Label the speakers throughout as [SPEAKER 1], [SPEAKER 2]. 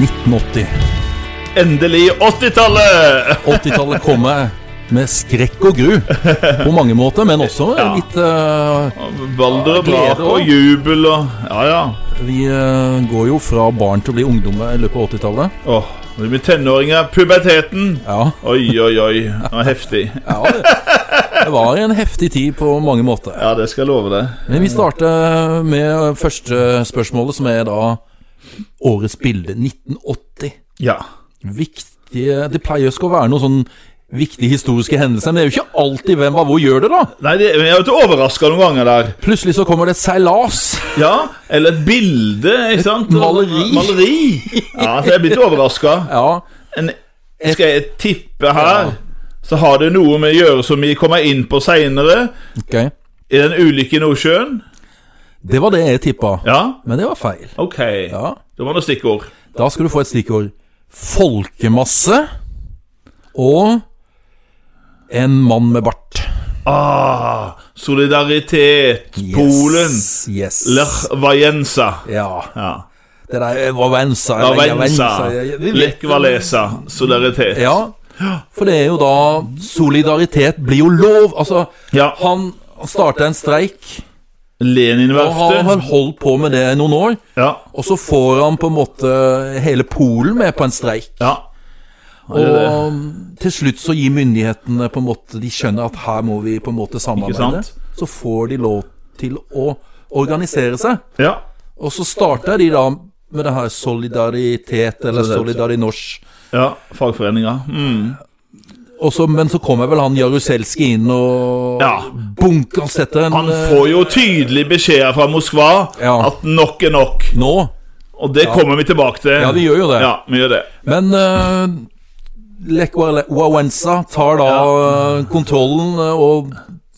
[SPEAKER 1] 1980.
[SPEAKER 2] Endelig 80-tallet!
[SPEAKER 1] 80-tallet kom jeg med skrekk og gru på mange måter, men også
[SPEAKER 2] Ja.
[SPEAKER 1] litt eh,
[SPEAKER 2] Balder og
[SPEAKER 1] Glede
[SPEAKER 2] brak og
[SPEAKER 1] også.
[SPEAKER 2] jubel og Ja, ja.
[SPEAKER 1] Vi eh, går jo fra barn til å bli ungdommer i løpet av 80-tallet.
[SPEAKER 2] Åh, det blir tenåringer. Puberteten.
[SPEAKER 1] Ja.
[SPEAKER 2] Oi, oi, oi. Det var heftig.
[SPEAKER 1] ja, det det var en heftig tid på mange måter.
[SPEAKER 2] Ja, det skal jeg love deg.
[SPEAKER 1] Men vi starter med første spørsmålet, som er da årets bilde. 1980.
[SPEAKER 2] Ja.
[SPEAKER 1] Viktige Det pleier jo ikke å være noen sånn viktige historiske hendelser, men det er jo ikke alltid hvem var hvor gjør det, da.
[SPEAKER 2] Nei, det, men jeg er jo ikke overraska noen ganger der.
[SPEAKER 1] Plutselig så kommer det et seilas.
[SPEAKER 2] Ja, Eller et bilde, ikke sant?
[SPEAKER 1] maleri.
[SPEAKER 2] Maleri. Ja, så jeg blir ikke overraska.
[SPEAKER 1] Ja,
[SPEAKER 2] Skal jeg tippe her, så har det noe med å gjøre som vi kommer inn på seinere.
[SPEAKER 1] ok.
[SPEAKER 2] I den ulykke i Nordsjøen.
[SPEAKER 1] Det var det jeg tippa.
[SPEAKER 2] Ja,
[SPEAKER 1] Men det var feil.
[SPEAKER 2] OK.
[SPEAKER 1] Ja.
[SPEAKER 2] Det var noe stikkord.
[SPEAKER 1] Da skal du få et stikkord. Folkemasse og en mann med bart.
[SPEAKER 2] Ah, solidaritet.
[SPEAKER 1] Yes,
[SPEAKER 2] Polen.
[SPEAKER 1] Yes.
[SPEAKER 2] Lech Vajensa.
[SPEAKER 1] Ja.
[SPEAKER 2] Ja.
[SPEAKER 1] Det der var Vensa. eller
[SPEAKER 2] Vajensa.
[SPEAKER 1] Javensa, jeg- vi vet-
[SPEAKER 2] Lech Walesa. Solidaritet.
[SPEAKER 1] Ja, for det er jo da Solidaritet blir jo lov. Altså,
[SPEAKER 2] Ja.
[SPEAKER 1] han starta en streik, og han har
[SPEAKER 2] Leninverftet.
[SPEAKER 1] holdt på med det i noen år.
[SPEAKER 2] Ja.
[SPEAKER 1] Og så får han på en måte hele Polen med på en streik.
[SPEAKER 2] ja.
[SPEAKER 1] Og til slutt så gir myndighetene på en måte De skjønner at her må vi på en måte samarbeide.
[SPEAKER 2] sant?
[SPEAKER 1] Så får de lov til å organisere seg.
[SPEAKER 2] ja.
[SPEAKER 1] Og så starter de da med det her solidaritet, eller solidarinorsk.
[SPEAKER 2] ja. Fagforeninga. Mm.
[SPEAKER 1] Og så- men så kommer vel han Jaruzelski inn og
[SPEAKER 2] Ja.
[SPEAKER 1] bunker setter en eh,
[SPEAKER 2] Han får jo tydelig beskjeder fra Moskva
[SPEAKER 1] Ja.
[SPEAKER 2] at nok er nok.
[SPEAKER 1] eh, Nå.
[SPEAKER 2] Og det kommer vi tilbake til.
[SPEAKER 1] Ja, vi gjør jo det.
[SPEAKER 2] Ja, vi gjør det.
[SPEAKER 1] Men uh, Lekwawensa tar da eh, kontrollen eh, og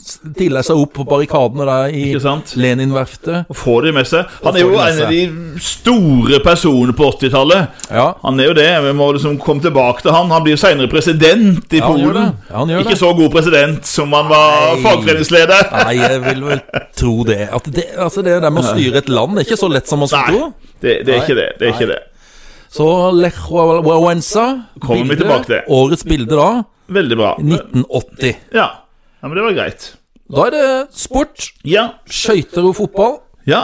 [SPEAKER 1] stiller seg opp på barrikadene der i
[SPEAKER 2] Ikke sant?
[SPEAKER 1] Leninverftet.
[SPEAKER 2] Og får det med seg. Han
[SPEAKER 1] Og
[SPEAKER 2] er jo
[SPEAKER 1] får det med
[SPEAKER 2] en av de store personene på 80-tallet.
[SPEAKER 1] Ja.
[SPEAKER 2] Han er jo det. Vi må liksom komme tilbake til han. Han blir jo seinere president i
[SPEAKER 1] Ja, han gjør
[SPEAKER 2] Polen.
[SPEAKER 1] det. Ja, han gjør
[SPEAKER 2] Ikke
[SPEAKER 1] det.
[SPEAKER 2] så god president som han var
[SPEAKER 1] Nei.
[SPEAKER 2] fagforeningsleder.
[SPEAKER 1] Nei, jeg vil vel tro det. At det, altså det der med å styre et land det er ikke så lett som man skulle
[SPEAKER 2] Nei,
[SPEAKER 1] tro.
[SPEAKER 2] det, det er
[SPEAKER 1] Nei.
[SPEAKER 2] ikke det. Det er ikke det.
[SPEAKER 1] Så Lechwawensa
[SPEAKER 2] Kommer vi tilbake til.
[SPEAKER 1] Årets bilde da,
[SPEAKER 2] Veldig bra.
[SPEAKER 1] 1980.
[SPEAKER 2] Ja. ja, men det var greit.
[SPEAKER 1] Da er det sport,
[SPEAKER 2] Ja.
[SPEAKER 1] skøyter og fotball.
[SPEAKER 2] Ja.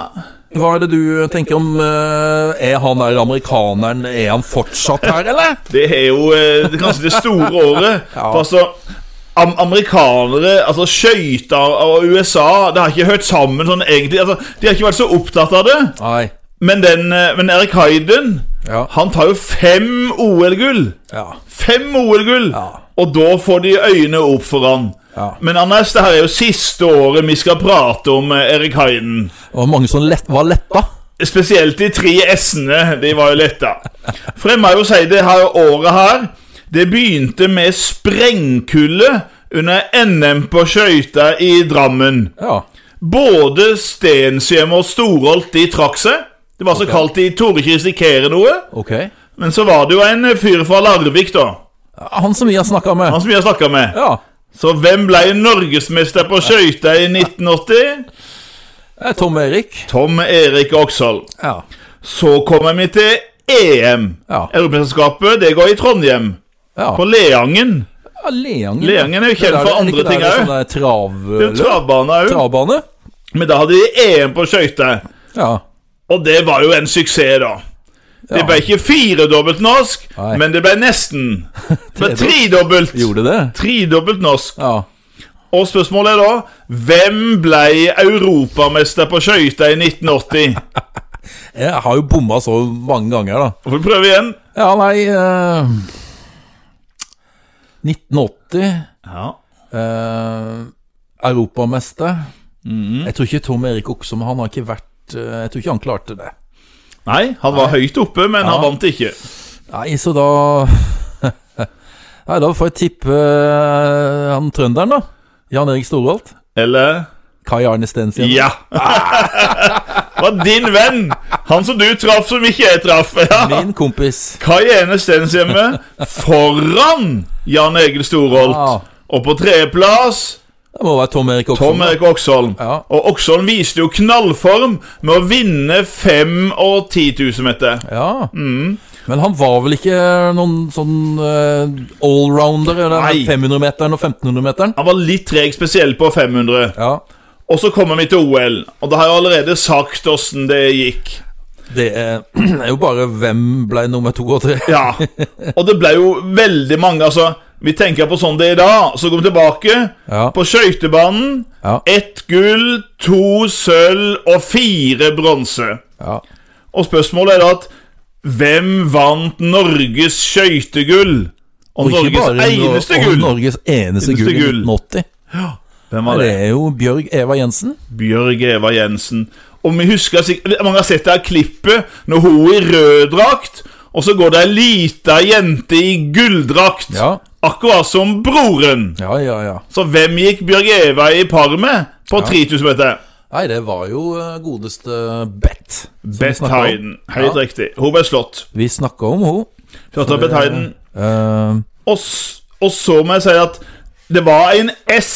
[SPEAKER 1] Hva er det du tenker om eh, Er han der amerikaneren Er han fortsatt her, eller?
[SPEAKER 2] Det er jo eh, det er kanskje det store året.
[SPEAKER 1] Ja.
[SPEAKER 2] For altså am Amerikanere, altså skøyter og USA Det har ikke hørt sammen sånn egentlig. Altså, de har ikke vært så opptatt av det.
[SPEAKER 1] Nei.
[SPEAKER 2] Men, den, eh, men Erik Hayden
[SPEAKER 1] Ja.
[SPEAKER 2] Han tar jo fem OL-gull!
[SPEAKER 1] Ja.
[SPEAKER 2] Fem OL-gull!
[SPEAKER 1] Ja.
[SPEAKER 2] Og da får de øynene opp for han.
[SPEAKER 1] Ja.
[SPEAKER 2] Men Anders, det her er jo siste året vi skal prate om eh, Erik Hayden.
[SPEAKER 1] Det var mange som lett, var letta.
[SPEAKER 2] Spesielt de tre S-ene. De var jo letta. For jeg må jo si det her året her Det begynte med sprengkulde under NM på skøyter i Drammen.
[SPEAKER 1] Ja.
[SPEAKER 2] Både Stensheim og Storholt de trakk seg. Det var så kaldt de torde ikke risikere noe.
[SPEAKER 1] Ok. Ja,
[SPEAKER 2] Men så var det jo en fyr fra Larvik, da.
[SPEAKER 1] Han som vi har snakka med.
[SPEAKER 2] Han som vi har snakka med.
[SPEAKER 1] Ja.
[SPEAKER 2] Så hvem ble norgesmester på skøyter i 1980?
[SPEAKER 1] det er Tom Erik.
[SPEAKER 2] Tom Erik Oksal.
[SPEAKER 1] Ja.
[SPEAKER 2] Så kommer vi til EM.
[SPEAKER 1] Ja.
[SPEAKER 2] Europamesterskapet, det går i Trondheim.
[SPEAKER 1] Ja.
[SPEAKER 2] På Leangen.
[SPEAKER 1] ja Leangen.
[SPEAKER 2] Leangen er jo
[SPEAKER 1] Det
[SPEAKER 2] kjent
[SPEAKER 1] der-
[SPEAKER 2] for
[SPEAKER 1] ikke
[SPEAKER 2] andre
[SPEAKER 1] der
[SPEAKER 2] ting
[SPEAKER 1] det er
[SPEAKER 2] òg.
[SPEAKER 1] Sånn der travløp.
[SPEAKER 2] Travbane òg.
[SPEAKER 1] Travbane.
[SPEAKER 2] Men da hadde de EM på skøyter.
[SPEAKER 1] Ja.
[SPEAKER 2] Og det var jo en suksess, da. Det
[SPEAKER 1] Ja.
[SPEAKER 2] ble ikke firedobbelt norsk,
[SPEAKER 1] Nei.
[SPEAKER 2] men det ble nesten. Det ble tredobbelt.
[SPEAKER 1] Gjorde det?
[SPEAKER 2] Tredobbelt norsk.
[SPEAKER 1] Ja.
[SPEAKER 2] Og spørsmålet er da Hvem ble europamester på skøyter i 1980?
[SPEAKER 1] Jeg har jo bomma så mange ganger, da.
[SPEAKER 2] Får vi prøve igjen?
[SPEAKER 1] Ja, nei eh, 1980.
[SPEAKER 2] Ja.
[SPEAKER 1] eh, Europamester.
[SPEAKER 2] Mhm.
[SPEAKER 1] Jeg tror ikke Tom Erik Oksum Han har ikke vært eh, Jeg tror ikke han klarte det.
[SPEAKER 2] Nei, han var høyt oppe, men han vant ikke.
[SPEAKER 1] Nei, så da Nei, da får jeg tippe eh, han trønderen, da. Jan Erik Storholt.
[SPEAKER 2] Eller
[SPEAKER 1] Kai Arne Stensien.
[SPEAKER 2] Ja! var din venn! Han som du traff, som ikke jeg traff. Ja.
[SPEAKER 1] Min kompis.
[SPEAKER 2] Kai Ene Stenshjemme foran Jan Egil
[SPEAKER 1] Ja.
[SPEAKER 2] Storholt. Og på tredjeplass
[SPEAKER 1] Det må være Tom Erik Oksum.
[SPEAKER 2] Tom Erik Oksholm.
[SPEAKER 1] Ja.
[SPEAKER 2] Og Oksholm viste jo knallform med å vinne 5 og 10 000 meter.
[SPEAKER 1] Ja. Men han var vel ikke noen sånn eh, allrounder? i
[SPEAKER 2] Nei.
[SPEAKER 1] Den 500-meteren og 1500-meteren?
[SPEAKER 2] Han var litt treg spesielt på 500.
[SPEAKER 1] Ja,
[SPEAKER 2] Og så kommer vi til OL, og da har jeg allerede sagt åssen det gikk.
[SPEAKER 1] det er, er jo bare hvem ble nummer to og tre.
[SPEAKER 2] Ja, og det ble jo veldig mange, altså. Vi tenker på sånn det er i dag, så går vi tilbake.
[SPEAKER 1] Ja.
[SPEAKER 2] På skøytebanen
[SPEAKER 1] Ja.
[SPEAKER 2] ett gull, to sølv og fire bronse.
[SPEAKER 1] Ja.
[SPEAKER 2] Og spørsmålet er da at hvem vant Norges skøytegull? Og, Norges eneste
[SPEAKER 1] Nor-
[SPEAKER 2] gull!
[SPEAKER 1] Og Norges eneste
[SPEAKER 2] Eneste
[SPEAKER 1] gull i
[SPEAKER 2] gull.
[SPEAKER 1] 1980.
[SPEAKER 2] Hvem
[SPEAKER 1] Nei,
[SPEAKER 2] var
[SPEAKER 1] Det
[SPEAKER 2] det?
[SPEAKER 1] er jo Bjørg Eva Jensen.
[SPEAKER 2] Bjørg Eva Jensen. Og vi husker sikkert Mange har sett det her klippet når hun i rød drakt, og så går det ei lita jente i gulldrakt.
[SPEAKER 1] Ja.
[SPEAKER 2] Akkurat som broren.
[SPEAKER 1] Ja, ja, ja.
[SPEAKER 2] Så hvem gikk Bjørg Eva i par med på 3000 meter?
[SPEAKER 1] Nei, det var jo eh, godeste Bett. som vi
[SPEAKER 2] Beth
[SPEAKER 1] snakket om.
[SPEAKER 2] Hayden. Helt
[SPEAKER 1] Ja.
[SPEAKER 2] riktig. Hun ble slått.
[SPEAKER 1] Vi snakka om henne.
[SPEAKER 2] Fjorta Beth Hayden.
[SPEAKER 1] Eh,
[SPEAKER 2] Og, s- og så må jeg si at det var en S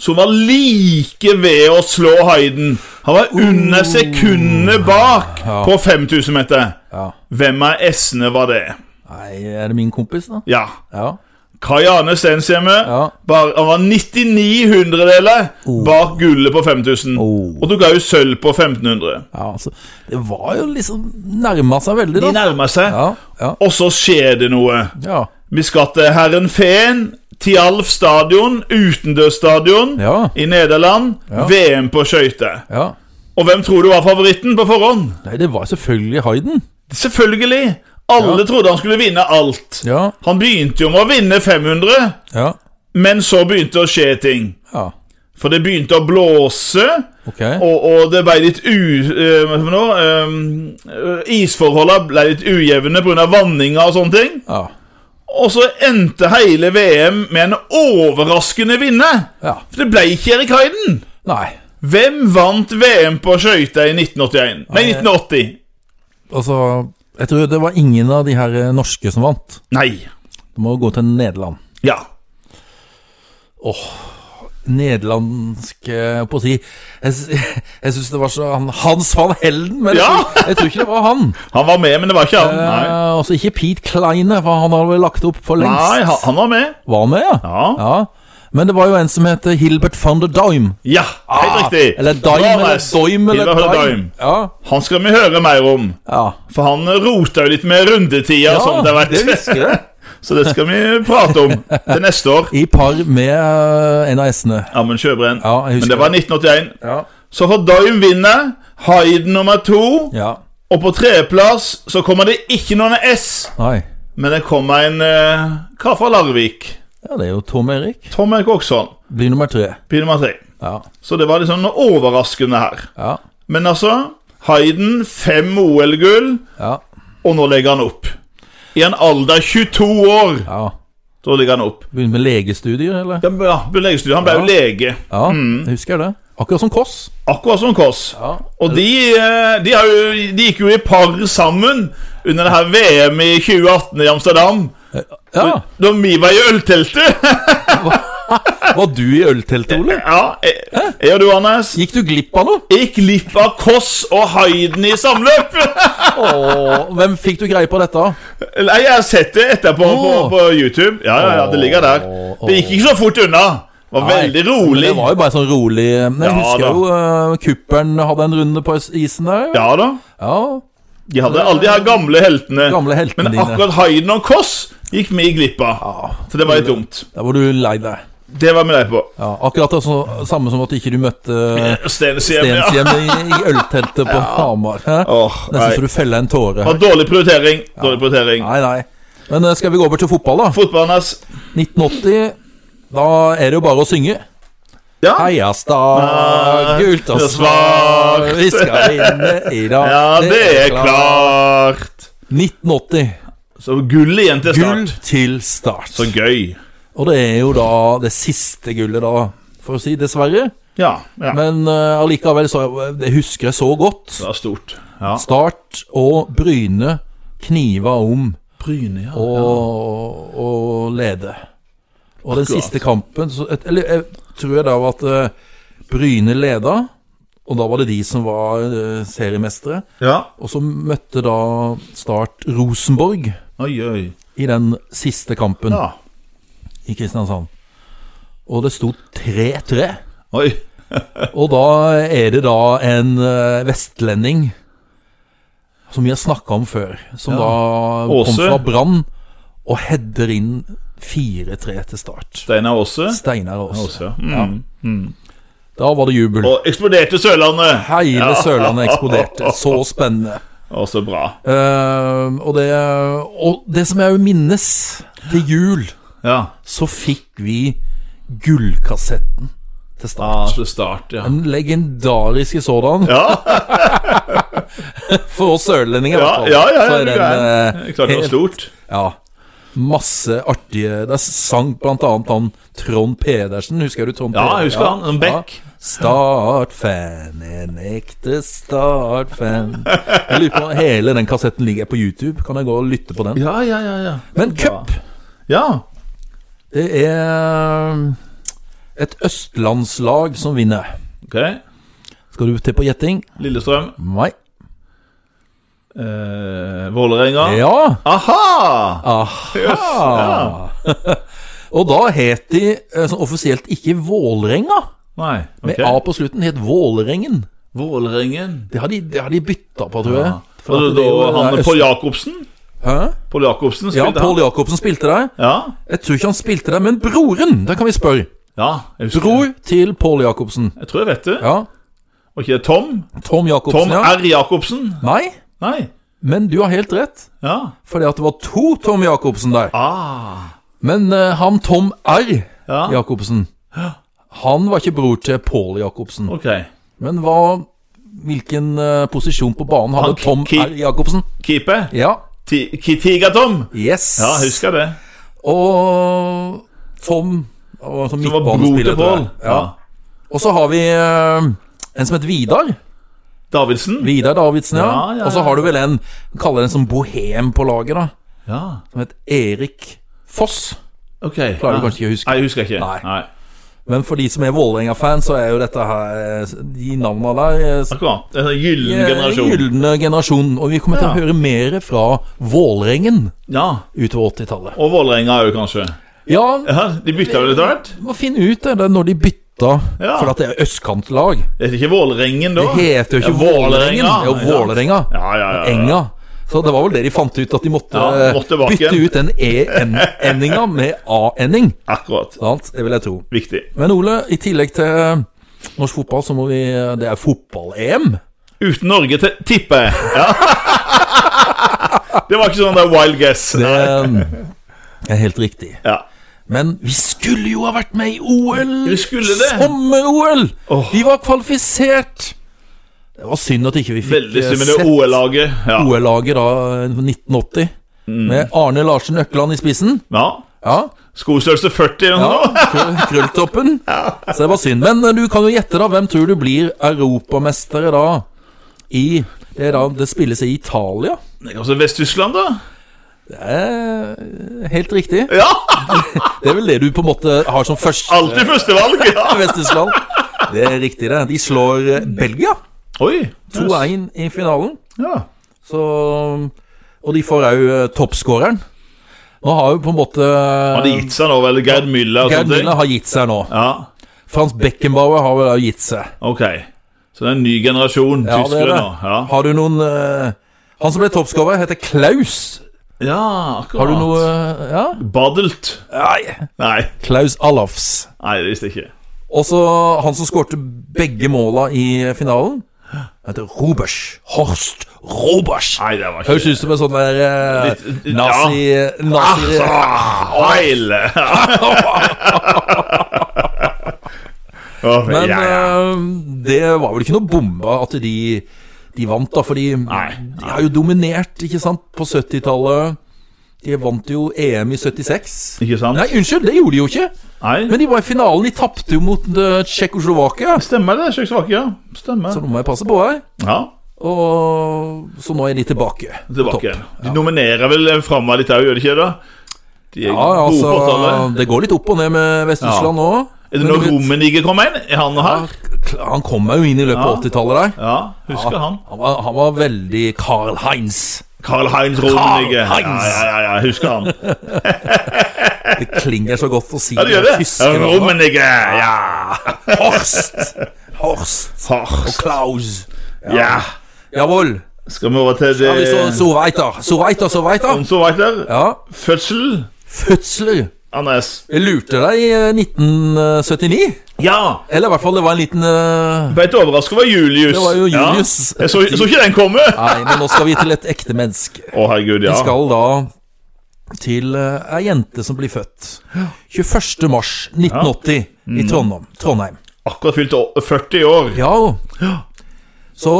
[SPEAKER 2] som var like ved å slå Hayden. Han var
[SPEAKER 1] Uh.
[SPEAKER 2] under sekundet bak på 5000 meter.
[SPEAKER 1] ja.
[SPEAKER 2] Hvem av S-ene var det?
[SPEAKER 1] Nei, er det min kompis, da?
[SPEAKER 2] Ja.
[SPEAKER 1] Ja.
[SPEAKER 2] Kajane Stenshjemme.
[SPEAKER 1] Ja. Uh.
[SPEAKER 2] Bare, han var 99 hundredeler bak gullet på 5000.
[SPEAKER 1] Oh.
[SPEAKER 2] Og du ga jo sølv på 1500.
[SPEAKER 1] ja altså, det var jo liksom Nærma seg veldig,
[SPEAKER 2] De
[SPEAKER 1] da.
[SPEAKER 2] nærmer seg.
[SPEAKER 1] Ja, ja,
[SPEAKER 2] Og så skjer det noe.
[SPEAKER 1] ja.
[SPEAKER 2] Vi skal til Herren Feen, Tialf stadion, utendørsstadion
[SPEAKER 1] Ja.
[SPEAKER 2] i Nederland. VM på skøyter.
[SPEAKER 1] ja.
[SPEAKER 2] Og hvem tror du var favoritten på forhånd?
[SPEAKER 1] Nei, det var selvfølgelig Hayden.
[SPEAKER 2] Selvfølgelig! Alle trodde han skulle vinne alt.
[SPEAKER 1] Ja,
[SPEAKER 2] Han begynte jo med å vinne 500,
[SPEAKER 1] ja,
[SPEAKER 2] men så begynte det å skje ting.
[SPEAKER 1] ja.
[SPEAKER 2] For det begynte å blåse,
[SPEAKER 1] Ok.
[SPEAKER 2] og, og det ble litt u... eh, hva for noe? Eh, isforholdene ble litt ujevne pga. vanninga og sånne ting.
[SPEAKER 1] Ja.
[SPEAKER 2] Og så endte hele VM med en overraskende vinner.
[SPEAKER 1] ja.
[SPEAKER 2] For det ble ikke Erik Hayden.
[SPEAKER 1] Nei.
[SPEAKER 2] Hvem vant VM på skøyter i 1981? Nei, 1980.
[SPEAKER 1] Altså, jeg tror det var ingen av de her eh, norske som vant.
[SPEAKER 2] Nei.
[SPEAKER 1] Du må gå til Nederland.
[SPEAKER 2] Ja.
[SPEAKER 1] Nederlandske jeg holdt eh, på å si Jeg, sy- jeg syns det var så han, Hans van Helden, men jeg,
[SPEAKER 2] Ja!
[SPEAKER 1] tror- jeg tror ikke det var han.
[SPEAKER 2] Han var med, men det var ikke han. Nei,
[SPEAKER 1] Eh, også ikke Pete Kleine, for han hadde vel lagt opp for lengst.
[SPEAKER 2] Nei han, han var med.
[SPEAKER 1] Var han med, ja?
[SPEAKER 2] Ja.
[SPEAKER 1] Ja. Men det var jo en som het Hilbert van der Dime.
[SPEAKER 2] Ja, helt riktig.
[SPEAKER 1] Ah, Eller Dime, eller
[SPEAKER 2] Johannes
[SPEAKER 1] Doim, eller
[SPEAKER 2] Hilbert
[SPEAKER 1] Dime.
[SPEAKER 2] Dime.
[SPEAKER 1] Ja,
[SPEAKER 2] Han skal vi høre mer om.
[SPEAKER 1] ja.
[SPEAKER 2] For han rota jo litt med rundetida og sånt.
[SPEAKER 1] ja det
[SPEAKER 2] Jeg vet.
[SPEAKER 1] husker jeg.
[SPEAKER 2] Så det skal vi prate om til neste år.
[SPEAKER 1] I par med eh, en av S-ene.
[SPEAKER 2] Amund Sjøbrenn.
[SPEAKER 1] Ja, jeg
[SPEAKER 2] men
[SPEAKER 1] husker
[SPEAKER 2] det var 1981.
[SPEAKER 1] Ja.
[SPEAKER 2] Så får Doim vinne. Hayden nummer to.
[SPEAKER 1] ja.
[SPEAKER 2] Og på tredjeplass så kommer det ikke noen S,
[SPEAKER 1] Nei.
[SPEAKER 2] men det kommer en eh, kar fra Larvik.
[SPEAKER 1] Ja, det er jo Tom Erik.
[SPEAKER 2] Tom Erik Oksholm.
[SPEAKER 1] Blir nummer tre.
[SPEAKER 2] Bil nummer tre.
[SPEAKER 1] Ja.
[SPEAKER 2] Så det var liksom noe overraskende her.
[SPEAKER 1] Ja.
[SPEAKER 2] Men altså Hayden, fem OL-gull,
[SPEAKER 1] Ja.
[SPEAKER 2] og nå legger han opp. I en alder av 22 år,
[SPEAKER 1] ja.
[SPEAKER 2] så ligger han opp.
[SPEAKER 1] Begynner med legestudier, eller?
[SPEAKER 2] Ja, Mm. men ja, beleggsstudio. Han ble jo lege,
[SPEAKER 1] Ja, jeg husker det. Akkurat som Kåss.
[SPEAKER 2] akkurat som Kåss.
[SPEAKER 1] Ja.
[SPEAKER 2] Og de, eh, de, har jo, de gikk jo i par sammen under det her VM i 2018 i Amsterdam.
[SPEAKER 1] ja.
[SPEAKER 2] Da vi var i ølteltet.
[SPEAKER 1] Var du i ølteltet, Ole?
[SPEAKER 2] Eh, Ja, jeg, jeg og du, Anders,
[SPEAKER 1] Gikk du glipp av noe?
[SPEAKER 2] gikk glipp av Koss og Hayden i samløp.
[SPEAKER 1] Åh, hvem fikk du greie på dette? av?
[SPEAKER 2] Nei, jeg har sett det etterpå på,
[SPEAKER 1] Åh.
[SPEAKER 2] på YouTube. Ja, ja, ja, det ligger der. Det gikk ikke så fort unna. Det var veldig
[SPEAKER 1] Nei, men
[SPEAKER 2] rolig.
[SPEAKER 1] Det var jo bare sånn rolig Jeg
[SPEAKER 2] Ja,
[SPEAKER 1] husker
[SPEAKER 2] da.
[SPEAKER 1] jo uh, kuppelen hadde en runde på is- isen der.
[SPEAKER 2] Ja da.
[SPEAKER 1] ja.
[SPEAKER 2] De hadde alle de her gamle heltene.
[SPEAKER 1] Gamle heltene
[SPEAKER 2] Men
[SPEAKER 1] dine.
[SPEAKER 2] akkurat Hayden og Koss gikk vi glipp av.
[SPEAKER 1] Ja,
[SPEAKER 2] Så det var litt dumt.
[SPEAKER 1] Der var du lei deg.
[SPEAKER 2] Det var vi lei på.
[SPEAKER 1] Ja, akkurat det så- samme som at ikke du møtte
[SPEAKER 2] Stenshjem, ja.
[SPEAKER 1] Stenshjem i, i ølteltet på Hamar. Hæ?
[SPEAKER 2] Åh,
[SPEAKER 1] Nesten så
[SPEAKER 2] nei.
[SPEAKER 1] du feller en tåre.
[SPEAKER 2] Og dårlig prioritering. Dårlig prioritering.
[SPEAKER 1] Nei, nei. Men eh, skal vi gå over til fotball, da?
[SPEAKER 2] Fotballen hans
[SPEAKER 1] 1980, da er det jo bare å synge.
[SPEAKER 2] Ja.
[SPEAKER 1] Heiastad, gult og
[SPEAKER 2] det er
[SPEAKER 1] svart,
[SPEAKER 2] svakt.
[SPEAKER 1] vi skal vinne i dag.
[SPEAKER 2] ja, det er klart.
[SPEAKER 1] 1980.
[SPEAKER 2] Så gull igjen til
[SPEAKER 1] Gull
[SPEAKER 2] start.
[SPEAKER 1] til start.
[SPEAKER 2] Så gøy.
[SPEAKER 1] Og det er jo da det siste gullet, da, for å si dessverre.
[SPEAKER 2] Ja. ja.
[SPEAKER 1] Men eh, allikevel, så det husker jeg så godt.
[SPEAKER 2] det var stort. Ja.
[SPEAKER 1] Start og Bryne kniva om
[SPEAKER 2] Bryne, ja.
[SPEAKER 1] å å lede. Og den siste kampen så, et- Eller jeg tror jeg da var at eh, Bryne leda, Og da var det de som var eh, seriemestere.
[SPEAKER 2] Ja.
[SPEAKER 1] Og så møtte da Start Rosenborg
[SPEAKER 2] Oi, oi.
[SPEAKER 1] i den siste kampen
[SPEAKER 2] Ja.
[SPEAKER 1] i Kristiansand. Og det sto 3-3.
[SPEAKER 2] Oi.
[SPEAKER 1] Og da er det da en eh, vestlending som vi har snakka om før, som da
[SPEAKER 2] Åse.
[SPEAKER 1] kom fra Brann og header inn 4-3 til Start.
[SPEAKER 2] Steinar Aase.
[SPEAKER 1] Steinar Aas.
[SPEAKER 2] Aase, ja. Mm.
[SPEAKER 1] Da var det jubel.
[SPEAKER 2] Og eksploderte Sørlandet!
[SPEAKER 1] Hele Sørlandet eksploderte. Så spennende.
[SPEAKER 2] Å, så bra.
[SPEAKER 1] Eh, og, det, og det som jeg jo minnes Til jul
[SPEAKER 2] Ja.
[SPEAKER 1] så fikk vi gullkassetten til
[SPEAKER 2] Ah,
[SPEAKER 1] start.
[SPEAKER 2] så start, ja.
[SPEAKER 1] Den legendariske sådan.
[SPEAKER 2] Ja,
[SPEAKER 1] For oss sørlendinger, i
[SPEAKER 2] ja,
[SPEAKER 1] hvert fall.
[SPEAKER 2] ja, ja,
[SPEAKER 1] så er
[SPEAKER 2] det
[SPEAKER 1] den
[SPEAKER 2] er
[SPEAKER 1] eh,
[SPEAKER 2] klart det var
[SPEAKER 1] helt-
[SPEAKER 2] stort.
[SPEAKER 1] Ja. Masse artige Der sang blant annet han Trond Pedersen. Husker du Trond
[SPEAKER 2] Ja,
[SPEAKER 1] Pedersen?
[SPEAKER 2] jeg husker han, som Beck.
[SPEAKER 1] Ja. Startfan, en ekte startfan. Jeg lurer på Hele den kassetten ligger på YouTube. Kan jeg gå og lytte på den?
[SPEAKER 2] Ja, ja, ja. ja.
[SPEAKER 1] Men cup,
[SPEAKER 2] Ja.
[SPEAKER 1] det er eh, et østlandslag som vinner.
[SPEAKER 2] Ok.
[SPEAKER 1] Skal du til på gjetting?
[SPEAKER 2] Lillestrøm.
[SPEAKER 1] Nei.
[SPEAKER 2] Eh, Vålerenga.
[SPEAKER 1] Ja!
[SPEAKER 2] Aha!
[SPEAKER 1] Aha!
[SPEAKER 2] ja.
[SPEAKER 1] Og da het de eh, sånn offisielt ikke Vålerenga,
[SPEAKER 2] Nei,
[SPEAKER 1] med
[SPEAKER 2] ok.
[SPEAKER 1] A på slutten. Het Vålerengen.
[SPEAKER 2] Vålerengen.
[SPEAKER 1] Det har de, det har de bytta på, tror jeg.
[SPEAKER 2] Ja.
[SPEAKER 1] For
[SPEAKER 2] Og
[SPEAKER 1] at
[SPEAKER 2] da
[SPEAKER 1] det er jo- det
[SPEAKER 2] han
[SPEAKER 1] er
[SPEAKER 2] Pål
[SPEAKER 1] øst-
[SPEAKER 2] Jacobsen?
[SPEAKER 1] Hæ?
[SPEAKER 2] Pål Jacobsen
[SPEAKER 1] Ja,
[SPEAKER 2] spilte
[SPEAKER 1] Pål
[SPEAKER 2] han.
[SPEAKER 1] Jacobsen spilte der.
[SPEAKER 2] Ja,
[SPEAKER 1] Jeg tror ikke han spilte der, men broren! Der kan vi spørre.
[SPEAKER 2] ja jeg, husker.
[SPEAKER 1] Bror til Pål Jacobsen.
[SPEAKER 2] jeg tror jeg vet det.
[SPEAKER 1] Ja.
[SPEAKER 2] Og ikke det Tom?
[SPEAKER 1] Tom
[SPEAKER 2] Tom
[SPEAKER 1] Jacobsen, ja.
[SPEAKER 2] R. Jacobsen?
[SPEAKER 1] Nei,
[SPEAKER 2] Nei.
[SPEAKER 1] men du har helt rett.
[SPEAKER 2] Ja.
[SPEAKER 1] Fordi at det var to Tom Jacobsen der.
[SPEAKER 2] Ah.
[SPEAKER 1] Men eh, han Tom R.
[SPEAKER 2] Ja.
[SPEAKER 1] Jacobsen Han var ikke bror til Pål Jacobsen.
[SPEAKER 2] Ok.
[SPEAKER 1] Men hva Hvilken eh, posisjon på banen hadde
[SPEAKER 2] Han ki-
[SPEAKER 1] Tom
[SPEAKER 2] ki-
[SPEAKER 1] R. Jacobsen?
[SPEAKER 2] Keeper?
[SPEAKER 1] Ja.
[SPEAKER 2] Ti- Kitiga-Tom?
[SPEAKER 1] Yes.
[SPEAKER 2] Ja, jeg husker det.
[SPEAKER 1] Og Tom og som
[SPEAKER 2] Som var bror til
[SPEAKER 1] midtbanespiller, tror
[SPEAKER 2] Pål.
[SPEAKER 1] jeg. Ja. Og så har vi eh, en som heter Vidar.
[SPEAKER 2] Davidsen?
[SPEAKER 1] Vidar Davidsen, ja.
[SPEAKER 2] Ja, ja, ja.
[SPEAKER 1] Og så har du vel en vi kaller den som bohem på laget, da.
[SPEAKER 2] Ja.
[SPEAKER 1] Som heter Erik Foss.
[SPEAKER 2] Ok.
[SPEAKER 1] Klarer du
[SPEAKER 2] ja.
[SPEAKER 1] kanskje ikke å huske.
[SPEAKER 2] Nei, jeg husker ikke.
[SPEAKER 1] Nei.
[SPEAKER 2] Nei.
[SPEAKER 1] Men for de som er Vålerenga-fan, så er jo dette her eh, De navna der eh,
[SPEAKER 2] Akkurat. En gyllen
[SPEAKER 1] Eh,
[SPEAKER 2] generasjon.
[SPEAKER 1] Gyldne generasjon. Og vi kommer til
[SPEAKER 2] Ja.
[SPEAKER 1] å høre mer fra Vålerengen
[SPEAKER 2] Ja.
[SPEAKER 1] utover 80-tallet.
[SPEAKER 2] Og Vålerenga òg, kanskje.
[SPEAKER 1] Ja,
[SPEAKER 2] Ja, De bytta vel etter hvert?
[SPEAKER 1] må finne ut det, det er når de bytta,
[SPEAKER 2] Ja.
[SPEAKER 1] for at det er østkantlag.
[SPEAKER 2] Det heter ikke Vålerengen da?
[SPEAKER 1] Det heter jo ikke
[SPEAKER 2] Ja,
[SPEAKER 1] Vålerengen, det er jo
[SPEAKER 2] Nei, sant.
[SPEAKER 1] Vålerenga.
[SPEAKER 2] Ja, ja, ja, ja.
[SPEAKER 1] Enga. Så det var vel det de fant ut, at de måtte,
[SPEAKER 2] Ja,
[SPEAKER 1] eh,
[SPEAKER 2] måtte tilbake
[SPEAKER 1] bytte
[SPEAKER 2] igjen.
[SPEAKER 1] ut den e-endinga med a-ending.
[SPEAKER 2] Akkurat.
[SPEAKER 1] Sant? Det vil jeg tro.
[SPEAKER 2] Viktig.
[SPEAKER 1] Men Ole, i tillegg til eh, norsk fotball, så må vi Det er fotball-EM.
[SPEAKER 2] Uten Norge, te- tipper jeg. Ja. Det var ikke sånn der wild guess.
[SPEAKER 1] Det eh, er helt riktig.
[SPEAKER 2] Ja.
[SPEAKER 1] Men vi skulle jo ha vært med i OL!
[SPEAKER 2] Vi skulle det.
[SPEAKER 1] Sommer-OL!
[SPEAKER 2] Åh.
[SPEAKER 1] Vi var kvalifisert! Det var synd at ikke vi fikk
[SPEAKER 2] Veldig
[SPEAKER 1] eh,
[SPEAKER 2] synd med det
[SPEAKER 1] sett
[SPEAKER 2] OL-laget. Ja. Mm.
[SPEAKER 1] OL-laget da eh, 1980. Med Arne Larsen Økland i spissen.
[SPEAKER 2] ja.
[SPEAKER 1] Ja.
[SPEAKER 2] Skostørrelse 40 eller noe sånt.
[SPEAKER 1] ja krø- Krølltoppen. Så det var synd. Men eh, du kan jo gjette, da. Hvem tror du blir europamestere da? I Det er da det spilles i Italia.
[SPEAKER 2] Det er Kanskje Vest-Tyskland, da?
[SPEAKER 1] Det er Eh, helt riktig.
[SPEAKER 2] Ja!
[SPEAKER 1] Det er vel det du på en måte har som første
[SPEAKER 2] Alltid førstevalg. Ja.
[SPEAKER 1] Vest-Tyskland. Det er riktig, det. De slår eh, Belgia
[SPEAKER 2] Oi.
[SPEAKER 1] 2-1 i finalen.
[SPEAKER 2] Ja.
[SPEAKER 1] Så, og de får òg toppskåreren. Nå har jo på en måte
[SPEAKER 2] Har de gitt seg nå, vel? Gerd Müller og
[SPEAKER 1] Gerd
[SPEAKER 2] sånne ting?
[SPEAKER 1] Müller har gitt seg nå.
[SPEAKER 2] Ja.
[SPEAKER 1] Frans Beckenbauer har vel òg gitt seg.
[SPEAKER 2] Ok. Så det er en ny generasjon
[SPEAKER 1] Ja, det er
[SPEAKER 2] tyskere
[SPEAKER 1] det.
[SPEAKER 2] nå. Ja.
[SPEAKER 1] Har du noen eh, Han som ble toppskårer, heter Klaus.
[SPEAKER 2] ja, akkurat.
[SPEAKER 1] Har du noe eh, Ja?
[SPEAKER 2] Badelt?
[SPEAKER 1] Nei.
[SPEAKER 2] Nei.
[SPEAKER 1] Klaus Allofs.
[SPEAKER 2] Nei, det visste jeg ikke.
[SPEAKER 1] Og så han som skårte begge måla i finalen, heter Robers. Horst Robers.
[SPEAKER 2] Nei, det var ikke
[SPEAKER 1] Høres ut som en sånn der eh,
[SPEAKER 2] Litt- ja.
[SPEAKER 1] nazi... eh, nazi
[SPEAKER 2] Ah, Heil! Å,
[SPEAKER 1] Men
[SPEAKER 2] ja, ja.
[SPEAKER 1] eh, det var vel ikke noe bombe at de, de vant, da. For de har jo dominert, ikke sant, på 70-tallet. De vant jo EM i 76.
[SPEAKER 2] Ikke sant?
[SPEAKER 1] eh, Nei, unnskyld, det gjorde de jo ikke.
[SPEAKER 2] Nei.
[SPEAKER 1] Men de var i finalen. De tapte jo mot eh, Tsjekkoslovakia.
[SPEAKER 2] Stemmer det, Tsjekkoslovakia. Stemmer.
[SPEAKER 1] Så nå må jeg passe på her.
[SPEAKER 2] Ja,
[SPEAKER 1] Og så nå er de tilbake. på topp.
[SPEAKER 2] tilbake igjen. De nominerer vel framover litt òg, gjør de ikke det? da? De er
[SPEAKER 1] Ja,
[SPEAKER 2] gode
[SPEAKER 1] altså,
[SPEAKER 2] på åttallet.
[SPEAKER 1] det går litt opp og ned med Vest-Tyskland nå.
[SPEAKER 2] Er det
[SPEAKER 1] Men
[SPEAKER 2] når
[SPEAKER 1] du vet-
[SPEAKER 2] Rommeniger kommer inn? Er han her?
[SPEAKER 1] Ja, kl- han kom meg jo inn i løpet av
[SPEAKER 2] Ja.
[SPEAKER 1] 80-tallet der.
[SPEAKER 2] Ja, husker han.
[SPEAKER 1] Han var, han var veldig Carl Heinz.
[SPEAKER 2] Karl-Heinz Rummenigge. Ja,
[SPEAKER 1] Karl-Heinz!
[SPEAKER 2] ja, ja, ja, husker han.
[SPEAKER 1] Det klinger så godt å si
[SPEAKER 2] Ja, du gjør det.
[SPEAKER 1] tyske navn.
[SPEAKER 2] Rummenigge, ja.
[SPEAKER 1] Horst! Horst og
[SPEAKER 2] Horst.
[SPEAKER 1] Klaus.
[SPEAKER 2] Ja.
[SPEAKER 1] Jawohl.
[SPEAKER 2] Skal vi over til
[SPEAKER 1] Ja, vi så,
[SPEAKER 2] det
[SPEAKER 1] så weiter. Så weiter, så weiter.
[SPEAKER 2] Om så veit der.
[SPEAKER 1] Ja.
[SPEAKER 2] Fødsel,
[SPEAKER 1] Fødsler.
[SPEAKER 2] Andres.
[SPEAKER 1] Jeg lurte deg i eh, 1979.
[SPEAKER 2] Ja.
[SPEAKER 1] Eller i hvert fall, det var en liten eh,
[SPEAKER 2] Ble litt overraska over Julius.
[SPEAKER 1] Det var jo Julius.
[SPEAKER 2] Ja. Jeg så, så ikke den komme. Å,
[SPEAKER 1] Nei, men nå skal vi til et ekte menneske.
[SPEAKER 2] herregud, ja.
[SPEAKER 1] Vi skal da til eh, ei jente som blir født 21. mars 1980 i Trondheim. Trondheim.
[SPEAKER 2] Akkurat fylt å- 40 år.
[SPEAKER 1] Ja, jo. Så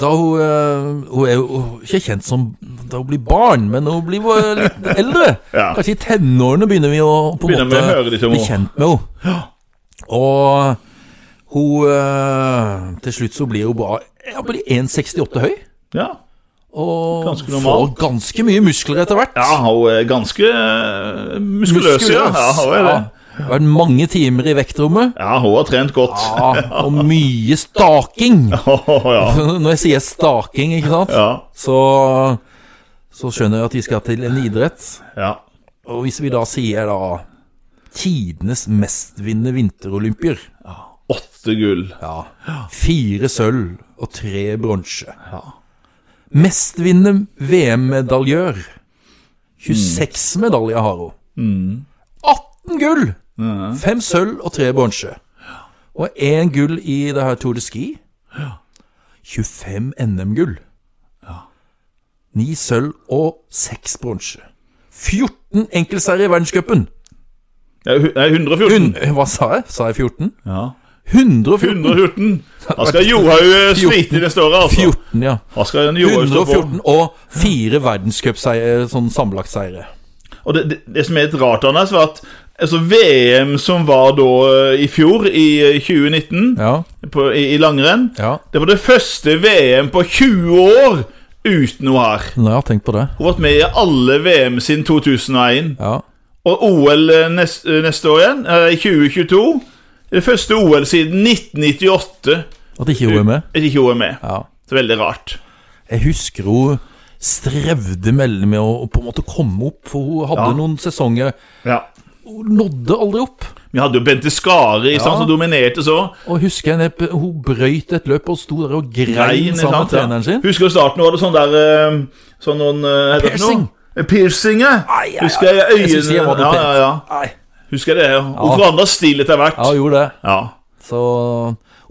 [SPEAKER 1] da hun eh, Hun er jo ikke kjent som da hun blir barn, men hun blir eh, litt eldre.
[SPEAKER 2] Ja.
[SPEAKER 1] Kanskje i tenårene begynner vi å på en
[SPEAKER 2] Begynner vi å høre litt
[SPEAKER 1] måte
[SPEAKER 2] om
[SPEAKER 1] bli
[SPEAKER 2] henne.
[SPEAKER 1] kjent med henne. Og hun eh, Til slutt så blir hun bare ja, blir 1,68 høy.
[SPEAKER 2] Ja.
[SPEAKER 1] Og
[SPEAKER 2] Ganske
[SPEAKER 1] får
[SPEAKER 2] normal.
[SPEAKER 1] ganske mye muskler etter hvert.
[SPEAKER 2] ja, hun er ganske eh, muskuløs, ja. ja. Hun er det.
[SPEAKER 1] Ja. Vært mange timer i vektrommet.
[SPEAKER 2] Ja, hun har trent godt.
[SPEAKER 1] Ja, og mye staking.
[SPEAKER 2] ja.
[SPEAKER 1] Når jeg sier staking, ikke sant,
[SPEAKER 2] Ja.
[SPEAKER 1] så, så skjønner jeg at de skal til en idrett.
[SPEAKER 2] ja.
[SPEAKER 1] Og hvis vi da sier da tidenes mestvinnende vinterolympier
[SPEAKER 2] Åtte gull.
[SPEAKER 1] ja. Fire sølv og tre bronse.
[SPEAKER 2] Ja.
[SPEAKER 1] Mestvinnende VM-medaljør. 26
[SPEAKER 2] Mm.
[SPEAKER 1] medaljer har hun. 18 gull! Fem sølv og tre bronse. Og én gull i det her Tour de Ski. 25 NM-gull. Ni sølv og seks bronse. 14 enkeltseier i verdenscupen.
[SPEAKER 2] Ja, hu- nei, 114.
[SPEAKER 1] Hun- Hva sa jeg? Sa jeg 14?
[SPEAKER 2] Ja.
[SPEAKER 1] 114.
[SPEAKER 2] 114. Da skal Johaug eh, slite i neste året, altså.
[SPEAKER 1] 14, ja.
[SPEAKER 2] Da skal Johaug stå på.
[SPEAKER 1] 114 og fire verdenscupseiere, sånn sammenlagtseire.
[SPEAKER 2] Og det, det, det som er litt rart, Anders, var at altså, VM som var da eh, i fjor, i eh, 2019,
[SPEAKER 1] Ja.
[SPEAKER 2] på, i, i langrenn
[SPEAKER 1] ja.
[SPEAKER 2] Det var det første VM på 20 år uten hun her.
[SPEAKER 1] Nå har jeg tenkt på det.
[SPEAKER 2] Hun har vært med i alle VM siden 2001.
[SPEAKER 1] Ja.
[SPEAKER 2] Og OL neste, neste år igjen, eh, i 2022. Det første OL siden 1998.
[SPEAKER 1] At ikke hun er med.
[SPEAKER 2] At ikke hun er med.
[SPEAKER 1] Ja.
[SPEAKER 2] Så veldig rart.
[SPEAKER 1] Jeg husker hun strevde mellom med å å på en måte komme opp, for hun hadde
[SPEAKER 2] Ja.
[SPEAKER 1] noen sesonger
[SPEAKER 2] Ja.
[SPEAKER 1] Hun nådde aldri opp.
[SPEAKER 2] Vi hadde jo Bente Skare i stand, som dominerte så.
[SPEAKER 1] Og jeg husker jeg ned- hun brøyt et løp og sto der og
[SPEAKER 2] Grein,
[SPEAKER 1] grein
[SPEAKER 2] ikke
[SPEAKER 1] sammen med
[SPEAKER 2] sant? Ja.
[SPEAKER 1] treneren sin.
[SPEAKER 2] Husker du starten var det sånn der eh, Sånn noen eh, heter det for
[SPEAKER 1] Piercing.
[SPEAKER 2] noe? Piercing, ja.
[SPEAKER 1] Ai, ai, ai.
[SPEAKER 2] Husker jeg øynene
[SPEAKER 1] Jeg synes jeg var noe
[SPEAKER 2] ja, ja, ja.
[SPEAKER 1] Nei.
[SPEAKER 2] Husker jeg det. Hun forandra stil etter hvert.
[SPEAKER 1] Ja, hun gjorde det.
[SPEAKER 2] Ja.
[SPEAKER 1] Så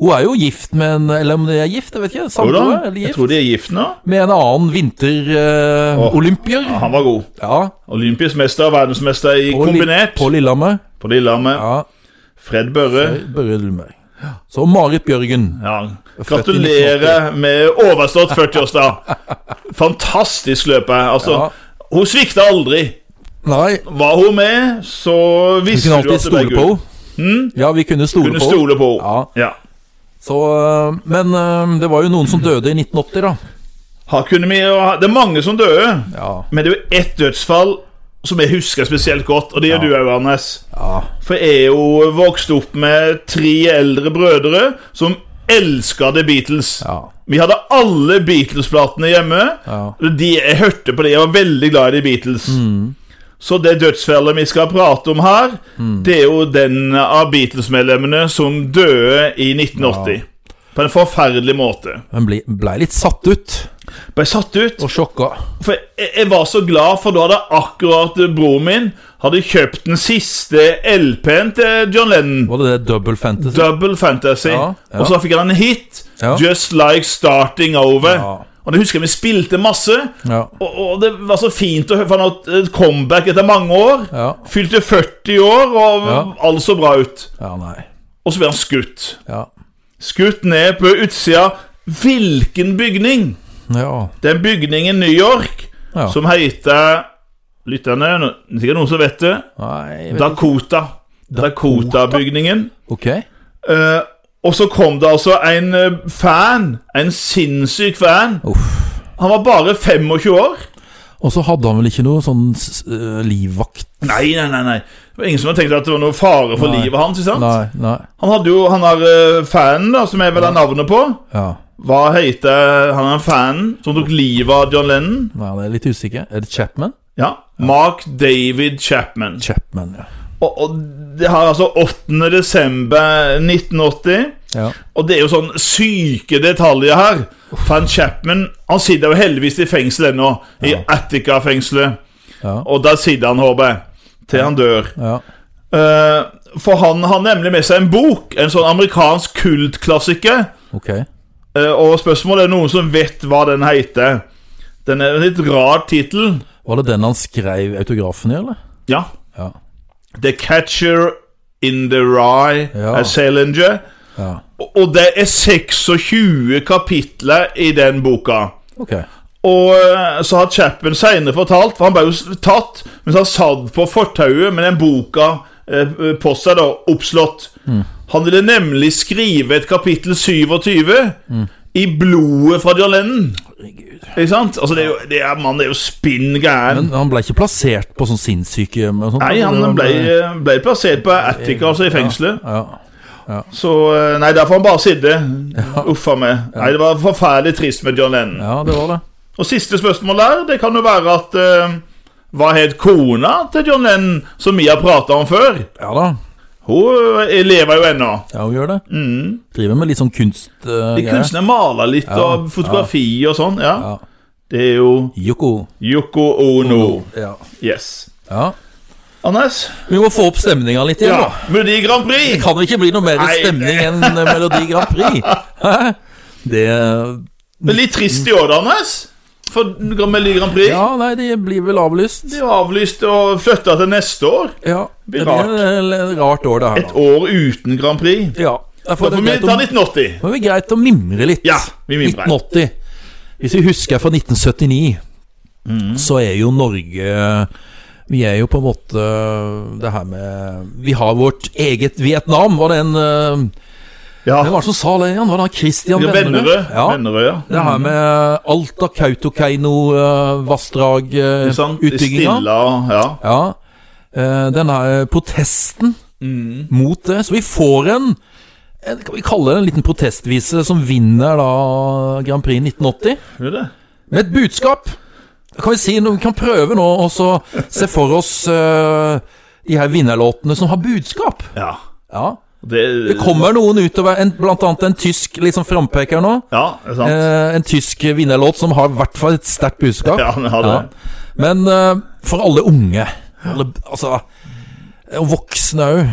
[SPEAKER 1] Hun er jo gift med en Eller om de er gift, jeg vet ikke.
[SPEAKER 2] Jo da,
[SPEAKER 1] Samboer eller
[SPEAKER 2] jeg
[SPEAKER 1] gift?
[SPEAKER 2] tror de er gift nå.
[SPEAKER 1] Med en annen eh, vinterolympier.
[SPEAKER 2] Ja, han var god.
[SPEAKER 1] ja.
[SPEAKER 2] Olympisk mester, verdensmester i
[SPEAKER 1] På Li-
[SPEAKER 2] kombinert.
[SPEAKER 1] På Lillehammer.
[SPEAKER 2] På Lillehammer.
[SPEAKER 1] Ja,
[SPEAKER 2] Fred Børre.
[SPEAKER 1] Børre Lillehammer. Så Marit Bjørgen.
[SPEAKER 2] Ja.
[SPEAKER 1] i 1980.
[SPEAKER 2] Gratulerer med overstått 40-årsdag. Fantastisk løpe. Altså,
[SPEAKER 1] Ja.
[SPEAKER 2] hun svikta aldri.
[SPEAKER 1] Nei,
[SPEAKER 2] Var hun med, så
[SPEAKER 1] vi
[SPEAKER 2] visste
[SPEAKER 1] kunne alltid
[SPEAKER 2] du at det ble
[SPEAKER 1] stole på
[SPEAKER 2] gull.
[SPEAKER 1] henne. Ja, vi kunne stole
[SPEAKER 2] Hm? Kunne
[SPEAKER 1] på henne.
[SPEAKER 2] stole på henne.
[SPEAKER 1] Ja.
[SPEAKER 2] Ja.
[SPEAKER 1] Så, øh, Men øh, det var jo noen som døde i 1980, da.
[SPEAKER 2] Her kunne vi, jo ha- det er mange som døde,
[SPEAKER 1] Ja.
[SPEAKER 2] men det er jo ett dødsfall som jeg husker spesielt godt, og det gjør du òg, Anders.
[SPEAKER 1] ja.
[SPEAKER 2] For jeg er jo vokst opp med tre eldre brødre som elska The Beatles.
[SPEAKER 1] ja.
[SPEAKER 2] Vi hadde alle Beatles-platene hjemme.
[SPEAKER 1] Ja.
[SPEAKER 2] og De, jeg hørte på det, jeg var veldig glad i The Beatles.
[SPEAKER 1] Mm.
[SPEAKER 2] Så det dødsfellet vi skal prate om her, det er jo den av Beatles-medlemmene som døde i 1980. På en forferdelig måte.
[SPEAKER 1] Men ble, ble litt satt ut
[SPEAKER 2] Ble satt ut.
[SPEAKER 1] og sjokka.
[SPEAKER 2] For jeg, jeg var så glad, for da hadde akkurat broren min hadde kjøpt den siste LP-en til John Lennon.
[SPEAKER 1] Var det det Double Fantasy?
[SPEAKER 2] Double Fantasy.
[SPEAKER 1] Ja, ja.
[SPEAKER 2] Og så fikk han en hit.
[SPEAKER 1] Ja.
[SPEAKER 2] Just Like Starting Over.
[SPEAKER 1] Ja.
[SPEAKER 2] Og det husker jeg vi spilte masse.
[SPEAKER 1] ja.
[SPEAKER 2] Og, og det var så fint å høre for han hadde et comeback etter mange år.
[SPEAKER 1] Ja.
[SPEAKER 2] Fylte 40 år, og
[SPEAKER 1] Ja.
[SPEAKER 2] alt så bra ut.
[SPEAKER 1] ja, nei.
[SPEAKER 2] Og så ble han skutt.
[SPEAKER 1] Ja.
[SPEAKER 2] Skutt ned på utsida. Hvilken bygning?
[SPEAKER 1] ja.
[SPEAKER 2] Den bygningen New York
[SPEAKER 1] Ja.
[SPEAKER 2] som heter Lytterne, no- sikkert noen som vet det.
[SPEAKER 1] Nei vet-
[SPEAKER 2] Dakota. Dakota-bygningen.
[SPEAKER 1] Ok.
[SPEAKER 2] Eh, og så kom det altså en eh, fan, en sinnssyk fan.
[SPEAKER 1] Uff.
[SPEAKER 2] Han var bare 25 år.
[SPEAKER 1] Og så hadde han vel ikke noe sånn s- øh, livvakt
[SPEAKER 2] Nei, nei, nei. nei Det var ingen som hadde tenkt at det var noe fare for
[SPEAKER 1] Nei.
[SPEAKER 2] livet hans. ikke sant?
[SPEAKER 1] Nei, nei.
[SPEAKER 2] Han hadde jo han der eh, fanen, da, som jeg vel har navnet på.
[SPEAKER 1] Ja.
[SPEAKER 2] Hva heter han der fanen som tok livet av John Lennon?
[SPEAKER 1] Nei, jeg er litt usikker. Er det Chapman?
[SPEAKER 2] Ja. Mark David Chapman.
[SPEAKER 1] Chapman, ja.
[SPEAKER 2] Og, og det har altså 8. desember 1980.
[SPEAKER 1] ja.
[SPEAKER 2] Og det er jo sånn syke detaljer her. Van Chapman han sitter jo heldigvis i fengsel ennå, i Attica-fengselet.
[SPEAKER 1] Ja.
[SPEAKER 2] Og der sitter han, håper jeg, til han dør.
[SPEAKER 1] ja.
[SPEAKER 2] Eh, for han har nemlig med seg en bok, en sånn amerikansk kultklassiker.
[SPEAKER 1] Ok.
[SPEAKER 2] Eh, og spørsmålet er noen som vet hva den heter. Den er en litt rar tittel.
[SPEAKER 1] Var det den han skrev autografen i, eller?
[SPEAKER 2] Ja.
[SPEAKER 1] Ja.
[SPEAKER 2] The Catcher in the Rye
[SPEAKER 1] Ja.
[SPEAKER 2] ja. Salinger.
[SPEAKER 1] Ja.
[SPEAKER 2] Og- Og det er 26 kapitler i den boka.
[SPEAKER 1] Ok.
[SPEAKER 2] Og eh, så har Chapman senere fortalt For han ble jo s- tatt mens han satt på fortauet med den boka eh, på seg, da, oppslått.
[SPEAKER 1] Mm.
[SPEAKER 2] Han ville nemlig skrive et kapittel 27 i blodet fra John Lennon.
[SPEAKER 1] Mm. Herregud.
[SPEAKER 2] Ikke sant? Altså, det er jo, det er, mann, det er jo spinn gæren.
[SPEAKER 1] Men han ble ikke plassert på sånn sinnssykehjem? og sånt, altså?
[SPEAKER 2] Nei,
[SPEAKER 1] eller?
[SPEAKER 2] han ble, eh, ble plassert på Attica, altså i fengselet.
[SPEAKER 1] Ja.
[SPEAKER 2] Så eh, Nei, der får han bare sitte. Uffa meg. Nei, det var forferdelig trist med John Lennon.
[SPEAKER 1] ja, det var det.
[SPEAKER 2] Og siste spørsmål der, det kan jo være at eh, Hva het kona til John Lennon, som vi har prata om før?
[SPEAKER 1] Ja da.
[SPEAKER 2] Hun eh, lever jo ennå.
[SPEAKER 1] Ja, hun gjør det.
[SPEAKER 2] Mm.
[SPEAKER 1] Driver med litt sånn kunst... Uh,
[SPEAKER 2] De kunstnere maler litt, og fotografi og sånn. Ja.
[SPEAKER 1] Ja.
[SPEAKER 2] Det er jo
[SPEAKER 1] Yoko.
[SPEAKER 2] Yoko Ono.
[SPEAKER 1] Ja.
[SPEAKER 2] Yes.
[SPEAKER 1] ja.
[SPEAKER 2] Anders?
[SPEAKER 1] Vi må få opp stemninga litt igjen,
[SPEAKER 2] Ja.
[SPEAKER 1] da.
[SPEAKER 2] Melodi Grand Prix!
[SPEAKER 1] Kan det ikke bli noe mer
[SPEAKER 2] Nei, det-
[SPEAKER 1] stemning enn eh, Melodi Grand Prix? Hæ? Det
[SPEAKER 2] Men litt trist i år, da, Anders. For Melodi Grand Prix
[SPEAKER 1] Ja, nei, det blir vel avlyst.
[SPEAKER 2] de er avlyst og flytta til neste år.
[SPEAKER 1] Ja,
[SPEAKER 2] blir
[SPEAKER 1] det blir et rart år, det her.
[SPEAKER 2] Et
[SPEAKER 1] Da.
[SPEAKER 2] år uten Grand Prix.
[SPEAKER 1] Ja, derfor
[SPEAKER 2] Da
[SPEAKER 1] er
[SPEAKER 2] får
[SPEAKER 1] det
[SPEAKER 2] vi
[SPEAKER 1] greit
[SPEAKER 2] ta
[SPEAKER 1] å,
[SPEAKER 2] 1980.
[SPEAKER 1] det er greit å mimre litt.
[SPEAKER 2] Ja, vi mimrer.
[SPEAKER 1] 1980. Hvis vi husker fra 1979,
[SPEAKER 2] Mm.
[SPEAKER 1] så er jo Norge Vi er jo på en måte det her med Vi har vårt eget Vietnam, var det en eh,
[SPEAKER 2] Ja.
[SPEAKER 1] Hvem var det som sa det igjen? Var det han Christian
[SPEAKER 2] Vennerød.
[SPEAKER 1] Vennerød? Ja.
[SPEAKER 2] Vennerød, ja.
[SPEAKER 1] Det her med Alta, Kautokeino, eh, vassdrag, eh,
[SPEAKER 2] Ikke sant?
[SPEAKER 1] utbygginga.
[SPEAKER 2] Stilla og ja.
[SPEAKER 1] Ja. Eh, Denne protesten
[SPEAKER 2] Mm.
[SPEAKER 1] mot det. Så vi får en, en Kan vi kalle det en liten protestvise som vinner da Grand Prix 1980?
[SPEAKER 2] Gjør det?
[SPEAKER 1] Med et budskap! Kan vi, si, noe- vi kan prøve nå å så se for oss eh, de her vinnerlåtene som har budskap.
[SPEAKER 2] Ja.
[SPEAKER 1] Ja.
[SPEAKER 2] Det,
[SPEAKER 1] Det kommer noen utover, en, blant annet en tysk liksom frampeker nå.
[SPEAKER 2] Ja, det er sant.
[SPEAKER 1] Eh, en tysk vinnerlåt som har i hvert fall et sterkt budskap.
[SPEAKER 2] ja, den har det.
[SPEAKER 1] Ja. Men eh, for alle unge, alle, altså, og voksne òg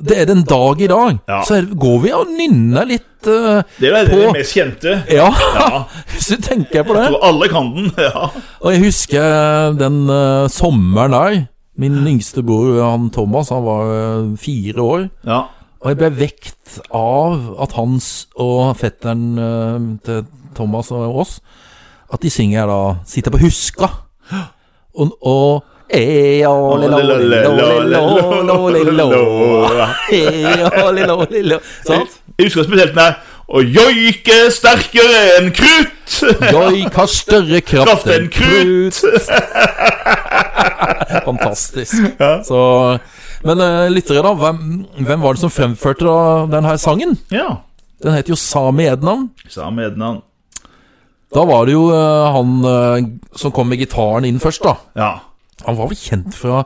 [SPEAKER 1] Det er den dag i dag.
[SPEAKER 2] Ja.
[SPEAKER 1] Så er, går vi og nynner litt eh,
[SPEAKER 2] Det er jo det
[SPEAKER 1] På-
[SPEAKER 2] mest kjente.
[SPEAKER 1] Ja, hvis du tenker på det.
[SPEAKER 2] Og alle kan den. Ja.
[SPEAKER 1] Og jeg husker den eh, sommeren der. Min yngste bror, han Thomas, han var eh, fire år.
[SPEAKER 2] ja.
[SPEAKER 1] Og jeg ble vekt av at hans og fetteren eh, til Thomas og oss At de synger da 'Sitter på huska'. Og, og E, Ea, lilla, lilla, lilla, lilla, lilla.
[SPEAKER 2] Ja.
[SPEAKER 1] Ea, lilla, lilla. Sant?
[SPEAKER 2] Jeg husker spesielt den der Å joike sterkere enn krutt!
[SPEAKER 1] Joik har større kraft
[SPEAKER 2] Kraft enn
[SPEAKER 1] enn
[SPEAKER 2] krutt.
[SPEAKER 1] krutt. Fantastisk. Så, men eh, lyttere, da. Hvem, hvem var det som fremførte da denne sangen?
[SPEAKER 2] Ja.
[SPEAKER 1] Den heter jo Sami Ednan.
[SPEAKER 2] Samme Ednan.
[SPEAKER 1] Da var det jo eh, han eh, som kom med gitaren inn først, da.
[SPEAKER 2] Ja.
[SPEAKER 1] Han var vel kjent fra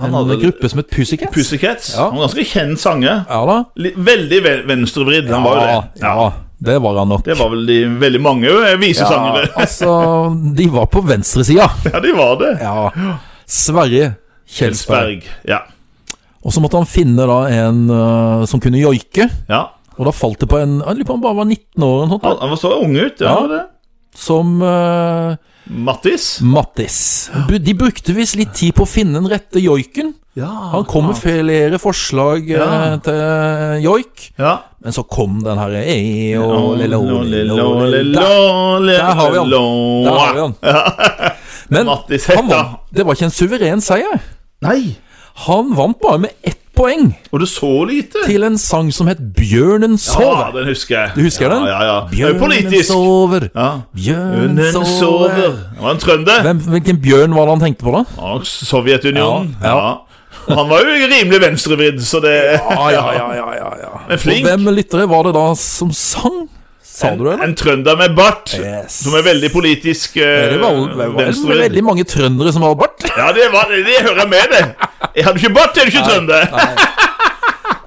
[SPEAKER 1] en
[SPEAKER 2] hadde-
[SPEAKER 1] gruppe som het Pussycats?
[SPEAKER 2] Pussycats.
[SPEAKER 1] Ja.
[SPEAKER 2] Han var ganske kjent sanger.
[SPEAKER 1] ja da.
[SPEAKER 2] Litt- Veldig ve- venstrevridd. Han var jo
[SPEAKER 1] ja,
[SPEAKER 2] det. Ja.
[SPEAKER 1] ja, det var han nok.
[SPEAKER 2] Det var vel de veldig mange eh,
[SPEAKER 1] Ja,
[SPEAKER 2] visesangere.
[SPEAKER 1] altså, de var på venstresida.
[SPEAKER 2] Ja, de var det.
[SPEAKER 1] Ja. Sverre Kjelsberg.
[SPEAKER 2] Kjelsberg. Ja.
[SPEAKER 1] Og så måtte han finne da en eh, som kunne joike.
[SPEAKER 2] ja.
[SPEAKER 1] Og da falt det på en Jeg lurer på om han bare var 19 år, eller noe
[SPEAKER 2] Han,
[SPEAKER 1] sånt,
[SPEAKER 2] han var så ung ut. Ja,
[SPEAKER 1] Ja.
[SPEAKER 2] det.
[SPEAKER 1] som eh,
[SPEAKER 2] Mattis.
[SPEAKER 1] Mattis. Bu- De brukte visst litt tid på å finne den rette joiken. Han kom med flere forslag eh,
[SPEAKER 2] Ah. Ja.
[SPEAKER 1] til joik,
[SPEAKER 2] Ja.
[SPEAKER 1] men så kom den her eh, og lelo, lelo, lelo.
[SPEAKER 2] Der
[SPEAKER 1] Der har vi han. Der har vi han. Men
[SPEAKER 2] Mattis
[SPEAKER 1] han
[SPEAKER 2] Hetta.
[SPEAKER 1] vant. det var ikke en suveren seier.
[SPEAKER 2] Nei,
[SPEAKER 1] Han vant bare med ett poeng
[SPEAKER 2] og du så lite?
[SPEAKER 1] til en sang som het 'Bjørnen
[SPEAKER 2] Ja,
[SPEAKER 1] sover'.
[SPEAKER 2] den husker jeg.
[SPEAKER 1] Du husker
[SPEAKER 2] ja,
[SPEAKER 1] den?
[SPEAKER 2] Ja, ja. Det er jo
[SPEAKER 1] Bjørnen
[SPEAKER 2] politisk.
[SPEAKER 1] sover,
[SPEAKER 2] Ja.
[SPEAKER 1] bjørnen
[SPEAKER 2] Bjørnen sover.
[SPEAKER 1] sover
[SPEAKER 2] Det var en trønder.
[SPEAKER 1] Hvem, Hvilken bjørn var det han tenkte på, da?
[SPEAKER 2] Ja, Sovjetunionen.
[SPEAKER 1] Ja, ja.
[SPEAKER 2] Ja. Og han var jo rimelig venstrevridd, så det
[SPEAKER 1] Ja, ja, ja, ja, ja, ja.
[SPEAKER 2] Men flink.
[SPEAKER 1] Og hvem lyttere var det da som sang? Sa du det, eller?
[SPEAKER 2] En trønder med bart,
[SPEAKER 1] Yes.
[SPEAKER 2] som er veldig politisk eh,
[SPEAKER 1] Det var, det var vel
[SPEAKER 2] venstrevridd.
[SPEAKER 1] veldig mange trøndere som har bart.
[SPEAKER 2] Ja, det, var, det hører jeg med, det. Jeg hadde ikke bart, er du ikke trønder?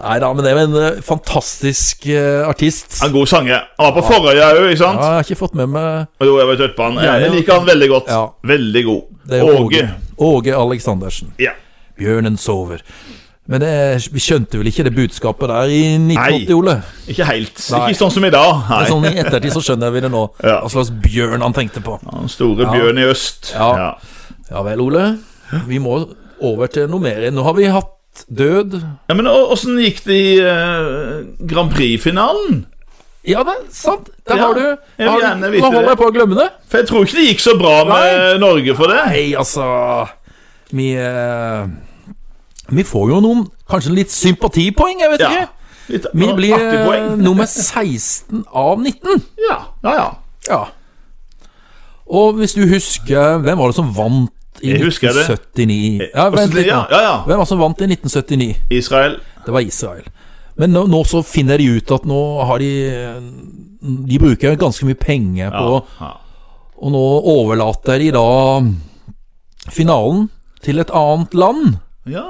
[SPEAKER 1] Nei da, men det er jo en eh, fantastisk eh, artist.
[SPEAKER 2] Han er en god sanger. Han var på Forøya òg, ikke
[SPEAKER 1] Ja,
[SPEAKER 2] sant?
[SPEAKER 1] jeg har ikke fått med meg
[SPEAKER 2] Jo, jeg vet hva han er. Jeg
[SPEAKER 1] Gjerne.
[SPEAKER 2] liker han veldig godt.
[SPEAKER 1] Ja.
[SPEAKER 2] Veldig god.
[SPEAKER 1] det er jo
[SPEAKER 2] Åge.
[SPEAKER 1] Åge Aleksandersen.
[SPEAKER 2] Ja.
[SPEAKER 1] Bjørnen sover. Men det, vi skjønte vel ikke det budskapet der i 1980,
[SPEAKER 2] Nei.
[SPEAKER 1] Ole?
[SPEAKER 2] Ikke helt.
[SPEAKER 1] Nei.
[SPEAKER 2] Ikke sånn som i dag. Nei.
[SPEAKER 1] Men Sånn I ettertid så skjønner vi det nå,
[SPEAKER 2] Ja.
[SPEAKER 1] hva slags bjørn han tenkte på.
[SPEAKER 2] Den store bjørn i øst.
[SPEAKER 1] Ja. Ja vel, Ole. Vi må over til noe mer. Nå har vi hatt død.
[SPEAKER 2] Ja, Men åssen gikk det i eh, Grand Prix-finalen?
[SPEAKER 1] Ja vel, sant. Der
[SPEAKER 2] Ja,
[SPEAKER 1] har du.
[SPEAKER 2] jeg vil
[SPEAKER 1] har du-
[SPEAKER 2] gjerne vite
[SPEAKER 1] Nå holder
[SPEAKER 2] det.
[SPEAKER 1] jeg på å glemme det.
[SPEAKER 2] For jeg tror ikke det gikk så bra med Norge for det.
[SPEAKER 1] Nei, altså Vi eh, Vi får jo noen Kanskje litt sympatipoeng, jeg vet
[SPEAKER 2] Ja.
[SPEAKER 1] ikke.
[SPEAKER 2] Litt
[SPEAKER 1] Vi blir
[SPEAKER 2] artig
[SPEAKER 1] eh,
[SPEAKER 2] poeng.
[SPEAKER 1] nummer 16 av 19.
[SPEAKER 2] Ja, ja, ja.
[SPEAKER 1] Ja. Og hvis du husker Hvem var det som vant i
[SPEAKER 2] Jeg husker det.
[SPEAKER 1] 1979? Ja,
[SPEAKER 2] Og så-
[SPEAKER 1] vent litt
[SPEAKER 2] ja,
[SPEAKER 1] nå.
[SPEAKER 2] ja, ja.
[SPEAKER 1] Hvem var det som vant i 1979?
[SPEAKER 2] Israel.
[SPEAKER 1] Det var Israel. Men nå, nå så finner de ut at nå har de De bruker ganske mye penger på
[SPEAKER 2] Ja, ja.
[SPEAKER 1] Og nå overlater de da finalen til et annet land.
[SPEAKER 2] ja.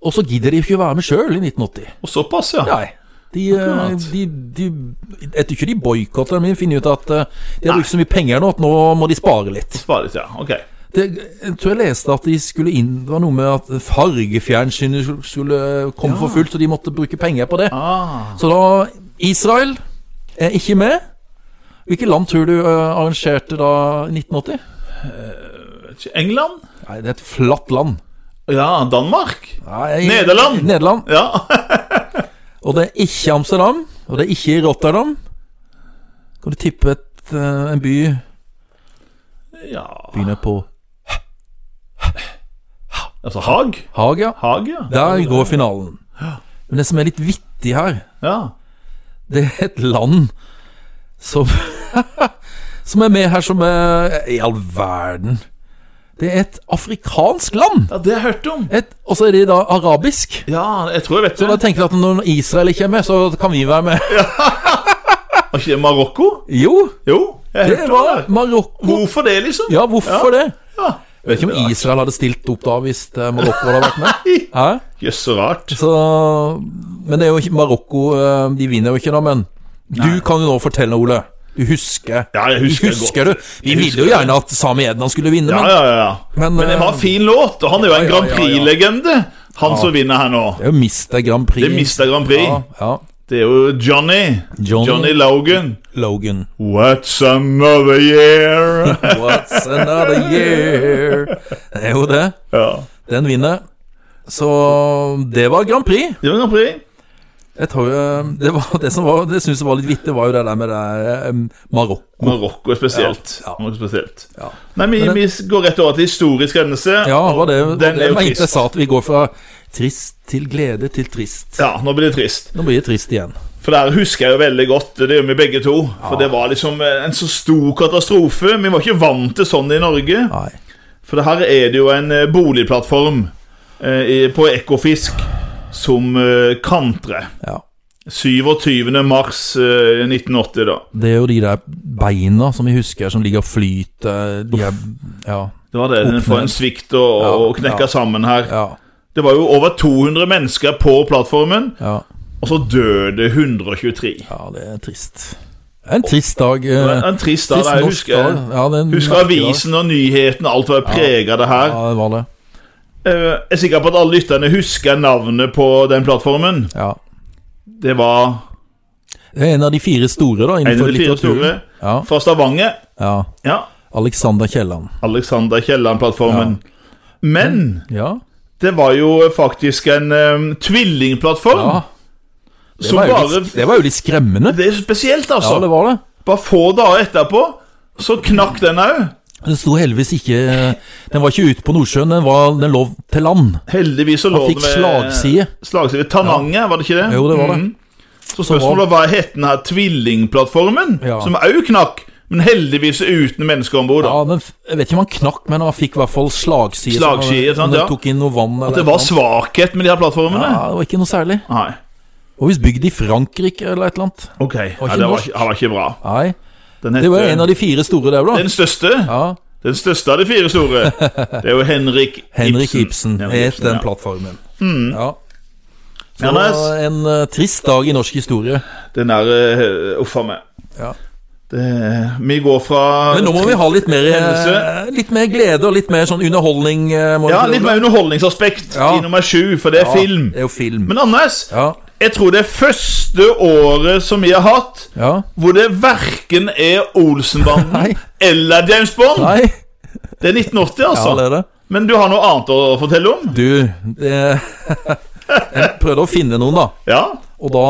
[SPEAKER 1] Og så gidder de ikke å være med sjøl i 1980.
[SPEAKER 2] Og såpass, ja.
[SPEAKER 1] Nei. De, eh,
[SPEAKER 2] Akkurat.
[SPEAKER 1] de, de, jeg tror ikke de boikotter, men de finner ut at eh, de har brukt så mye penger nå at nå må de spare litt.
[SPEAKER 2] Spare litt, ja. Ok.
[SPEAKER 1] Det, jeg tror jeg leste at de skulle inn Det var noe med at fargefjernsynet skulle- skulle komme for fullt, så de måtte bruke penger på det.
[SPEAKER 2] Ah.
[SPEAKER 1] Så da Israel er ikke med. Hvilke land tror du eh, arrangerte da i 1980?
[SPEAKER 2] England?
[SPEAKER 1] Nei, det er et flatt land.
[SPEAKER 2] Ja, Danmark?
[SPEAKER 1] Nei,
[SPEAKER 2] Nederland.
[SPEAKER 1] Nederland.
[SPEAKER 2] Ja.
[SPEAKER 1] Og det er ikke Amsterdam, og det er ikke Rotterdam. Kan du tippe et, eh, en by
[SPEAKER 2] ja.
[SPEAKER 1] begynner på
[SPEAKER 2] Altså Haag?
[SPEAKER 1] Haag, ja?
[SPEAKER 2] Haag, ja.
[SPEAKER 1] Der går finalen. Men det som er litt vittig her,
[SPEAKER 2] ja.
[SPEAKER 1] det er et land som Som er med her som er I all verden. Det er et afrikansk land!
[SPEAKER 2] Ja, det har jeg hørt om.
[SPEAKER 1] Et, og så er de da arabisk.
[SPEAKER 2] Ja, jeg tror jeg vet
[SPEAKER 1] Så da
[SPEAKER 2] det.
[SPEAKER 1] tenker jeg at når Israel ikke er med, så kan vi være med.
[SPEAKER 2] Var ikke det Marokko?
[SPEAKER 1] Jo,
[SPEAKER 2] Jo, jeg
[SPEAKER 1] det
[SPEAKER 2] hørte om
[SPEAKER 1] var
[SPEAKER 2] det.
[SPEAKER 1] Marokko.
[SPEAKER 2] Hvorfor det, liksom?
[SPEAKER 1] Ja, hvorfor det?
[SPEAKER 2] Ja.
[SPEAKER 1] Jeg vet ikke om Israel hadde stilt opp da hvis eh, Marokko hadde vært med. Hæ?
[SPEAKER 2] Jøss, så rart.
[SPEAKER 1] Så, men det er jo ikke Marokko eh, De vinner jo ikke, da, men du kan jo nå fortelle, Ole. Du husker.
[SPEAKER 2] Ja, jeg husker det
[SPEAKER 1] husker
[SPEAKER 2] godt.
[SPEAKER 1] du?
[SPEAKER 2] Jeg
[SPEAKER 1] Vi ville
[SPEAKER 2] husker
[SPEAKER 1] jo
[SPEAKER 2] det.
[SPEAKER 1] gjerne at Sami Ednan skulle vinne,
[SPEAKER 2] Ja,
[SPEAKER 1] men
[SPEAKER 2] ja, ja. ja.
[SPEAKER 1] Men,
[SPEAKER 2] Men det var en
[SPEAKER 1] eh,
[SPEAKER 2] fin låt, og han er jo en
[SPEAKER 1] ja,
[SPEAKER 2] Grand
[SPEAKER 1] ja, ja.
[SPEAKER 2] Prix-legende, han som vinner her nå.
[SPEAKER 1] det er jo Mr. Grand Prix.
[SPEAKER 2] Det mister Grand Prix.
[SPEAKER 1] ja, ja.
[SPEAKER 2] Det er jo Johnny.
[SPEAKER 1] Johnny.
[SPEAKER 2] Johnny Logan.
[SPEAKER 1] Logan.
[SPEAKER 2] What's another year?
[SPEAKER 1] What's another year? Det er jo det.
[SPEAKER 2] ja.
[SPEAKER 1] Den vinner. Så det var Grand Prix.
[SPEAKER 2] Det var Grand Prix.
[SPEAKER 1] Jeg tror eh, Det, var, det som var, det synes jeg var litt vittig, var jo det der med det der, eh, Marokko.
[SPEAKER 2] Marokko er spesielt.
[SPEAKER 1] Ja, ja.
[SPEAKER 2] Marokko er spesielt.
[SPEAKER 1] Ja.
[SPEAKER 2] Nei, vi, vi går rett over til historisk hendelse.
[SPEAKER 1] Ja, var det, var
[SPEAKER 2] Den er
[SPEAKER 1] det
[SPEAKER 2] jo
[SPEAKER 1] var
[SPEAKER 2] trist.
[SPEAKER 1] interessant. Vi går fra trist til glede til trist.
[SPEAKER 2] Ja, nå blir det trist.
[SPEAKER 1] Nå blir det trist igjen.
[SPEAKER 2] For der husker jeg jo veldig godt, det gjør vi begge to. For det var liksom en så stor katastrofe. Vi var ikke vant til sånn i Norge.
[SPEAKER 1] Nei.
[SPEAKER 2] For det her er det jo en eh, boligplattform eh, i- på Ekofisk som eh, kantrer.
[SPEAKER 1] Ja.
[SPEAKER 2] 27. mars eh, 1980, da.
[SPEAKER 1] Det er jo de der beina som vi husker, som ligger og flyter. De er, ja,
[SPEAKER 2] Det var det. Den
[SPEAKER 1] Opp
[SPEAKER 2] får
[SPEAKER 1] ned.
[SPEAKER 2] en svikt og,
[SPEAKER 1] Ja,
[SPEAKER 2] og
[SPEAKER 1] ja.
[SPEAKER 2] knekker sammen her.
[SPEAKER 1] ja,
[SPEAKER 2] Det var jo over 200 mennesker på plattformen,
[SPEAKER 1] ja,
[SPEAKER 2] og så døde 123.
[SPEAKER 1] ja, det er trist. Det er en trist dag. eh,
[SPEAKER 2] Det var en trist dag.
[SPEAKER 1] trist
[SPEAKER 2] Jeg
[SPEAKER 1] norsk dag.
[SPEAKER 2] husker,
[SPEAKER 1] Ja, det er en
[SPEAKER 2] husker
[SPEAKER 1] merkelig dag.
[SPEAKER 2] avisen og nyheten, alt var preget av det her.
[SPEAKER 1] Ja, det var det.
[SPEAKER 2] Eh, Jeg er sikker på at alle lytterne husker navnet på den plattformen.
[SPEAKER 1] Ja.
[SPEAKER 2] Det var
[SPEAKER 1] Det er en av de fire store da,
[SPEAKER 2] en av
[SPEAKER 1] innenfor
[SPEAKER 2] de fire store
[SPEAKER 1] litteraturen. Ja,
[SPEAKER 2] fra Stavanger.
[SPEAKER 1] ja.
[SPEAKER 2] Ja,
[SPEAKER 1] Alexander Kielland.
[SPEAKER 2] Alexander Kielland-plattformen. Men
[SPEAKER 1] Ja.
[SPEAKER 2] det var jo faktisk en eh, tvillingplattform.
[SPEAKER 1] ja. Det,
[SPEAKER 2] som
[SPEAKER 1] var jo
[SPEAKER 2] bare
[SPEAKER 1] litt, det var jo litt skremmende.
[SPEAKER 2] Det er spesielt, altså.
[SPEAKER 1] Ja, det var det.
[SPEAKER 2] Bare få dager etterpå så knakk den òg.
[SPEAKER 1] Den sto heldigvis ikke Den var ikke ute på Nordsjøen, den, var, den lå til land.
[SPEAKER 2] Heldigvis så lå
[SPEAKER 1] fikk
[SPEAKER 2] den ved
[SPEAKER 1] slagside.
[SPEAKER 2] Slagside ved Tananger, var det Mm. ikke det?
[SPEAKER 1] Jo, det var det.
[SPEAKER 2] Mhm. Så spørsmålet var hva het den her tvillingplattformen,
[SPEAKER 1] Ja.
[SPEAKER 2] som òg knakk. Men heldigvis uten mennesker om bord.
[SPEAKER 1] Ja, den, f- jeg vet ikke om han knakk, men han fikk i hvert fall slagside.
[SPEAKER 2] Slagside, sant, ja.
[SPEAKER 1] ja. Tok inn noe vann eller
[SPEAKER 2] At det
[SPEAKER 1] noe.
[SPEAKER 2] var svakhet med de her plattformene.
[SPEAKER 1] Ja, det var ikke noe særlig.
[SPEAKER 2] Nei.
[SPEAKER 1] Og hvis bygd i Frankrike eller et eller annet.
[SPEAKER 2] Ok. Ja,
[SPEAKER 1] ikke
[SPEAKER 2] det var,
[SPEAKER 1] norsk.
[SPEAKER 2] ikke- det var ikke bra.
[SPEAKER 1] Nei,
[SPEAKER 2] Den
[SPEAKER 1] det var
[SPEAKER 2] heter-
[SPEAKER 1] en av de fire store der, da.
[SPEAKER 2] Den største.
[SPEAKER 1] Ja,
[SPEAKER 2] Den største av de fire store. Det er jo Henrik Ibsen.
[SPEAKER 1] Henrik Ibsen
[SPEAKER 2] Henrik
[SPEAKER 1] het den
[SPEAKER 2] ja. Mm.
[SPEAKER 1] plattformen. Ja.
[SPEAKER 2] Ja,
[SPEAKER 1] Det var
[SPEAKER 2] nice.
[SPEAKER 1] en eh, trist dag i norsk historie.
[SPEAKER 2] Den der eh, Uff a meg.
[SPEAKER 1] Ja.
[SPEAKER 2] Det, vi går fra
[SPEAKER 1] Men nå må vi ha litt mer, eh,
[SPEAKER 2] Hendelse.
[SPEAKER 1] litt mer glede og litt mer sånn underholdning. eh, må
[SPEAKER 2] Ja,
[SPEAKER 1] vi ikke det?
[SPEAKER 2] litt mer underholdningsaspekt
[SPEAKER 1] Ja.
[SPEAKER 2] i nummer sju, for det er
[SPEAKER 1] Ja,
[SPEAKER 2] film.
[SPEAKER 1] Det er jo film.
[SPEAKER 2] Men Anders,
[SPEAKER 1] Ja,
[SPEAKER 2] jeg tror det er første året som vi har hatt
[SPEAKER 1] ja.
[SPEAKER 2] hvor det verken er Olsenbanden
[SPEAKER 1] Nei.
[SPEAKER 2] eller James Bond.
[SPEAKER 1] Nei,
[SPEAKER 2] Det er 1980,
[SPEAKER 1] ja,
[SPEAKER 2] altså.
[SPEAKER 1] det er det.
[SPEAKER 2] Men du har noe annet å fortelle om?
[SPEAKER 1] Du, det Jeg prøvde å finne noen, da.
[SPEAKER 2] Ja.
[SPEAKER 1] Og da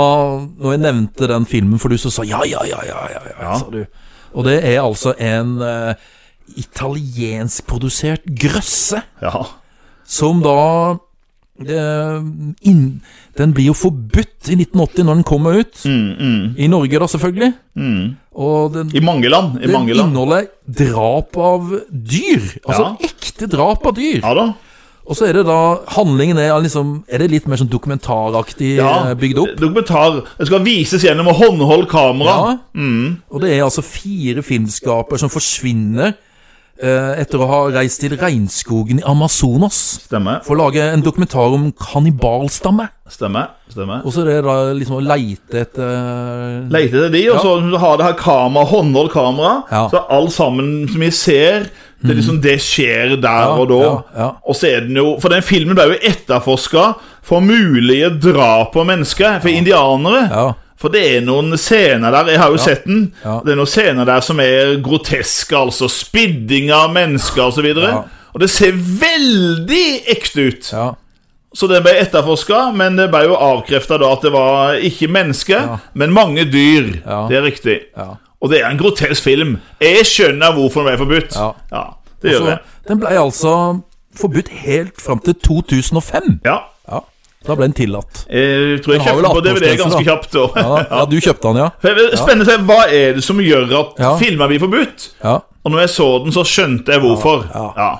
[SPEAKER 1] når jeg nevnte den filmen for du, så sa ja, ja, ja, ja, ja, ja, sa du. Og det er altså en eh, italienskprodusert grøsse
[SPEAKER 2] ja.
[SPEAKER 1] som da eh, inn, Den blir jo forbudt i 1980 når den kommer ut.
[SPEAKER 2] Mm,
[SPEAKER 1] I Norge, da, selvfølgelig. Og den,
[SPEAKER 2] I mange land. Mm. I
[SPEAKER 1] den
[SPEAKER 2] mange land.
[SPEAKER 1] inneholder drap av dyr. Altså
[SPEAKER 2] Ja.
[SPEAKER 1] ekte drap av dyr.
[SPEAKER 2] Ja da.
[SPEAKER 1] Og så er det da Handlingen er liksom Er det litt mer sånn dokumentaraktig eh, bygd opp?
[SPEAKER 2] Dokumentar. Det skal vises gjennom å håndholde kamera.
[SPEAKER 1] Ja.
[SPEAKER 2] Mm.
[SPEAKER 1] Og det er altså fire filmskaper som forsvinner eh, etter å ha reist til regnskogen i Amazonas
[SPEAKER 2] Stemmer.
[SPEAKER 1] for å lage en dokumentar om kannibalstamme.
[SPEAKER 2] Stemmer. Stemmer.
[SPEAKER 1] Og så er det da liksom å leite etter
[SPEAKER 2] Leite etter de, og så har det her kamera, håndholdt kamera.
[SPEAKER 1] Ja. Mhm.
[SPEAKER 2] Så alt sammen som vi ser, det er liksom det skjer der og da.
[SPEAKER 1] ja, ja.
[SPEAKER 2] Og så er den jo For den filmen ble jo etterforska for mulige drap på mennesker, for indianere.
[SPEAKER 1] Ja.
[SPEAKER 2] For det er noen scener der Jeg har jo sett den.
[SPEAKER 1] Ja.
[SPEAKER 2] Det er noen scener der som er groteske, altså. Spidding av mennesker osv. Og,
[SPEAKER 1] Ja.
[SPEAKER 2] ja. og det ser veldig ekte ut.
[SPEAKER 1] ja.
[SPEAKER 2] Så den ble etterforska, men det ble jo avkrefta da at det var ikke mennesker, men mange dyr.
[SPEAKER 1] Ja.
[SPEAKER 2] Det er riktig.
[SPEAKER 1] Ja.
[SPEAKER 2] Og det er en grotesk film. Jeg skjønner hvorfor den ble forbudt.
[SPEAKER 1] Ja.
[SPEAKER 2] det gjør
[SPEAKER 1] Så
[SPEAKER 2] jeg.
[SPEAKER 1] den ble altså forbudt helt fram til 2005.
[SPEAKER 2] Ja.
[SPEAKER 1] Ja. Da ble den tillatt.
[SPEAKER 2] Jeg tror jeg
[SPEAKER 1] Den har
[SPEAKER 2] kjøpte
[SPEAKER 1] vel
[SPEAKER 2] på DVD
[SPEAKER 1] 18-årsgrense,
[SPEAKER 2] ganske
[SPEAKER 1] da.
[SPEAKER 2] kjapt. Og.
[SPEAKER 1] Ja, ja du kjøpte den, ja?
[SPEAKER 2] Spennende å se hva er det som gjør at
[SPEAKER 1] Ja.
[SPEAKER 2] filmer blir forbudt.
[SPEAKER 1] ja.
[SPEAKER 2] Og når jeg så den, så skjønte jeg hvorfor.
[SPEAKER 1] Ja.
[SPEAKER 2] Ja.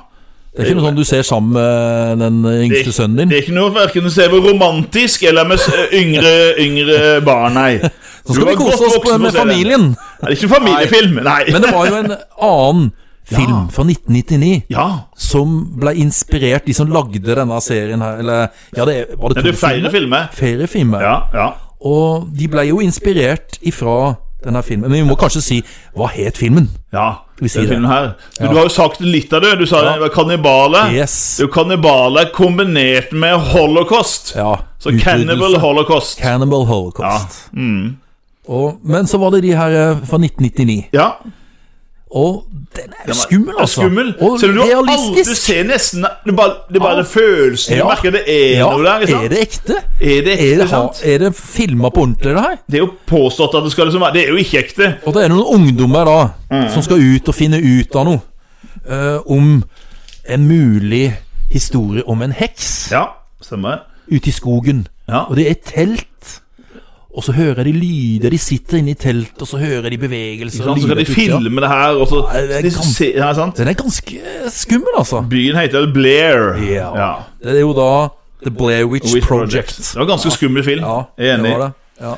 [SPEAKER 1] Det er ikke noe sånn du ser sammen med den
[SPEAKER 2] Det,
[SPEAKER 1] yngste sønnen
[SPEAKER 2] det
[SPEAKER 1] din?
[SPEAKER 2] er ikke noe verken å se hvor romantisk eller med s- yngre, yngre barn, nei.
[SPEAKER 1] Så skal vi kose oss med familien!
[SPEAKER 2] Det er ikke en familiefilm, nei.
[SPEAKER 1] Men det var jo en annen film fra 1999
[SPEAKER 2] Ja,
[SPEAKER 1] som ble inspirert, de som lagde denne serien her Eller ja, det er- var det
[SPEAKER 2] men
[SPEAKER 1] to
[SPEAKER 2] det er flere filmer.
[SPEAKER 1] Flere filmer.
[SPEAKER 2] Ja, ja.
[SPEAKER 1] Og de ble jo inspirert ifra denne filmen. Men vi må kanskje si hva het filmen?
[SPEAKER 2] ja.
[SPEAKER 1] vi si
[SPEAKER 2] den
[SPEAKER 1] det?
[SPEAKER 2] filmen her. Du, du har jo sagt litt av det. Du sa det var kannibaler.
[SPEAKER 1] Yes.
[SPEAKER 2] Det er jo kannibaler kombinert med holocaust.
[SPEAKER 1] Ja,
[SPEAKER 2] Så
[SPEAKER 1] utryddelse.
[SPEAKER 2] cannibal holocaust. Mm.
[SPEAKER 1] Cannibal Holocaust. Og, men så var det de her eh, fra 1999.
[SPEAKER 2] ja.
[SPEAKER 1] Og den er skummel,
[SPEAKER 2] Det er
[SPEAKER 1] altså.
[SPEAKER 2] Skummel.
[SPEAKER 1] Og
[SPEAKER 2] Så du, har aldri, du
[SPEAKER 1] realistisk.
[SPEAKER 2] ser nesten du bare, Det er bare følelsen. Du
[SPEAKER 1] Ja.
[SPEAKER 2] merker det er
[SPEAKER 1] Ja,
[SPEAKER 2] noe der. Ikke sant?
[SPEAKER 1] er det ekte?
[SPEAKER 2] Er det ekte,
[SPEAKER 1] Er det,
[SPEAKER 2] sant?
[SPEAKER 1] ha- er det filma på ordentlig, det her?
[SPEAKER 2] Det er jo påstått at det skal liksom være Det er jo ikke ekte.
[SPEAKER 1] Og det er noen ungdommer da
[SPEAKER 2] Mm.
[SPEAKER 1] som skal ut og finne ut av noe eh, om en mulig historie om en heks
[SPEAKER 2] Ja, stemmer.
[SPEAKER 1] ute i skogen.
[SPEAKER 2] Ja.
[SPEAKER 1] Og de er i telt. Og så hører de lyder. De sitter inne i telt, og så hører de bevegelser.
[SPEAKER 2] Så
[SPEAKER 1] Og
[SPEAKER 2] skal
[SPEAKER 1] lyder
[SPEAKER 2] de
[SPEAKER 1] til utsida.
[SPEAKER 2] filme det her, og så
[SPEAKER 1] Nei, det er
[SPEAKER 2] de
[SPEAKER 1] gam-
[SPEAKER 2] se- ja, sant?
[SPEAKER 1] Den er ganske skummel, altså.
[SPEAKER 2] Byen heter Blair.
[SPEAKER 1] Ja. Det er jo da The Blair Witch,
[SPEAKER 2] Witch
[SPEAKER 1] Project.
[SPEAKER 2] Det var en ganske skummel film.
[SPEAKER 1] Ja,
[SPEAKER 2] jeg er
[SPEAKER 1] det
[SPEAKER 2] enig.
[SPEAKER 1] var det. Ja.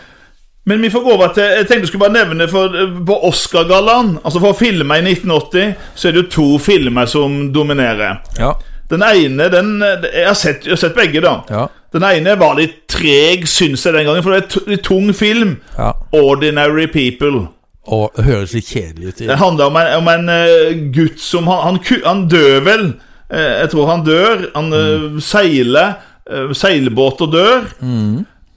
[SPEAKER 2] Men vi får gå over til Jeg tenkte jeg skulle bare nevne for, På Oscar-gallaen, altså for filmer i 1980, så er det jo to filmer som dominerer.
[SPEAKER 1] Ja.
[SPEAKER 2] Den ene den, jeg, har sett, jeg har sett begge, da.
[SPEAKER 1] Ja.
[SPEAKER 2] Den ene var litt treg, syns jeg, den gangen, for det er t- litt tung film.
[SPEAKER 1] ja.
[SPEAKER 2] 'Ordinary People'.
[SPEAKER 1] Og det høres litt kjedelig ut. i-
[SPEAKER 2] Det handler om en, om en eh, gutt som Han, han, ku- han dør vel. Eh, jeg tror han dør. Han eh, seiler eh, seilbåt og dør.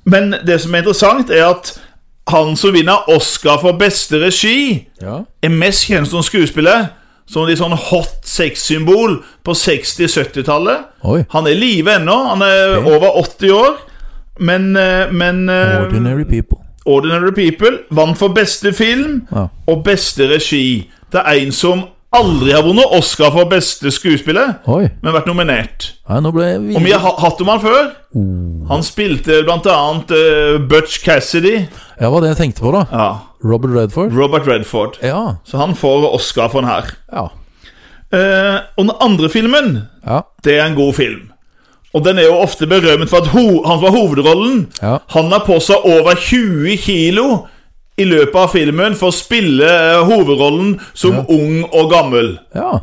[SPEAKER 2] Men det som er interessant, er at han som vinner Oscar for beste regi,
[SPEAKER 1] Ja.
[SPEAKER 2] er mest kjent som skuespiller. Som litt sånn hot sex-symbol på 60-70-tallet.
[SPEAKER 1] Oi.
[SPEAKER 2] Han er i live ennå. Han er over 80 år. Men, eh, men eh,
[SPEAKER 1] Ordinary people.
[SPEAKER 2] Ordinary People vant for beste film
[SPEAKER 1] Ja.
[SPEAKER 2] og beste regi. Det er en som aldri har vunnet Oscar for beste skuespiller,
[SPEAKER 1] Oi.
[SPEAKER 2] men vært nominert.
[SPEAKER 1] Nei, nå ble jeg
[SPEAKER 2] Og vi
[SPEAKER 1] videre.
[SPEAKER 2] har ha- hatt om han før. Han spilte blant annet eh, Butch Cassidy.
[SPEAKER 1] Ja, hva var det jeg tenkte på, da?
[SPEAKER 2] Ja.
[SPEAKER 1] Robert Redford?
[SPEAKER 2] Robert Redford.
[SPEAKER 1] Ja.
[SPEAKER 2] Så han får Oscar for den her.
[SPEAKER 1] Ja.
[SPEAKER 2] Eh, og den andre filmen,
[SPEAKER 1] ja.
[SPEAKER 2] det er en god film. Og den er jo ofte berømt for at ho han som har hovedrollen,
[SPEAKER 1] Ja.
[SPEAKER 2] han har på seg over 20 kilo i løpet av filmen for å spille eh, hovedrollen som ung og gammel.
[SPEAKER 1] ja.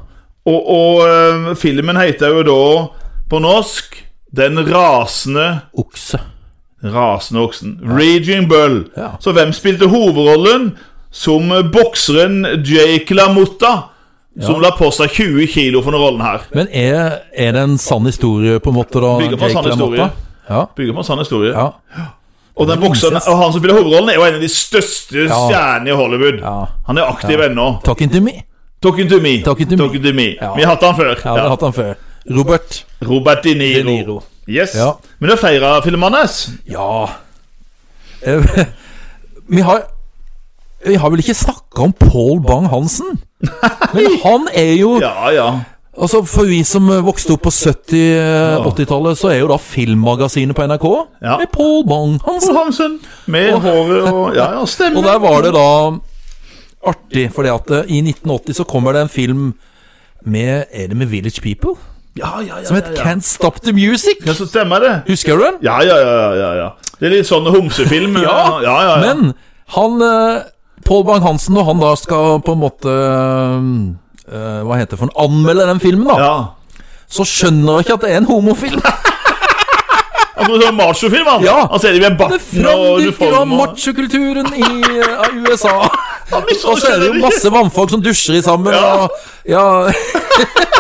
[SPEAKER 2] Og, og eh, filmen heter jo da på norsk Den rasende
[SPEAKER 1] Okse.
[SPEAKER 2] Rasende oksen. Raging Bull.
[SPEAKER 1] Ja.
[SPEAKER 2] Så hvem spilte hovedrollen? Som eh, bokseren Jake LaMotta, som la på seg 20 kilo for denne rollen her.
[SPEAKER 1] Men er, er det en sann historie, på en måte? da?
[SPEAKER 2] Bygger på
[SPEAKER 1] Jake
[SPEAKER 2] sann historie.
[SPEAKER 1] LaMotta? Ja.
[SPEAKER 2] Bygger på en sann historie.
[SPEAKER 1] ja.
[SPEAKER 2] Og den bokseren,
[SPEAKER 1] incest.
[SPEAKER 2] og han som spiller hovedrollen, er jo en av de største stjernene i Hollywood.
[SPEAKER 1] Ja.
[SPEAKER 2] Han er aktiv ennå.
[SPEAKER 1] Talking to me.
[SPEAKER 2] Talking to me.
[SPEAKER 1] Talking to me.
[SPEAKER 2] Talking to me.
[SPEAKER 1] Ja.
[SPEAKER 2] Vi har hatt han før.
[SPEAKER 1] Ja, det har hatt han før. Robert.
[SPEAKER 2] Robert De Niro.
[SPEAKER 1] De Niro.
[SPEAKER 2] Yes.
[SPEAKER 1] Ja.
[SPEAKER 2] Men det er flere av filmene hans.
[SPEAKER 1] Ja Eh, Vi har Vi har vel ikke snakka om Paul Bang-Hansen? Men han er jo
[SPEAKER 2] Ja, ja.
[SPEAKER 1] Altså For vi som eh, vokste opp på 70-80-tallet, så er jo da Filmmagasinet på NRK
[SPEAKER 2] Ja.
[SPEAKER 1] med Paul Bang-Hansen.
[SPEAKER 2] Paul Hansen. Med håret og Ja, ja, stemmer.
[SPEAKER 1] Og der var det da artig, fordi at eh, i 1980 så kommer det en film med Er det med Village People?
[SPEAKER 2] Ja, ja, ja.
[SPEAKER 1] Som het
[SPEAKER 2] ja, ja.
[SPEAKER 1] Can't Stop The Music.
[SPEAKER 2] ja, så stemmer det.
[SPEAKER 1] Husker du den?
[SPEAKER 2] Ja, ja, ja. ja, ja. Det er litt sånn homsefilm.
[SPEAKER 1] Ja,
[SPEAKER 2] ja, ja, ja.
[SPEAKER 1] Men han eh, Paul Bang-Hansen, når han da skal på en måte eh, Hva heter det for en Anmelde den filmen, da.
[SPEAKER 2] ja.
[SPEAKER 1] Så skjønner jeg ikke at det er en homofilm.
[SPEAKER 2] Han er sånn machofilm, han.
[SPEAKER 1] Ja.
[SPEAKER 2] Han ser det med
[SPEAKER 1] Det
[SPEAKER 2] barten og
[SPEAKER 1] fremdykker av
[SPEAKER 2] uniformen.
[SPEAKER 1] machokulturen i eh, av USA.
[SPEAKER 2] Han misunner
[SPEAKER 1] Og så er det
[SPEAKER 2] ikke.
[SPEAKER 1] jo masse vannfolk som dusjer i sammen,
[SPEAKER 2] Ja.
[SPEAKER 1] og Ja.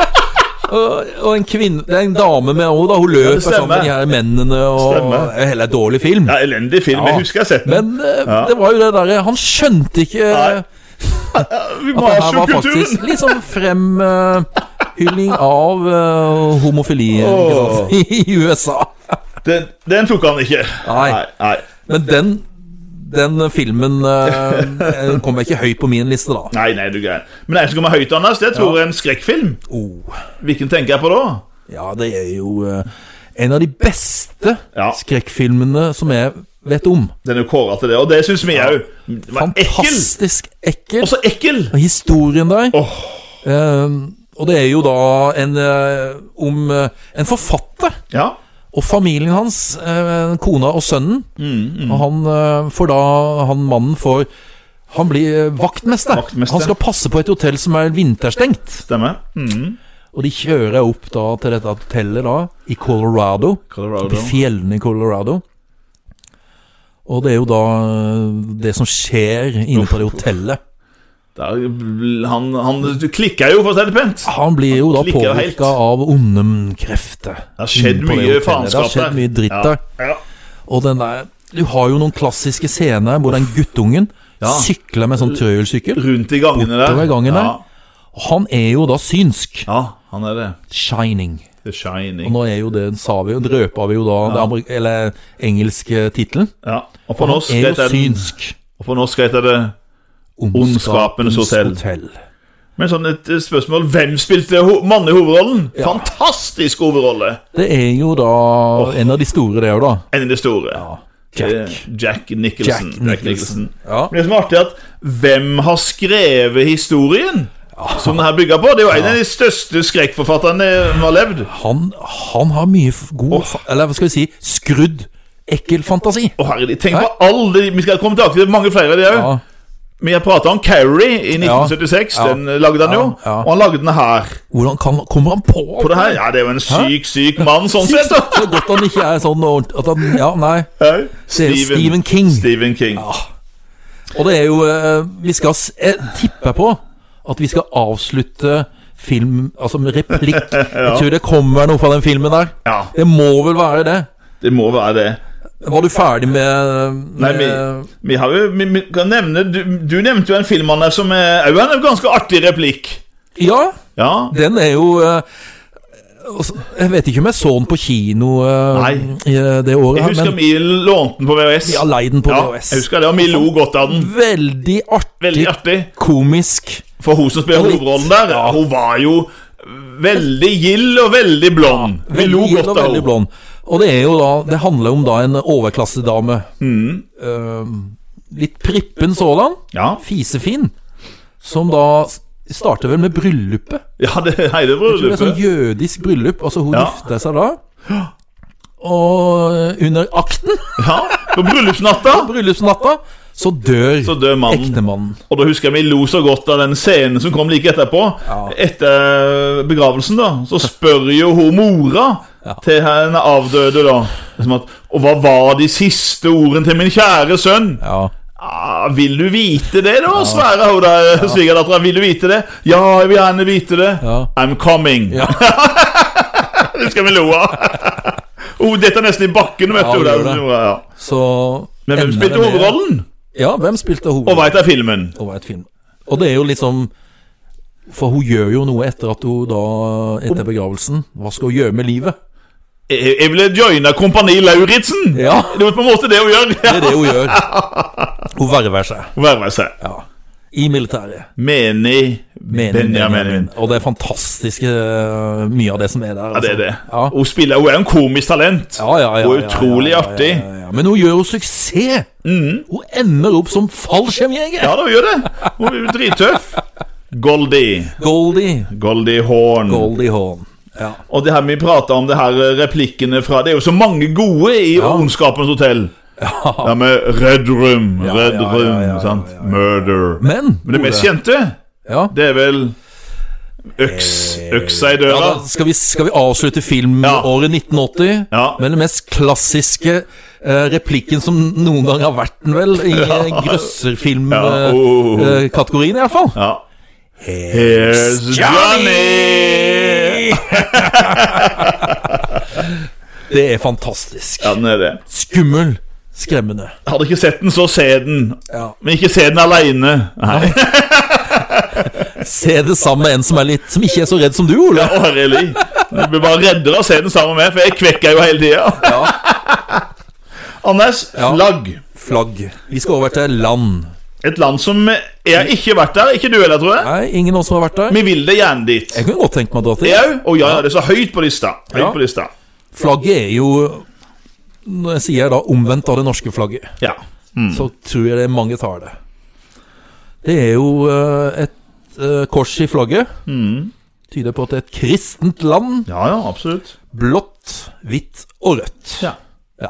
[SPEAKER 1] Og, og en kvinne Det er en dame med henne, da. Hun løper sammen
[SPEAKER 2] stemmer.
[SPEAKER 1] med de her mennene. Og
[SPEAKER 2] Stemmer.
[SPEAKER 1] det er heller en dårlig film.
[SPEAKER 2] Ja, elendig film.
[SPEAKER 1] Ja.
[SPEAKER 2] Jeg husker jeg har sett den.
[SPEAKER 1] Men eh, det var jo det derre Han skjønte ikke
[SPEAKER 2] Nei.
[SPEAKER 1] at det her var
[SPEAKER 2] Machokulturen.
[SPEAKER 1] faktisk litt sånn fremhylling av eh, homofili ikke sant? i USA.
[SPEAKER 2] Den, den tok han ikke.
[SPEAKER 1] Nei.
[SPEAKER 2] Nei, nei.
[SPEAKER 1] Men den, den filmen eh, kommer ikke høyt på min liste, da.
[SPEAKER 2] Nei, nei, du er gæren. Men en som kommer høyt, Anders, det tror jeg er en skrekkfilm.
[SPEAKER 1] Oh,
[SPEAKER 2] Hvilken tenker jeg på da?
[SPEAKER 1] ja, det er jo eh, en av de beste
[SPEAKER 2] Ja.
[SPEAKER 1] skrekkfilmene som jeg vet om.
[SPEAKER 2] Den er jo kåra til det, og det syns vi òg. Den var ekkel!
[SPEAKER 1] Fantastisk ekkel.
[SPEAKER 2] Og så ekkel!
[SPEAKER 1] Og historien der
[SPEAKER 2] Åh.
[SPEAKER 1] eh, Og det er jo da en, eh, om eh, en forfatter.
[SPEAKER 2] Ja.
[SPEAKER 1] Og familien hans, eh, kona og sønnen
[SPEAKER 2] Mm,
[SPEAKER 1] Og han eh, får da Han mannen får Han blir eh, vaktmester.
[SPEAKER 2] Vaktmester.
[SPEAKER 1] Han skal passe på et hotell som er vinterstengt.
[SPEAKER 2] Stemmer. Mhm.
[SPEAKER 1] Og de kjører opp da til dette hotellet da i Colorado.
[SPEAKER 2] Colorado.
[SPEAKER 1] Oppe i fjellene i Colorado. Og det er jo da eh, det som skjer inne på det hotellet.
[SPEAKER 2] Der, han, han du klikka jo, for å si det pent.
[SPEAKER 1] Han blir jo da
[SPEAKER 2] klikker jo helt.
[SPEAKER 1] påvirka av onde krefter.
[SPEAKER 2] Det har skjedd
[SPEAKER 1] inne Mm, på det
[SPEAKER 2] mye
[SPEAKER 1] hotellet. Det
[SPEAKER 2] faenskap
[SPEAKER 1] har skjedd mye dritt der.
[SPEAKER 2] Ja. Ja.
[SPEAKER 1] Og den der Du har jo noen klassiske scener hvor den guttungen sykler med sånn trøyelsykkel.
[SPEAKER 2] Rundt i gangene der.
[SPEAKER 1] Bortover gangen der.
[SPEAKER 2] ja.
[SPEAKER 1] Han er jo da synsk.
[SPEAKER 2] ja, han er det.
[SPEAKER 1] Shining.
[SPEAKER 2] The
[SPEAKER 1] Og
[SPEAKER 2] Shining.
[SPEAKER 1] nå er jo det, sa vi, jo, røpa vi jo da det amerik- Eller engelske tittelen.
[SPEAKER 2] Ja. Og på
[SPEAKER 1] Han
[SPEAKER 2] norsk
[SPEAKER 1] er jo
[SPEAKER 2] heter den
[SPEAKER 1] synsk.
[SPEAKER 2] Og på norsk heter det Ondskapens hotell. Men sånn et eh, spørsmål Hvem spilte ho mannen i hovedrollen? Fantastisk hovedrolle!
[SPEAKER 1] Det er jo da en av de store, det òg, da.
[SPEAKER 2] En av de store.
[SPEAKER 1] Jack.
[SPEAKER 2] Eh, Jack Nicholson.
[SPEAKER 1] Jack Nicholson. Ja.
[SPEAKER 2] Men det som er artig, er at hvem har skrevet historien? Som den her bygger på. Det er jo en av de største skrekkforfatterne som har levd.
[SPEAKER 1] Han, han har mye f- god fa- Eller hva skal vi si skrudd, ekkel fantasi.
[SPEAKER 2] Å herregud, Tenk på alle de Vi skal komme tilbake til mange flere av de òg.
[SPEAKER 1] Ja.
[SPEAKER 2] Vi har prata om Carrie i 1976.
[SPEAKER 1] Ja.
[SPEAKER 2] Den eh, lagde han jo.
[SPEAKER 1] Ja. Ja.
[SPEAKER 2] Og han lagde den her.
[SPEAKER 1] Hvordan kan, kommer han på
[SPEAKER 2] På det her, Ja, det er jo en syk, syk mann sånn sett. da.
[SPEAKER 1] Så godt han ikke er sånn ordent- at han, Ja, nei.
[SPEAKER 2] Hei.
[SPEAKER 1] Stephen King.
[SPEAKER 2] Stephen King.
[SPEAKER 1] Og det er jo eh, Vi skal s- eh, tippe på at vi skal avslutte film Altså med replikk. Jeg tror det kommer noe fra den filmen der.
[SPEAKER 2] Ja,
[SPEAKER 1] Det må vel være det.
[SPEAKER 2] det må være det.
[SPEAKER 1] Var du ferdig med,
[SPEAKER 2] Nei,
[SPEAKER 1] med
[SPEAKER 2] vi, vi, har jo, vi, vi kan nevne du, du nevnte jo en film Anne, som er òg en ganske artig replikk.
[SPEAKER 1] Ja,
[SPEAKER 2] Ja,
[SPEAKER 1] den er jo eh, altså, Jeg vet ikke om jeg så den på kino eh,
[SPEAKER 2] Nei.
[SPEAKER 1] i, eh, det året,
[SPEAKER 2] jeg husker
[SPEAKER 1] men
[SPEAKER 2] vi lånte den på VHS.
[SPEAKER 1] jeg har leid den på
[SPEAKER 2] Ja,
[SPEAKER 1] VHS.
[SPEAKER 2] jeg husker det, og vi lo godt av den.
[SPEAKER 1] Veldig artig,
[SPEAKER 2] Veldig artig.
[SPEAKER 1] komisk.
[SPEAKER 2] For hun som spiller
[SPEAKER 1] Og litt-
[SPEAKER 2] hovedrollen der, hun var jo veldig gild og veldig blond. Vi lo
[SPEAKER 1] Veldig gild
[SPEAKER 2] godt
[SPEAKER 1] og
[SPEAKER 2] av
[SPEAKER 1] veldig
[SPEAKER 2] henne. Mm.
[SPEAKER 1] blond. Og det er jo da Det handler om da en overklassedame. Eh, litt prippen sådan,
[SPEAKER 2] Ja,
[SPEAKER 1] fisefin, som da starter vel med bryllupet.
[SPEAKER 2] ja det hele
[SPEAKER 1] Det er sånn
[SPEAKER 2] bryllupet.
[SPEAKER 1] jødisk bryllup. Altså, hun
[SPEAKER 2] Ja.
[SPEAKER 1] gifta seg da. Og under akten,
[SPEAKER 2] Ja, På bryllupsnatta
[SPEAKER 1] bryllupsnatta, så dør,
[SPEAKER 2] så dør mannen.
[SPEAKER 1] ektemannen.
[SPEAKER 2] Og da husker jeg vi lo så godt av den scenen som kom like etterpå. Etter eh, begravelsen, da, så spør jo hun mora til den avdøde, da liksom at, Og hva var de siste ordene til min kjære sønn?
[SPEAKER 1] Ja.
[SPEAKER 2] Ah, vil du vite det, da? Svære hun der, svigerdattera. Vil du vite det? Ja, jeg vil gjerne vite det.
[SPEAKER 1] Ja.
[SPEAKER 2] I'm coming.
[SPEAKER 1] Ja.
[SPEAKER 2] det skal vi lo av. Hun detter nesten i bakken, vet
[SPEAKER 1] Ja,
[SPEAKER 2] du.
[SPEAKER 1] hun
[SPEAKER 2] Der,
[SPEAKER 1] gjør det.
[SPEAKER 2] ja.
[SPEAKER 1] Så
[SPEAKER 2] Men hvem
[SPEAKER 1] ender
[SPEAKER 2] spilte
[SPEAKER 1] det med-
[SPEAKER 2] hovedrollen?
[SPEAKER 1] Ja, hvem spilte
[SPEAKER 2] Og
[SPEAKER 1] hovedrollen?
[SPEAKER 2] veit jeg filmen?
[SPEAKER 1] Og var et film. Og det er jo liksom For hun gjør jo noe etter at hun da Etter begravelsen. Hva skal hun gjøre med livet?
[SPEAKER 2] Jeg, jeg ville joina Kompani Lauritzen!
[SPEAKER 1] Ja,
[SPEAKER 2] Det er jo på en måte det hun gjør.
[SPEAKER 1] det er det hun gjør. Hun verver seg.
[SPEAKER 2] Vær med seg.
[SPEAKER 1] Ja. I militæret.
[SPEAKER 2] Menig
[SPEAKER 1] Menin,
[SPEAKER 2] Benjamin.
[SPEAKER 1] Og det er fantastisk eh, mye av det som er der. altså.
[SPEAKER 2] Ja, det er det.
[SPEAKER 1] Ja.
[SPEAKER 2] Hun, spiller, hun er en komisk talent.
[SPEAKER 1] Ja, ja, ja,
[SPEAKER 2] Hun er
[SPEAKER 1] ja, ja,
[SPEAKER 2] utrolig
[SPEAKER 1] ja, ja,
[SPEAKER 2] artig. Mhm.
[SPEAKER 1] ja, ja, ja. Men hun gjør jo suksess! Hun ender opp som fallskjermjeger!
[SPEAKER 2] Ja, da, hun gjør det. Hun er jo drittøff. Goldie.
[SPEAKER 1] Goldie.
[SPEAKER 2] Goldie Horn.
[SPEAKER 1] Goldie Hawn. Ja.
[SPEAKER 2] Og det her vi prater om, det her eh, replikkene fra Det er jo så mange gode i Ondskapens hotell. Ja. med Red Room,
[SPEAKER 1] Ja,
[SPEAKER 2] Red
[SPEAKER 1] ja, ja,
[SPEAKER 2] Room,
[SPEAKER 1] ja, ja,
[SPEAKER 2] sant.
[SPEAKER 1] ja, ja, ja.
[SPEAKER 2] Murder.
[SPEAKER 1] Men
[SPEAKER 2] Men det mest
[SPEAKER 1] Ole,
[SPEAKER 2] kjente,
[SPEAKER 1] ja.
[SPEAKER 2] det er vel Øks, øksa i
[SPEAKER 1] Eh, Ja,
[SPEAKER 2] døra.
[SPEAKER 1] da skal, vi, skal vi avslutte filmåret 1980
[SPEAKER 2] Ja.
[SPEAKER 1] med den mest klassiske eh, replikken som noen gang har vært den, vel, i eh, ja.
[SPEAKER 2] Ja, oh.
[SPEAKER 1] grøsserfilmkategorien, eh, i hvert fall
[SPEAKER 2] Ja. Here's Johnny!
[SPEAKER 1] det er fantastisk.
[SPEAKER 2] Ja, den er det.
[SPEAKER 1] Skummel. Skremmende.
[SPEAKER 2] Hadde ikke sett den, så se den.
[SPEAKER 1] Ja.
[SPEAKER 2] Men ikke se den aleine.
[SPEAKER 1] Se det sammen med en som, er litt, som ikke er så redd som du, Ole.
[SPEAKER 2] Really. Du blir bare reddere av å se den sammen med, for jeg kvekker jo hele tida.
[SPEAKER 1] Ja.
[SPEAKER 2] Anders,
[SPEAKER 1] Ja.
[SPEAKER 2] flagg.
[SPEAKER 1] Flagg. Vi skal over til land.
[SPEAKER 2] Et land som Jeg har ikke vært der. Ikke du heller, tror jeg.
[SPEAKER 1] Nei, ingen av oss som har vært der.
[SPEAKER 2] Vi vil det gjerne dit.
[SPEAKER 1] Jeg kunne godt tenkt meg å dra til.
[SPEAKER 2] Jeg òg. Å ja, ja, det er så høyt på lista. Høyt
[SPEAKER 1] Ja.
[SPEAKER 2] på lista.
[SPEAKER 1] Flagget er jo Når jeg sier da omvendt av det norske flagget,
[SPEAKER 2] Ja. Mm.
[SPEAKER 1] så tror jeg det er mange tar det. Det er jo eh, et eh, kors i flagget.
[SPEAKER 2] Mm.
[SPEAKER 1] Tyder på at det er et kristent land.
[SPEAKER 2] ja, ja, absolutt.
[SPEAKER 1] Blått, hvitt og rødt.
[SPEAKER 2] Ja.
[SPEAKER 1] Ja.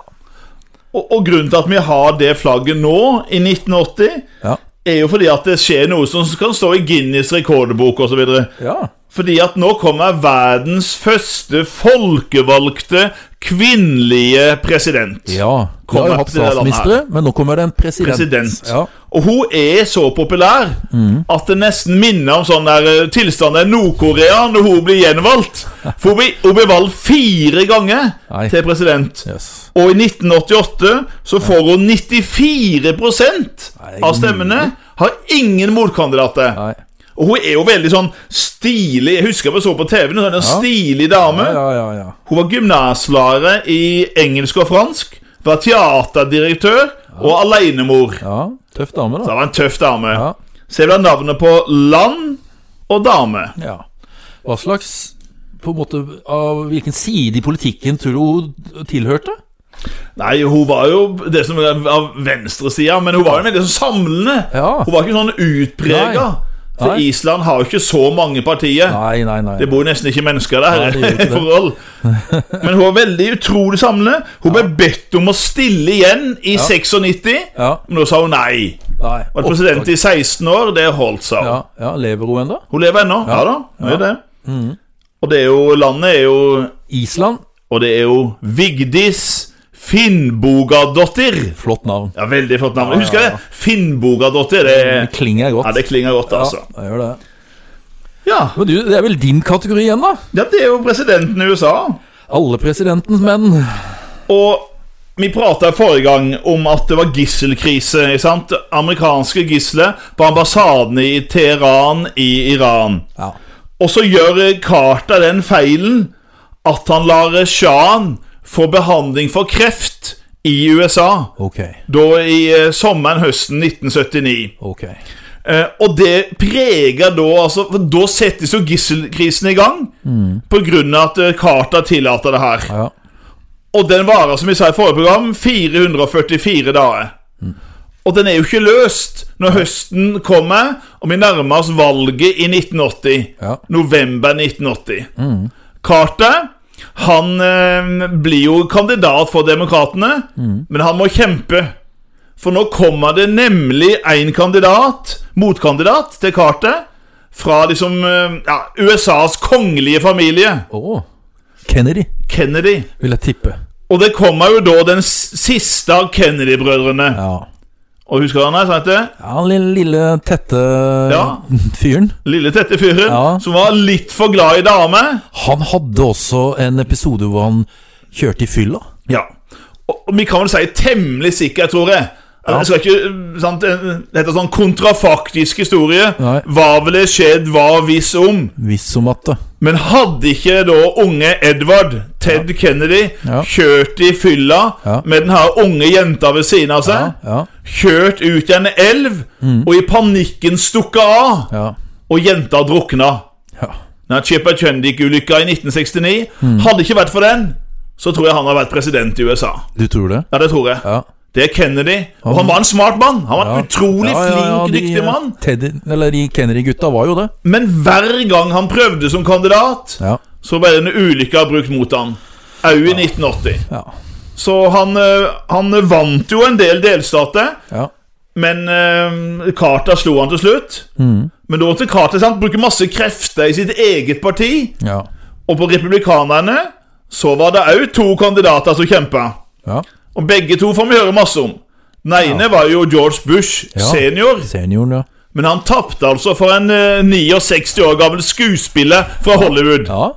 [SPEAKER 2] Og, og grunnen til at vi har det flagget nå, i 1980,
[SPEAKER 1] Ja.
[SPEAKER 2] er jo fordi at det skjer noe som kan stå i Guinness rekordbok osv.
[SPEAKER 1] ja.
[SPEAKER 2] Fordi at nå kommer verdens første folkevalgte kvinnelige president.
[SPEAKER 1] ja. Vi
[SPEAKER 2] Kommer
[SPEAKER 1] har jo hatt
[SPEAKER 2] til det landet her.
[SPEAKER 1] statsministre, men nå kommer det en president.
[SPEAKER 2] President.
[SPEAKER 1] Ja.
[SPEAKER 2] Og hun er så populær at det nesten minner om sånn der eh, tilstand i Nord-Korea når hun blir gjenvalgt. For hun blir, hun blir valgt fire ganger
[SPEAKER 1] Nei.
[SPEAKER 2] til president.
[SPEAKER 1] Yes.
[SPEAKER 2] Og i 1988 så får hun 94
[SPEAKER 1] Nei,
[SPEAKER 2] av stemmene. Har ingen motkandidater.
[SPEAKER 1] Nei.
[SPEAKER 2] Og hun er jo veldig sånn stilig. Jeg husker jeg så på TV, en sånn stilig dame.
[SPEAKER 1] Ja, ja, ja. ja.
[SPEAKER 2] Hun var gymnaslærer i engelsk og fransk, var teaterdirektør og alenemor.
[SPEAKER 1] ja. Tøff dame,
[SPEAKER 2] Det
[SPEAKER 1] da.
[SPEAKER 2] var en tøff dame.
[SPEAKER 1] Ja.
[SPEAKER 2] Så jeg vil ha navnet på land og dame.
[SPEAKER 1] Ja. Hva slags på en måte, Av hvilken side i politikken tror du hun tilhørte?
[SPEAKER 2] Nei, hun var jo det som er av venstresida, men hun var jo veldig sånn samlende.
[SPEAKER 1] Ja.
[SPEAKER 2] Hun var ikke sånn utprega.
[SPEAKER 1] Nei.
[SPEAKER 2] For
[SPEAKER 1] Nei.
[SPEAKER 2] Island har jo ikke så mange partier.
[SPEAKER 1] Nei, nei, nei.
[SPEAKER 2] Det bor jo nesten ikke mennesker
[SPEAKER 1] Nei,
[SPEAKER 2] der.
[SPEAKER 1] det gjør ikke
[SPEAKER 2] i
[SPEAKER 1] det.
[SPEAKER 2] forhold Men hun var veldig utrolig samlende. Hun ble bedt om å stille igjen i 96,
[SPEAKER 1] Ja.
[SPEAKER 2] men da sa hun nei.
[SPEAKER 1] nei.
[SPEAKER 2] Var president i 16 år, det holdt seg.
[SPEAKER 1] Ja, ja, Lever hun ennå?
[SPEAKER 2] Hun lever ennå, ja, da. Hun gjør det.
[SPEAKER 1] Mm.
[SPEAKER 2] Og det er jo, landet er jo
[SPEAKER 1] Island.
[SPEAKER 2] Og det er jo Vigdis Finnbogadottir.
[SPEAKER 1] Flott navn.
[SPEAKER 2] Ja, veldig flott navn. Husker jeg det? Finnbogadottir. Det,
[SPEAKER 1] Mm, Det klinger godt.
[SPEAKER 2] Eh, ja, det klinger godt, altså.
[SPEAKER 1] Ja, det gjør det.
[SPEAKER 2] Ja.
[SPEAKER 1] Men du, det er vel din kategori igjen, da?
[SPEAKER 2] ja, det er jo presidenten i USA.
[SPEAKER 1] Alle presidentens menn.
[SPEAKER 2] Og vi prata forrige gang om at det var gisselkrise. ikke sant? Amerikanske gisler på ambassaden i Teheran i Iran.
[SPEAKER 1] Ja.
[SPEAKER 2] Og så gjør Carter den feilen at han lar Shahan få behandling for kreft i USA.
[SPEAKER 1] Ok.
[SPEAKER 2] Da i eh, sommeren høsten 1979.
[SPEAKER 1] Ok.
[SPEAKER 2] Eh, og det preger da altså, for Da settes jo gisselkrisen i gang på grunn av at eh, Carter tillater det her.
[SPEAKER 1] Ja.
[SPEAKER 2] Og den varer, som vi sa i forrige program, 444 dager. Og den er jo ikke løst når høsten kommer, og vi nærmer oss valget i 1980.
[SPEAKER 1] Ja.
[SPEAKER 2] November 1980. Carter han eh, blir jo kandidat for Demokratene, men han må kjempe. For nå kommer det nemlig en kandidat, motkandidat, til Carter. Fra liksom eh, ja, USAs kongelige familie,
[SPEAKER 1] Å. Kennedy,
[SPEAKER 2] Kennedy.
[SPEAKER 1] vil jeg tippe.
[SPEAKER 2] Og det kommer jo da den s- siste av Kennedy-brødrene.
[SPEAKER 1] Ja.
[SPEAKER 2] Og husker du han her, sant det?
[SPEAKER 1] Ja, den lille, lille tette
[SPEAKER 2] Ja.
[SPEAKER 1] fyren.
[SPEAKER 2] Lille tette fyren
[SPEAKER 1] Ja.
[SPEAKER 2] som var litt for glad i dame.
[SPEAKER 1] Han hadde også en episode hvor han kjørte i fylla.
[SPEAKER 2] Ja. Og og vi kan vel si temmelig sikker, tror jeg. Jeg skal ikke, eh, sant, eh, Det heter sånn kontrafaktisk historie.
[SPEAKER 1] Nei.
[SPEAKER 2] Hva ville skjedd, hva hvis om?
[SPEAKER 1] Visst som at det.
[SPEAKER 2] Men hadde ikke da unge Edvard, Ted Kennedy,
[SPEAKER 1] Ja.
[SPEAKER 2] kjørt i fylla
[SPEAKER 1] Ja.
[SPEAKER 2] med den her unge jenta ved siden av
[SPEAKER 1] Ja, Mm.
[SPEAKER 2] seg?
[SPEAKER 1] ja,
[SPEAKER 2] Kjørt ut i en elv, og i panikken stukket av,
[SPEAKER 1] ja.
[SPEAKER 2] og jenta drukna.
[SPEAKER 1] ja.
[SPEAKER 2] Når Chipper Chundik-ulykka i 1969
[SPEAKER 1] Mm.
[SPEAKER 2] Hadde ikke vært for den, så tror jeg han hadde vært president i USA.
[SPEAKER 1] Du tror det?
[SPEAKER 2] Ja, det tror jeg.
[SPEAKER 1] Ja.
[SPEAKER 2] Det er Kennedy. Og han var en smart mann. Han var en utrolig
[SPEAKER 1] Ja, ja,
[SPEAKER 2] flink,
[SPEAKER 1] ja, de,
[SPEAKER 2] dyktig
[SPEAKER 1] eh,
[SPEAKER 2] mann.
[SPEAKER 1] Teddy, eller de Kennedy-gutta var jo det.
[SPEAKER 2] Men hver gang han prøvde som kandidat,
[SPEAKER 1] Ja.
[SPEAKER 2] så ble det en ulykke brukt mot han. Au i 1980.
[SPEAKER 1] Ja.
[SPEAKER 2] Så han, eh, han vant jo en del delstater,
[SPEAKER 1] ja.
[SPEAKER 2] men eh, Carter slo han til slutt.
[SPEAKER 1] Mm.
[SPEAKER 2] Men da til Carter sant, bruker masse krefter i sitt eget parti.
[SPEAKER 1] ja.
[SPEAKER 2] Og på republikanerne så var det òg to kandidater som kjempa.
[SPEAKER 1] ja.
[SPEAKER 2] Og begge to får vi høre masse om. Den ene var jo George Bush
[SPEAKER 1] Ja.
[SPEAKER 2] senior,
[SPEAKER 1] Senioren, ja.
[SPEAKER 2] men han tapte altså for en eh, 69 år gammel skuespiller fra Hollywood.
[SPEAKER 1] ja.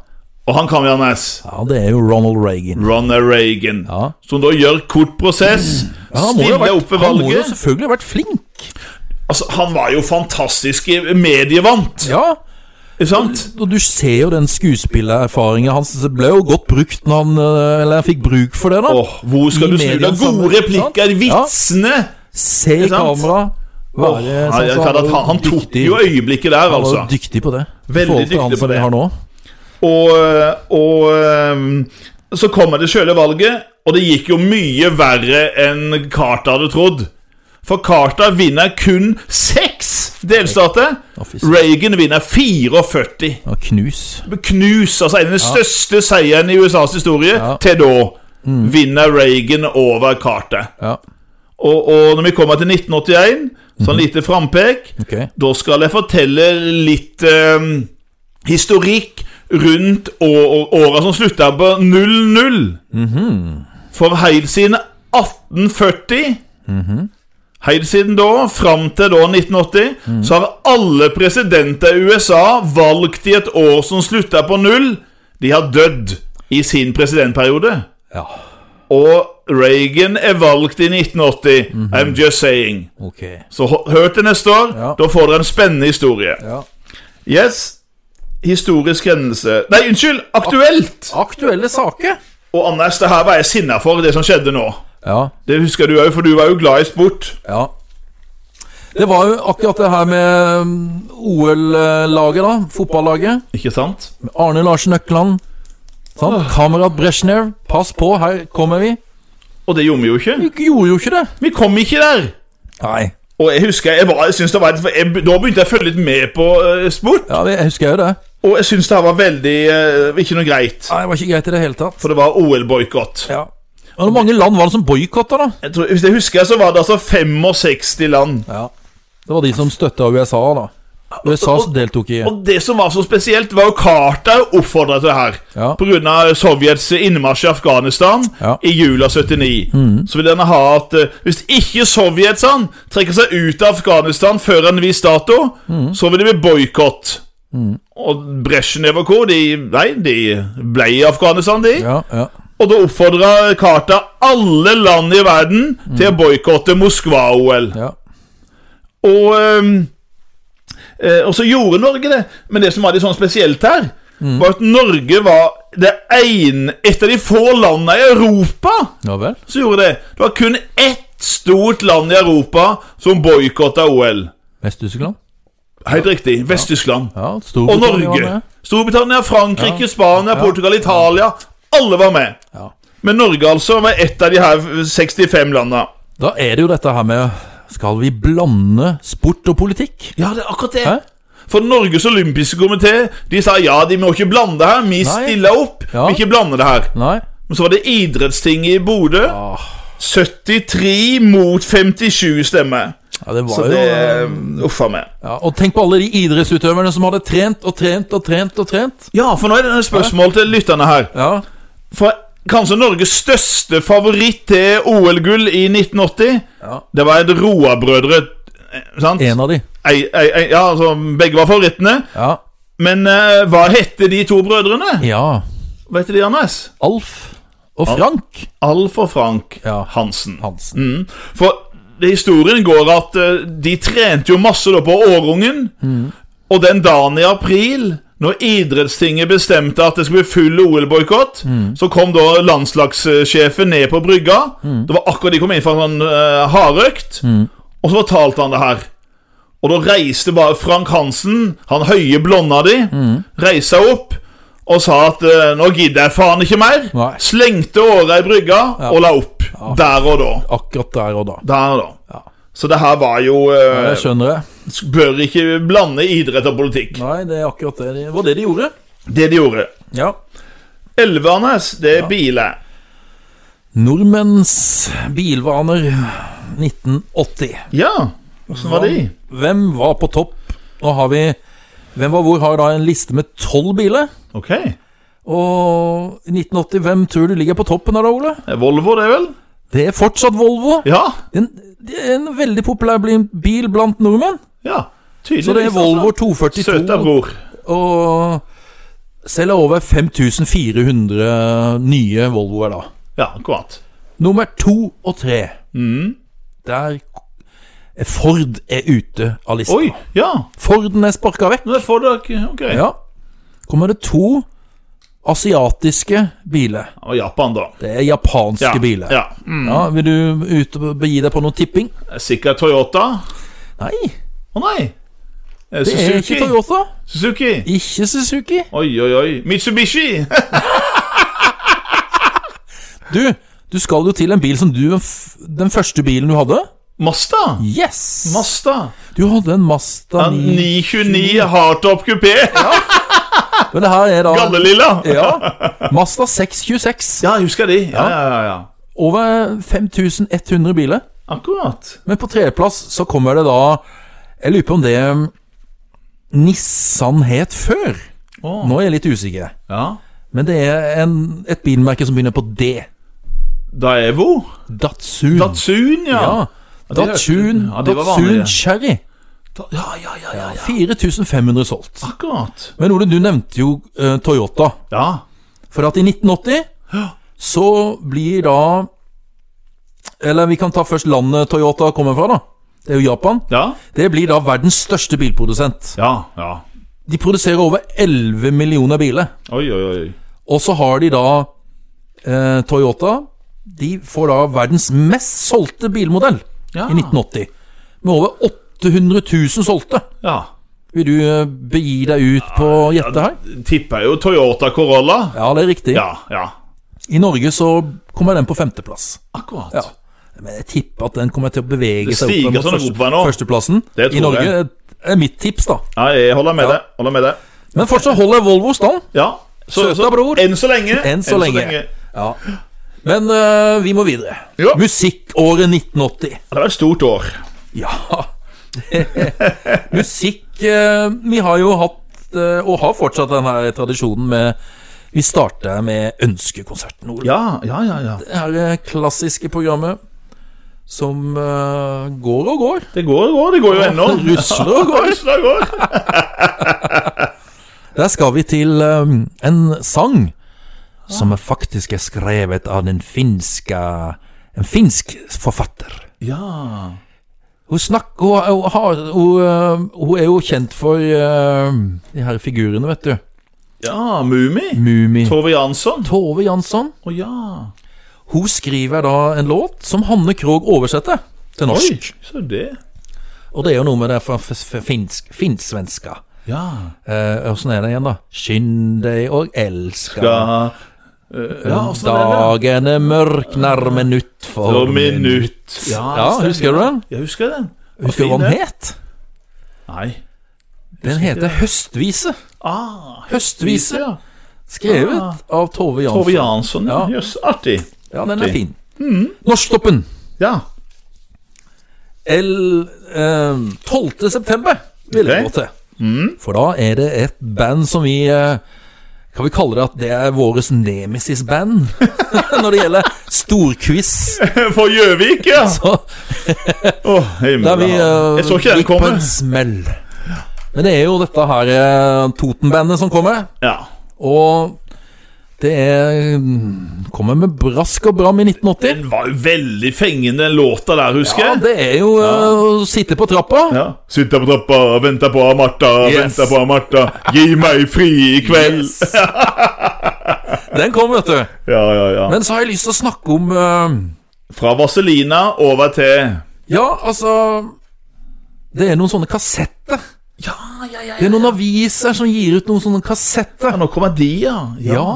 [SPEAKER 2] Og han kan vi ha næs.
[SPEAKER 1] Ja, det er jo Ronald Reagan.
[SPEAKER 2] Ronald Reagan,
[SPEAKER 1] Ja.
[SPEAKER 2] som da gjør kort prosess,
[SPEAKER 1] Ja, han, må jo ha
[SPEAKER 2] stiller
[SPEAKER 1] vært,
[SPEAKER 2] opp ved
[SPEAKER 1] han må jo
[SPEAKER 2] valget.
[SPEAKER 1] selvfølgelig ha vært flink.
[SPEAKER 2] Altså, han var jo fantastisk i- medievant,
[SPEAKER 1] Ja,
[SPEAKER 2] ikke sant?
[SPEAKER 1] og du ser jo den skuespillererfaringen hans. Det ble jo godt brukt når han eh, Eller han fikk bruk for det, da.
[SPEAKER 2] Åh, hvor skal
[SPEAKER 1] I
[SPEAKER 2] du snu
[SPEAKER 1] mediene
[SPEAKER 2] deg?
[SPEAKER 1] sammen,
[SPEAKER 2] Gode
[SPEAKER 1] ikke
[SPEAKER 2] replikker,
[SPEAKER 1] sant? Ja.
[SPEAKER 2] vitsene!
[SPEAKER 1] Se i
[SPEAKER 2] Ikke sant?
[SPEAKER 1] kamera.
[SPEAKER 2] Åh,
[SPEAKER 1] Være
[SPEAKER 2] ja,
[SPEAKER 1] sånn
[SPEAKER 2] jeg
[SPEAKER 1] som
[SPEAKER 2] kan at
[SPEAKER 1] var
[SPEAKER 2] han, han tok
[SPEAKER 1] dyktig.
[SPEAKER 2] jo øyeblikket der,
[SPEAKER 1] Han var
[SPEAKER 2] altså.
[SPEAKER 1] jo dyktig på det. I
[SPEAKER 2] Veldig
[SPEAKER 1] forhold til
[SPEAKER 2] dyktig
[SPEAKER 1] han
[SPEAKER 2] på
[SPEAKER 1] som vi
[SPEAKER 2] det.
[SPEAKER 1] Har nå.
[SPEAKER 2] Og, og ehm, så kommer det sjøle valget, og det gikk jo mye verre enn Carter hadde trodd. For Carter vinner kun seks delstater.
[SPEAKER 1] Å, fy søren.
[SPEAKER 2] Reagan vinner 44.
[SPEAKER 1] Ja, knus.
[SPEAKER 2] Knus, altså en av de største seierne i USAs historie
[SPEAKER 1] Ja. Mm.
[SPEAKER 2] til da. Vinner Reagan over Carter.
[SPEAKER 1] Ja,
[SPEAKER 2] Og, og når vi kommer til 1981,
[SPEAKER 1] Mhm.
[SPEAKER 2] sånn lite frampek,
[SPEAKER 1] ok.
[SPEAKER 2] da skal jeg fortelle litt eh, historikk rundt å- å- åra som slutta på 00. For helt siden 1840 Helt siden da, fram til da 1980, så har alle presidenter i USA valgt i et år som slutta på null. De har dødd i sin presidentperiode.
[SPEAKER 1] Ja,
[SPEAKER 2] Og Reagan er valgt i 1980. I'm just saying.
[SPEAKER 1] ok.
[SPEAKER 2] Så ho- hør til neste år.
[SPEAKER 1] Ja.
[SPEAKER 2] Da får dere en spennende historie.
[SPEAKER 1] Ja.
[SPEAKER 2] Yes. Historisk hendelse Nei, unnskyld! Aktuelt!
[SPEAKER 1] Aktuelle saker.
[SPEAKER 2] Og Anders, det her var jeg sinna for, det som skjedde nå.
[SPEAKER 1] Ja,
[SPEAKER 2] Det husker du òg, for du var jo glad i sport.
[SPEAKER 1] ja. Det var jo akkurat det her med mm, OL-laget, da. Fotballaget.
[SPEAKER 2] Ikke sant?
[SPEAKER 1] Arne Larsen Økland. Sant? Kamerat Brezjnev. Pass på, her kommer vi.
[SPEAKER 2] Og det gjorde vi jo ikke.
[SPEAKER 1] Du gjorde jo ikke det.
[SPEAKER 2] Vi kom ikke der!
[SPEAKER 1] Nei.
[SPEAKER 2] Og jeg husker, jeg var, jeg synes det var et, jeg, Da begynte jeg å følge litt med på eh, sport,
[SPEAKER 1] Ja, det- jeg husker jo det.
[SPEAKER 2] og jeg syns det her var veldig eh, Ikke noe greit.
[SPEAKER 1] Nei, Det var ikke greit i det hele tatt.
[SPEAKER 2] For det var OL-boikott.
[SPEAKER 1] Ja. Men Hvor mange land var det som boikotta, da?
[SPEAKER 2] Jeg tror- Hvis jeg husker, så var det altså 65 land.
[SPEAKER 1] Ja. Det var de som støtta USA, da. USA deltok i
[SPEAKER 2] Og det som var så spesielt, var jo Carter oppfordra til det her.
[SPEAKER 1] Ja.
[SPEAKER 2] Pga. Sovjets innmarsj i Afghanistan
[SPEAKER 1] Ja. Mm.
[SPEAKER 2] i jula 79. Så ville han ha at eh, hvis ikke Sovjet sa han, trekker seg ut av Afghanistan før en viss dato,
[SPEAKER 1] Mm.
[SPEAKER 2] så vil det bli boikott. Og Brezjnev og co. De, nei, de ble i Afghanistan, de.
[SPEAKER 1] Ja, ja.
[SPEAKER 2] Og da oppfordra Carter alle land i verden
[SPEAKER 1] Mm.
[SPEAKER 2] til å boikotte Moskva-OL.
[SPEAKER 1] ja.
[SPEAKER 2] Og, øhm, eh, og så gjorde Norge det, men det som var litt sånn spesielt her,
[SPEAKER 1] Mm.
[SPEAKER 2] var at Norge var det ene, et av de få landene i Europa
[SPEAKER 1] Ja vel.
[SPEAKER 2] som gjorde det. Det var kun ett stort land i Europa som boikotta OL.
[SPEAKER 1] Vest-Tyskland?
[SPEAKER 2] Helt riktig. Vest-Tyskland.
[SPEAKER 1] Ja,
[SPEAKER 2] Og
[SPEAKER 1] Storbritannia var
[SPEAKER 2] Norge.
[SPEAKER 1] med.
[SPEAKER 2] Storbritannia, Frankrike, Spania, Portugal, Italia. Alle var med.
[SPEAKER 1] Ja.
[SPEAKER 2] Men Norge altså var et av de her 65 landene.
[SPEAKER 1] Da er det jo dette her med Skal vi blande sport og politikk?
[SPEAKER 2] Ja, det er akkurat det.
[SPEAKER 1] Hæ?
[SPEAKER 2] For Norges olympiske komité de sa ja, de må ikke blande her.
[SPEAKER 1] Nei.
[SPEAKER 2] Vi stiller opp.
[SPEAKER 1] Ja.
[SPEAKER 2] Vi ikke blande det her.
[SPEAKER 1] Nei? Ah,
[SPEAKER 2] Men så var det idrettstinget i Bodø. 73 mot 57 stemmer.
[SPEAKER 1] Ja, det
[SPEAKER 2] Så
[SPEAKER 1] var
[SPEAKER 2] det
[SPEAKER 1] jo eh,
[SPEAKER 2] Uff a meg.
[SPEAKER 1] ja, Og tenk på alle de idrettsutøverne som hadde trent og trent og trent og trent.
[SPEAKER 2] Ja, for nå er det et spørsmål til lytterne her.
[SPEAKER 1] Ja,
[SPEAKER 2] For kanskje Norges største favoritt til OL-gull i 1980,
[SPEAKER 1] Ja.
[SPEAKER 2] det var et Roa-brødre. eh, Sant?
[SPEAKER 1] en av de.
[SPEAKER 2] Ei, ei, ei, ja, altså, begge var favorittene.
[SPEAKER 1] Ja.
[SPEAKER 2] Men eh, hva hette de to brødrene?
[SPEAKER 1] ja.
[SPEAKER 2] Hva heter de, Anders?
[SPEAKER 1] Alf og Frank
[SPEAKER 2] Alf og Frank
[SPEAKER 1] Ja.
[SPEAKER 2] Hansen.
[SPEAKER 1] Hansen.
[SPEAKER 2] Mm. For det- historien går at eh, de trente jo masse da på Årungen. Og den dagen i april, når idrettstinget bestemte at det skulle bli full OL-boikott, så kom da landslagssjefen ned på brygga. Det var akkurat de kom inn fra en sånn eh, hardøkt. Og så fortalte han det her. Og da reiste bare Frank Hansen, han høye blonda di, reiste seg opp og sa at eh, 'nå gidder jeg faen ikke mer'.
[SPEAKER 1] Nei.
[SPEAKER 2] Slengte åra i brygga og la opp. Der og da.
[SPEAKER 1] Akkurat der og da.
[SPEAKER 2] Der og da. Så det her var jo eh,
[SPEAKER 1] Jeg skjønner det.
[SPEAKER 2] Bør ikke blande idrett og politikk.
[SPEAKER 1] Nei, det er akkurat det. Det var det de gjorde.
[SPEAKER 2] Det de gjorde.
[SPEAKER 1] Ja.
[SPEAKER 2] Elvernes, det er biler.
[SPEAKER 1] Nordmenns bilvaner 1980.
[SPEAKER 2] Ja, åssen var de?
[SPEAKER 1] Hvem var på topp? Nå har vi Hvem var hvor har da en liste med tolv biler.
[SPEAKER 2] Ok.
[SPEAKER 1] Og i 1980, hvem tror du ligger på toppen her da, Ole?
[SPEAKER 2] Volvo, det vel?
[SPEAKER 1] Det er fortsatt Volvo.
[SPEAKER 2] Ja.
[SPEAKER 1] En, det er en veldig populær bli- bil blant nordmenn.
[SPEAKER 2] ja. Tydeligvis.
[SPEAKER 1] Så det er Volvo
[SPEAKER 2] Søta
[SPEAKER 1] 242
[SPEAKER 2] bror.
[SPEAKER 1] og selger over 5400 nye Volvoer da.
[SPEAKER 2] Ja, akkurat.
[SPEAKER 1] Nummer to og tre.
[SPEAKER 2] Mm.
[SPEAKER 1] Der Ford er ute av lista.
[SPEAKER 2] Oi, ja.
[SPEAKER 1] Forden er sparka vekk.
[SPEAKER 2] Nå er får dere Ok. Ja.
[SPEAKER 1] Ja. Kommer det to asiatiske biler.
[SPEAKER 2] Og Japan, da.
[SPEAKER 1] Det er japanske
[SPEAKER 2] Ja.
[SPEAKER 1] biler.
[SPEAKER 2] ja. Mm.
[SPEAKER 1] Ja, Vil du ut og begi deg på noe tipping?
[SPEAKER 2] Sikkert Toyota.
[SPEAKER 1] Nei,
[SPEAKER 2] Å nei. Eh,
[SPEAKER 1] det er ikke
[SPEAKER 2] Suzuki.
[SPEAKER 1] Toyota.
[SPEAKER 2] Suzuki.
[SPEAKER 1] Ikke Suzuki.
[SPEAKER 2] Oi, oi, oi. Mitsubishi.
[SPEAKER 1] Du, du skal jo til en bil som du f- Den første bilen du hadde?
[SPEAKER 2] Masta.
[SPEAKER 1] Yes!
[SPEAKER 2] Masta.
[SPEAKER 1] Du hadde en Mazda
[SPEAKER 2] Ja,
[SPEAKER 1] 9.
[SPEAKER 2] 929 hardtop kupé.
[SPEAKER 1] Men det her er da
[SPEAKER 2] Gallelilla.
[SPEAKER 1] Ja. Mazda 626.
[SPEAKER 2] Ja, jeg husker de. Ja, ja, ja, ja.
[SPEAKER 1] Over 5100 biler.
[SPEAKER 2] Akkurat.
[SPEAKER 1] Men på tredjeplass så kommer det da Jeg lurer på om det um, Nissan het før.
[SPEAKER 2] Å.
[SPEAKER 1] Nå er jeg litt usikker.
[SPEAKER 2] Ja.
[SPEAKER 1] Men det er en, et bilmerke som begynner på D.
[SPEAKER 2] Daevo.
[SPEAKER 1] Datsun.
[SPEAKER 2] Datsun, ja.
[SPEAKER 1] ja.
[SPEAKER 2] de
[SPEAKER 1] Datsun,
[SPEAKER 2] hørte- ja, de var
[SPEAKER 1] Datsun
[SPEAKER 2] vanlige.
[SPEAKER 1] Cherry.
[SPEAKER 2] Da- Ja, ja, ja, ja, ja.
[SPEAKER 1] 4500 solgt.
[SPEAKER 2] Akkurat.
[SPEAKER 1] Men Ole, du nevnte jo eh, Toyota.
[SPEAKER 2] Ja.
[SPEAKER 1] For at i 1980 så blir da Eller vi kan ta først landet Toyota kommer fra, da. Det er jo Japan.
[SPEAKER 2] Ja.
[SPEAKER 1] Det blir da verdens største bilprodusent.
[SPEAKER 2] Ja. ja.
[SPEAKER 1] De produserer over 11 millioner biler.
[SPEAKER 2] Oi, oi, oi.
[SPEAKER 1] Og så har de da eh, Toyota. De får da verdens mest solgte bilmodell
[SPEAKER 2] Ja.
[SPEAKER 1] i 1980. Med over 800 000 solgte.
[SPEAKER 2] Ja.
[SPEAKER 1] Vil du eh, begi deg ut på å gjette her?
[SPEAKER 2] Tipper jo Toyota Corolla.
[SPEAKER 1] Ja, det er riktig.
[SPEAKER 2] Ja, ja.
[SPEAKER 1] I Norge så kommer den på femteplass.
[SPEAKER 2] Akkurat.
[SPEAKER 1] Ja. Men jeg tipper at den kommer til å bevege
[SPEAKER 2] Det
[SPEAKER 1] seg
[SPEAKER 2] stiger
[SPEAKER 1] opp
[SPEAKER 2] sånn
[SPEAKER 1] mot
[SPEAKER 2] oppover nå.
[SPEAKER 1] førsteplassen.
[SPEAKER 2] Det tror
[SPEAKER 1] I Norge
[SPEAKER 2] jeg.
[SPEAKER 1] er mitt tips, da.
[SPEAKER 2] Ja, jeg holder med det. Holder med det.
[SPEAKER 1] Men fortsatt holder Volvo stand.
[SPEAKER 2] Ja. Så,
[SPEAKER 1] Søta bror.
[SPEAKER 2] Enn så lenge.
[SPEAKER 1] Enn så lenge. Ja. Men eh, vi må videre.
[SPEAKER 2] Ja.
[SPEAKER 1] Musikkåret 1980.
[SPEAKER 2] Det var et stort år.
[SPEAKER 1] Ja Musikk eh, Vi har jo hatt, eh, og har fortsatt, den her tradisjonen med Vi starter med Ønskekonserten, Ole.
[SPEAKER 2] Ja, ja, ja. ja.
[SPEAKER 1] Det her eh, klassiske programmet som eh, går og går.
[SPEAKER 2] Det går og går. Det går jo ennå.
[SPEAKER 1] Det rusler og går.
[SPEAKER 2] Rusler og går.
[SPEAKER 1] Der skal vi til eh, en sang som er faktisk er skrevet av den finske En finsk forfatter.
[SPEAKER 2] Ja.
[SPEAKER 1] Hun snakker Hun, hun, har, hun, eh, hun er jo kjent for eh, de her figurene, vet du.
[SPEAKER 2] Ja, Mummi.
[SPEAKER 1] Mumi.
[SPEAKER 2] Tove Jansson.
[SPEAKER 1] Tove Jansson.
[SPEAKER 2] Å ja.
[SPEAKER 1] Hun skriver da en låt som Hanne Krogh oversetter til
[SPEAKER 2] Oi,
[SPEAKER 1] norsk.
[SPEAKER 2] så det.
[SPEAKER 1] Og det er jo noe med det fra f- f- finsk, finnsvenska.
[SPEAKER 2] Ja.
[SPEAKER 1] Eh, Åssen er det igjen, da? Skynd deg og elska
[SPEAKER 2] Skal Ja,
[SPEAKER 1] altså,
[SPEAKER 2] åssen er det?
[SPEAKER 1] Dagene mørkner minutt for
[SPEAKER 2] For minutt.
[SPEAKER 1] Ja,
[SPEAKER 2] stemmer.
[SPEAKER 1] husker du den?
[SPEAKER 2] Jeg husker den.
[SPEAKER 1] Husker du hva den het?
[SPEAKER 2] Nei.
[SPEAKER 1] Den heter Høstvise.
[SPEAKER 2] Ah,
[SPEAKER 1] Høstvise,
[SPEAKER 2] ja. Ah.
[SPEAKER 1] skrevet av Tove
[SPEAKER 2] Tove
[SPEAKER 1] Jansson.
[SPEAKER 2] Jansson, ja.
[SPEAKER 1] Ja.
[SPEAKER 2] Jøss, artig.
[SPEAKER 1] Ja, den er
[SPEAKER 2] Artig.
[SPEAKER 1] fin. Mm. Norsktoppen.
[SPEAKER 2] Ja.
[SPEAKER 1] L, eh, 12. september vil jeg
[SPEAKER 2] Ok. Mm.
[SPEAKER 1] gå til. For da er det et band som vi eh, Kan vi kalle det at det er våres nemesis-band? Når det gjelder storquiz.
[SPEAKER 2] For Gjøvik, ja.
[SPEAKER 1] Så
[SPEAKER 2] Åh, himmel,
[SPEAKER 1] der vi
[SPEAKER 2] ja. Jeg så
[SPEAKER 1] eh,
[SPEAKER 2] ikke den
[SPEAKER 1] gikk på
[SPEAKER 2] komme.
[SPEAKER 1] en smell. Men det er jo dette her eh, Toten-bandet som kommer.
[SPEAKER 2] Ja.
[SPEAKER 1] Og det er mm, Kommer med brask og bram i 1980.
[SPEAKER 2] Den var jo veldig fengende, den låta der, husker
[SPEAKER 1] Ja,
[SPEAKER 2] jeg.
[SPEAKER 1] det er jo eh, å sitte på trappa.
[SPEAKER 2] Ja. Sitter på trappa, venter på Martha,
[SPEAKER 1] Yes.
[SPEAKER 2] venter på Martha. Gi meg fri i kveld.
[SPEAKER 1] Yes. Den kom, vet du.
[SPEAKER 2] Ja, ja, ja.
[SPEAKER 1] Men så har jeg lyst til å snakke om eh,
[SPEAKER 2] Fra Vaselina over til
[SPEAKER 1] Ja, altså Det er noen sånne kassetter.
[SPEAKER 2] Ja, ja, ja.
[SPEAKER 1] Det er noen aviser som gir ut noen sånne kassetter.
[SPEAKER 2] Nå kommer de, ja.
[SPEAKER 1] Ja.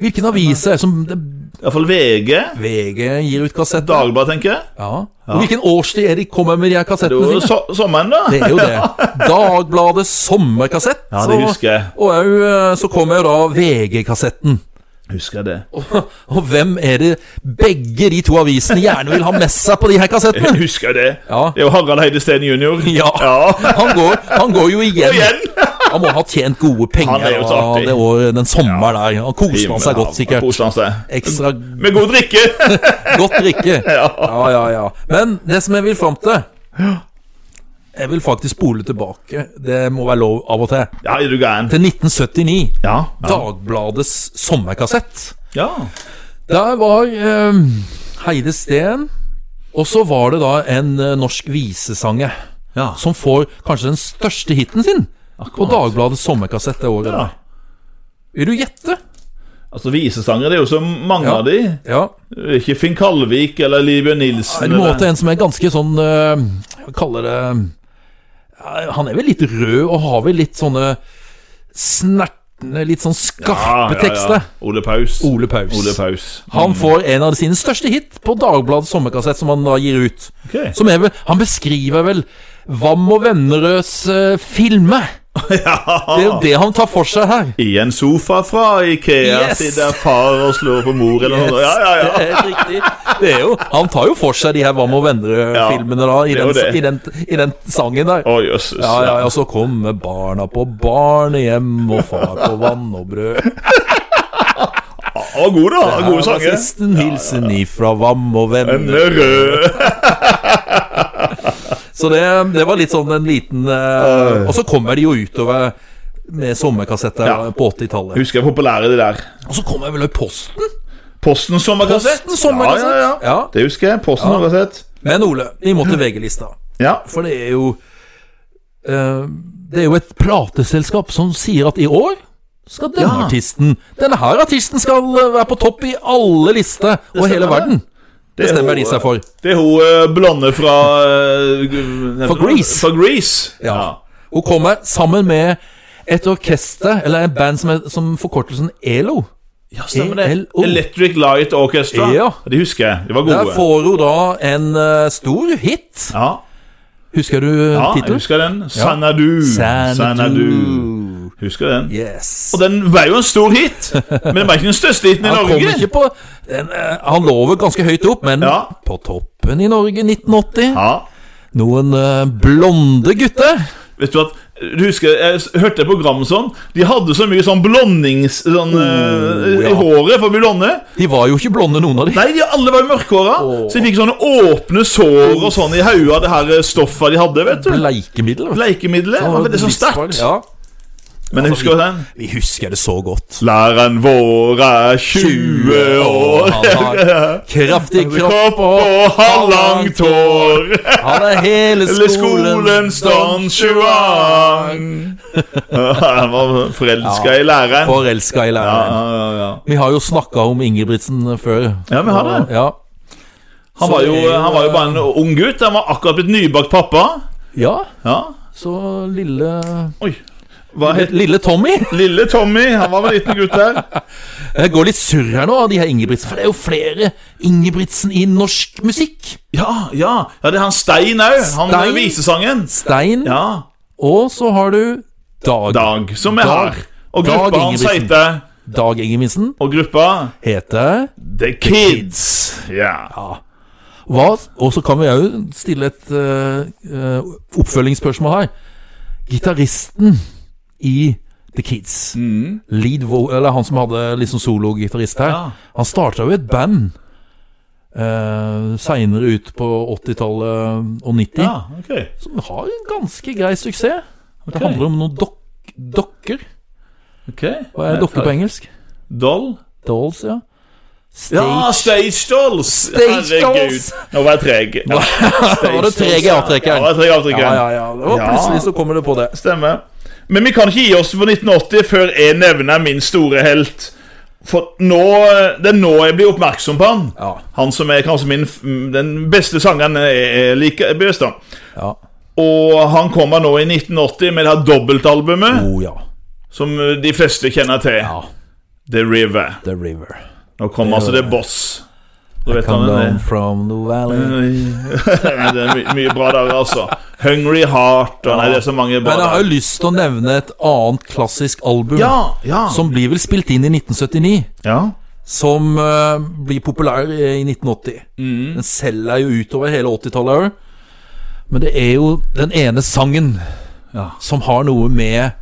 [SPEAKER 1] Hvilken avis er det som det,
[SPEAKER 2] Iallfall VG.
[SPEAKER 1] VG gir ut kassetter?
[SPEAKER 2] Dagbladet, tenker jeg.
[SPEAKER 1] Ja. Og hvilken årstid er de kommer med de her
[SPEAKER 2] Det
[SPEAKER 1] kassettene
[SPEAKER 2] var
[SPEAKER 1] sine?
[SPEAKER 2] so sommeren, da.
[SPEAKER 1] Det er jo det. Dagbladets sommerkassett.
[SPEAKER 2] Ja, det
[SPEAKER 1] og-
[SPEAKER 2] husker jeg.
[SPEAKER 1] Og au, eh, så kommer jo da VG-kassetten.
[SPEAKER 2] Husker jeg det.
[SPEAKER 1] Og, og hvem er det begge de to avisene gjerne vil ha med seg på de her kassettene?
[SPEAKER 2] Husker jeg det.
[SPEAKER 1] Ja.
[SPEAKER 2] Det er jo Harald Heide Steen jr.
[SPEAKER 1] Ja. Han går, han går jo igjen.
[SPEAKER 2] Igjen.
[SPEAKER 1] Han må ha tjent gode penger
[SPEAKER 2] Han er jo så
[SPEAKER 1] av
[SPEAKER 2] artig.
[SPEAKER 1] det år, den sommeren der. Han koste han seg
[SPEAKER 2] Ja,
[SPEAKER 1] godt, sikkert.
[SPEAKER 2] koser han seg.
[SPEAKER 1] Ekstra
[SPEAKER 2] Med god drikke.
[SPEAKER 1] godt drikke. Ja, ja, ja. Men det som jeg vil fram til Jeg vil faktisk spole tilbake, det må være lov av og til,
[SPEAKER 2] Ja, er du gæren?
[SPEAKER 1] til 1979.
[SPEAKER 2] Ja. Ja.
[SPEAKER 1] Dagbladets sommerkassett.
[SPEAKER 2] ja.
[SPEAKER 1] Der var eh, Heide Steen, og så var det da en eh, norsk visesanger
[SPEAKER 2] ja.
[SPEAKER 1] som får kanskje den største hiten sin på
[SPEAKER 2] Akkurat.
[SPEAKER 1] Dagbladets sommerkassett det året.
[SPEAKER 2] Ja.
[SPEAKER 1] der. Vil du gjette?
[SPEAKER 2] Altså, visesanger det er jo så mange
[SPEAKER 1] Ja.
[SPEAKER 2] av de.
[SPEAKER 1] Ja.
[SPEAKER 2] Ikke Finn Kalvik eller Libjørn Nilsen.
[SPEAKER 1] Du må til
[SPEAKER 2] eller...
[SPEAKER 1] en som er ganske sånn eh, Hva kaller det Ja, Han er vel litt rød og har vel litt sånne snertne, litt sånn
[SPEAKER 2] Ja,
[SPEAKER 1] skarpe
[SPEAKER 2] ja, ja.
[SPEAKER 1] tekster.
[SPEAKER 2] Ole Paus.
[SPEAKER 1] Ole Paus.
[SPEAKER 2] Ole Paus.
[SPEAKER 1] Han får en av sine største hit på Dagbladets sommerkassett, som han da gir ut.
[SPEAKER 2] Ok.
[SPEAKER 1] Som er vel, han beskriver vel Vam og Vennerøds eh, filme. Det er jo det han tar for seg her.
[SPEAKER 2] I en sofa fra Ikea
[SPEAKER 1] Yes.
[SPEAKER 2] sitter far og slår på mor eller noe sånt. Ja, ja, ja.
[SPEAKER 1] Det er helt riktig. Det er jo, han tar jo for seg de her Vam og Vennerød-filmene da, i
[SPEAKER 2] det er jo
[SPEAKER 1] den,
[SPEAKER 2] det.
[SPEAKER 1] i, den, i den sangen der.
[SPEAKER 2] Å, jøsses.
[SPEAKER 1] Ja, ja, ja, så kommer barna på barnehjem, og far på vann og brød.
[SPEAKER 2] Å, god, da. Gode
[SPEAKER 1] Her var
[SPEAKER 2] sanger. eh,
[SPEAKER 1] siste hilsen ifra Vam og venner.
[SPEAKER 2] Rød.
[SPEAKER 1] Så det, det var litt sånn en liten eh, Og så kommer de jo utover med sommerkassetter
[SPEAKER 2] Ja.
[SPEAKER 1] på 80-tallet.
[SPEAKER 2] Husker jeg populære de der.
[SPEAKER 1] Og så kommer vel Posten?
[SPEAKER 2] Postens sommerkassett.
[SPEAKER 1] Postens sommerkassett.
[SPEAKER 2] Ja, ja, ja.
[SPEAKER 1] Ja.
[SPEAKER 2] Det husker jeg. Postens sommerkassett.
[SPEAKER 1] Men Ole, vi må til VG-lista.
[SPEAKER 2] Ja.
[SPEAKER 1] For det er jo eh, Det er jo et plateselskap som sier at i år skal denne
[SPEAKER 2] Ja.
[SPEAKER 1] artisten Denne her artisten skal eh, være på topp i alle lister og hele
[SPEAKER 2] stemmer det.
[SPEAKER 1] verden. Det
[SPEAKER 2] er
[SPEAKER 1] stemmer de
[SPEAKER 2] hun,
[SPEAKER 1] seg for.
[SPEAKER 2] Det er hun eh, blonde fra eh, gu-
[SPEAKER 1] For Grease.
[SPEAKER 2] For Grease.
[SPEAKER 1] Ja. Hun kommer sammen med et orkester, eller en band som, er, som forkortelsen E ELO.
[SPEAKER 2] ja stemmer det.
[SPEAKER 1] ELO.
[SPEAKER 2] Electric Light Orchestra.
[SPEAKER 1] E Ja.
[SPEAKER 2] De husker jeg. De var
[SPEAKER 1] Der
[SPEAKER 2] gode.
[SPEAKER 1] får hun da en eh, stor hit.
[SPEAKER 2] Ja,
[SPEAKER 1] Husker du
[SPEAKER 2] ja jeg
[SPEAKER 1] tittelen?
[SPEAKER 2] husker den. Sanadu.
[SPEAKER 1] Sanadu.
[SPEAKER 2] Husker den.
[SPEAKER 1] Yes.
[SPEAKER 2] Og den var jo en stor hit, men den var ikke den største hiten i
[SPEAKER 1] Han kom
[SPEAKER 2] Norge.
[SPEAKER 1] ikke på den, eh, Han lover ganske høyt opp, men
[SPEAKER 2] Ja.
[SPEAKER 1] på toppen i Norge 1980.
[SPEAKER 2] Ja.
[SPEAKER 1] Noen eh, blonde gutter.
[SPEAKER 2] Vet du at du husker, Jeg s- hørte et program sånn. De hadde så mye sånn blondings sånn, eh,
[SPEAKER 1] Oh,
[SPEAKER 2] i
[SPEAKER 1] ja.
[SPEAKER 2] håret for å bli blonde.
[SPEAKER 1] De var jo ikke blonde, noen av de.
[SPEAKER 2] Nei, de alle var jo mørkhåra,
[SPEAKER 1] Åh.
[SPEAKER 2] så de fikk sånne åpne sår og sånn i hodet av det her eh, stoffet de hadde. vet du
[SPEAKER 1] Bleikemiddel. vet du.
[SPEAKER 2] Bleikemiddelet. Det var veldig sånn sterkt.
[SPEAKER 1] Ja. Altså,
[SPEAKER 2] Men jeg husker jo den.
[SPEAKER 1] Vi husker det så godt.
[SPEAKER 2] Læreren vår er 20 år.
[SPEAKER 1] Han har kraftig kropp
[SPEAKER 2] Kropp og halvlangt hår.
[SPEAKER 1] Han er hele
[SPEAKER 2] Eller skolens
[SPEAKER 1] skolens
[SPEAKER 2] Don Juan. Han var forelska i læreren.
[SPEAKER 1] Forelska i
[SPEAKER 2] Ja,
[SPEAKER 1] læreren.
[SPEAKER 2] ja, ja, ja.
[SPEAKER 1] Vi har jo snakka om Ingebrigtsen før.
[SPEAKER 2] Ja, vi har det.
[SPEAKER 1] Ja,
[SPEAKER 2] Han,
[SPEAKER 1] Så
[SPEAKER 2] var jo, eh,
[SPEAKER 1] det er jo-
[SPEAKER 2] han var jo bare en ung gutt. Han var akkurat blitt nybakt pappa.
[SPEAKER 1] ja
[SPEAKER 2] Ja,
[SPEAKER 1] så lille
[SPEAKER 2] oi Hva het
[SPEAKER 1] Lille Tommy.
[SPEAKER 2] Lille Tommy? Han var en liten gutt der.
[SPEAKER 1] Jeg går litt surr her nå av de her Ingebrigtsen, for det er jo flere Ingebrigtsen i norsk musikk.
[SPEAKER 2] Ja, ja. ja det er han Stein òg. Han med
[SPEAKER 1] Stein?
[SPEAKER 2] visesangen.
[SPEAKER 1] Stein,
[SPEAKER 2] Ja.
[SPEAKER 1] og så har du Dag.
[SPEAKER 2] Dag, som vi
[SPEAKER 1] Dag.
[SPEAKER 2] har. Og
[SPEAKER 1] Dag
[SPEAKER 2] gruppa hans
[SPEAKER 1] Ingebrigtsen.
[SPEAKER 2] heter
[SPEAKER 1] Dag Ingebrigtsen
[SPEAKER 2] Og gruppa
[SPEAKER 1] heter
[SPEAKER 2] The Kids. Ja.
[SPEAKER 1] Hva? Og så kan vi òg stille et eh, eh, oppfølgingsspørsmål her. Gitaristen i The Kids, Lead vo eller han som hadde liksom sologitarist her,
[SPEAKER 2] Mm. Ja.
[SPEAKER 1] han starta jo et band uh, seinere ut på 80-tallet og 90,
[SPEAKER 2] ja ok.
[SPEAKER 1] som har en ganske grei suksess.
[SPEAKER 2] Ok.
[SPEAKER 1] Det handler om noen dok dokker.
[SPEAKER 2] ok
[SPEAKER 1] Hva er dokker på engelsk?
[SPEAKER 2] Doll?
[SPEAKER 1] Dolls, ja. Stage.
[SPEAKER 2] Ja, Stage Dolls!
[SPEAKER 1] Stage Dolls.
[SPEAKER 2] Nå var jeg treg. Ja,
[SPEAKER 1] var du treg i avtrekkeren.
[SPEAKER 2] Ja, jeg var treg i
[SPEAKER 1] ja,
[SPEAKER 2] avtrekkeren.
[SPEAKER 1] ja, ja. Det var
[SPEAKER 2] Ja.
[SPEAKER 1] plutselig så kommer det på det.
[SPEAKER 2] Stemmer. Men vi kan ikke gi oss på 1980 før jeg nevner min store helt. For nå, Det er nå jeg blir oppmerksom på han.
[SPEAKER 1] Ja.
[SPEAKER 2] Han som er kanskje min, f- mm, den beste sangeren jeg jeg liker jeg best. da.
[SPEAKER 1] Ja.
[SPEAKER 2] Og han kommer nå i 1980 med det her dobbeltalbumet
[SPEAKER 1] Oh ja.
[SPEAKER 2] som eh, de fleste kjenner til.
[SPEAKER 1] ja.
[SPEAKER 2] The River.
[SPEAKER 1] The River.
[SPEAKER 2] Nå kommer altså The Boss. Du vet
[SPEAKER 1] Come
[SPEAKER 2] han er
[SPEAKER 1] down from the
[SPEAKER 2] Mm.
[SPEAKER 1] valley.
[SPEAKER 2] Nei, det er my mye bra der, altså. Hungry Heart og Nei, det er så mange bra
[SPEAKER 1] Men jeg har
[SPEAKER 2] der.
[SPEAKER 1] jo lyst til å nevne et annet klassisk album
[SPEAKER 2] Ja, ja.
[SPEAKER 1] som blir vel spilt inn i 1979.
[SPEAKER 2] ja.
[SPEAKER 1] Som eh, blir populær i 1980.
[SPEAKER 2] Mm.
[SPEAKER 1] Den selger jo utover hele 80-tallet òg. Men det er jo den ene sangen
[SPEAKER 2] Ja.
[SPEAKER 1] som har noe med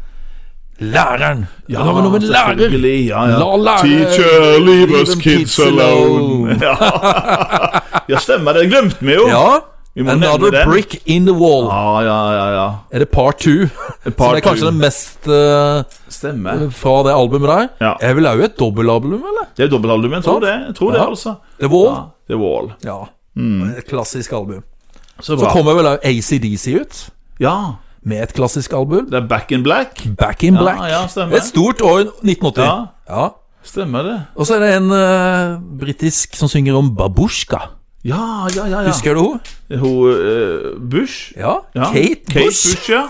[SPEAKER 1] læreren Det har noe med lærer
[SPEAKER 2] selvfølgelig, Ja, ja.
[SPEAKER 1] La lærer-
[SPEAKER 2] Teacher, leave us
[SPEAKER 1] them
[SPEAKER 2] kids
[SPEAKER 1] kids
[SPEAKER 2] alone. Ja. ja, stemmer det. Glemte vi jo.
[SPEAKER 1] Ja.
[SPEAKER 2] Vi må nevne
[SPEAKER 1] Another
[SPEAKER 2] den.
[SPEAKER 1] brick in the wall.
[SPEAKER 2] ja, ja, ja. ja.
[SPEAKER 1] Er det Part Two? Som
[SPEAKER 2] Part
[SPEAKER 1] er kanskje
[SPEAKER 2] Two.
[SPEAKER 1] den mest eh,
[SPEAKER 2] Stemmer.
[SPEAKER 1] fra det albumet der.
[SPEAKER 2] Ja.
[SPEAKER 1] Er vel òg et dobbeltalbum, eller?
[SPEAKER 2] Det er dobbeltalbumet, jeg tror det. Jeg tror det,
[SPEAKER 1] Ja.
[SPEAKER 2] altså.
[SPEAKER 1] The Wall.
[SPEAKER 2] Ja, Mm. The Wall.
[SPEAKER 1] Ja. Et klassisk album.
[SPEAKER 2] Så
[SPEAKER 1] Så
[SPEAKER 2] bra.
[SPEAKER 1] kommer vel òg ACDC ut
[SPEAKER 2] Ja,
[SPEAKER 1] med et klassisk album.
[SPEAKER 2] det er Back in Black.
[SPEAKER 1] Back in Black.
[SPEAKER 2] ja, stemmer.
[SPEAKER 1] et stort år 1980.
[SPEAKER 2] Ja.
[SPEAKER 1] Ja.
[SPEAKER 2] Stemmer det.
[SPEAKER 1] Og så er det en uh, britisk som synger om babusjka.
[SPEAKER 2] Ja, ja, ja. ja.
[SPEAKER 1] Husker du henne?
[SPEAKER 2] Hun eh, Bush.
[SPEAKER 1] Ja.
[SPEAKER 2] Ja.
[SPEAKER 1] Kate, Bush.
[SPEAKER 2] ja.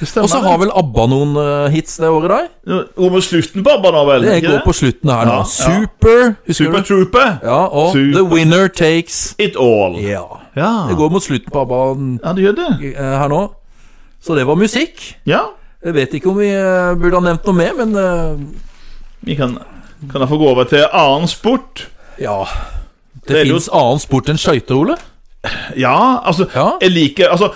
[SPEAKER 2] Det stemmer.
[SPEAKER 1] Og så har vel ABBA noen eh, hits det året der.
[SPEAKER 2] Går vi slutten på ABBA nå, vel?
[SPEAKER 1] Det
[SPEAKER 2] Ikke
[SPEAKER 1] går på slutten her nå.
[SPEAKER 2] Ja, ja.
[SPEAKER 1] Super. Husker
[SPEAKER 2] Super
[SPEAKER 1] du?
[SPEAKER 2] Trooper.
[SPEAKER 1] Ja, og The
[SPEAKER 2] Super.
[SPEAKER 1] Winner Takes
[SPEAKER 2] It All.
[SPEAKER 1] Ja.
[SPEAKER 2] Ja.
[SPEAKER 1] Det går mot slutten på ABBA-en
[SPEAKER 2] ja, det gjør det.
[SPEAKER 1] eh, her nå. Så det var musikk.
[SPEAKER 2] Ja.
[SPEAKER 1] Jeg vet ikke om vi eh, burde ha nevnt noe mer, men eh,
[SPEAKER 2] Vi kan, kan jeg få gå over til annen sport?
[SPEAKER 1] ja. Det,
[SPEAKER 2] Det er jo-
[SPEAKER 1] fins annen sport enn skøyter, Ole.
[SPEAKER 2] Ja, altså
[SPEAKER 1] Ja.
[SPEAKER 2] Jeg liker altså,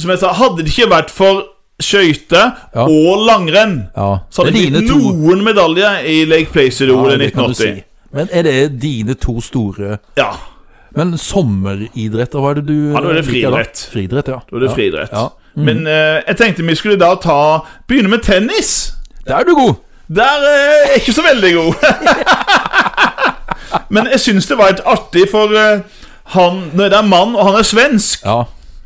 [SPEAKER 2] Som jeg sa, hadde det ikke vært for skøyter
[SPEAKER 1] Ja.
[SPEAKER 2] og langrenn,
[SPEAKER 1] Ja.
[SPEAKER 2] så
[SPEAKER 1] Det
[SPEAKER 2] hadde det
[SPEAKER 1] er
[SPEAKER 2] ikke blitt
[SPEAKER 1] dine to.
[SPEAKER 2] noen medalje i Lake Placer-OL i
[SPEAKER 1] det kan du
[SPEAKER 2] 1980.
[SPEAKER 1] si. Men er det dine to store
[SPEAKER 2] Ja,
[SPEAKER 1] Men sommeridretter, hva er det du
[SPEAKER 2] Ja, da er det
[SPEAKER 1] liker
[SPEAKER 2] friidrett.
[SPEAKER 1] Friidrett, ja.
[SPEAKER 2] da er det
[SPEAKER 1] ja.
[SPEAKER 2] friidrett.
[SPEAKER 1] Ja. Mm.
[SPEAKER 2] Men eh, jeg tenkte vi skulle da ta begynne med tennis.
[SPEAKER 1] Der er du god!
[SPEAKER 2] Der eh, er jeg ikke så veldig god. Men jeg syns det var litt artig, for eh, han det er en mann, og han er svensk.
[SPEAKER 1] Ja.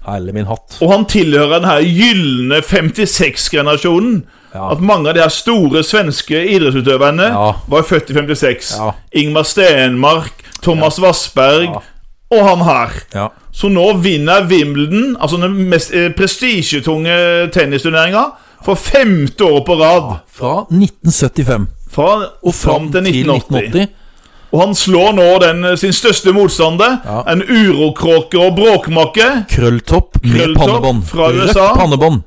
[SPEAKER 1] Herlig min hatt.
[SPEAKER 2] Og han tilhører den her gylne 56-generasjonen.
[SPEAKER 1] Ja.
[SPEAKER 2] At mange av de her store svenske idrettsutøverne
[SPEAKER 1] Ja.
[SPEAKER 2] var født i 56.
[SPEAKER 1] Ja.
[SPEAKER 2] Ingmar Stenmark, Thomas Vassberg
[SPEAKER 1] Ja.
[SPEAKER 2] og han her.
[SPEAKER 1] Ja.
[SPEAKER 2] Så nå vinner Wimbledon, altså den mest eh, prestisjetunge tennisturneringa, for femte år på rad.
[SPEAKER 1] Fra 1975
[SPEAKER 2] Fra,
[SPEAKER 1] og
[SPEAKER 2] fram til 1980.
[SPEAKER 1] 1980.
[SPEAKER 2] Og han slår nå den, eh, sin største motstander,
[SPEAKER 1] Ja.
[SPEAKER 2] en urokråke og bråkmakke.
[SPEAKER 1] Krølltopp med
[SPEAKER 2] Krølltopp
[SPEAKER 1] pannebånd.
[SPEAKER 2] fra USA.
[SPEAKER 1] Rødt pannebånd.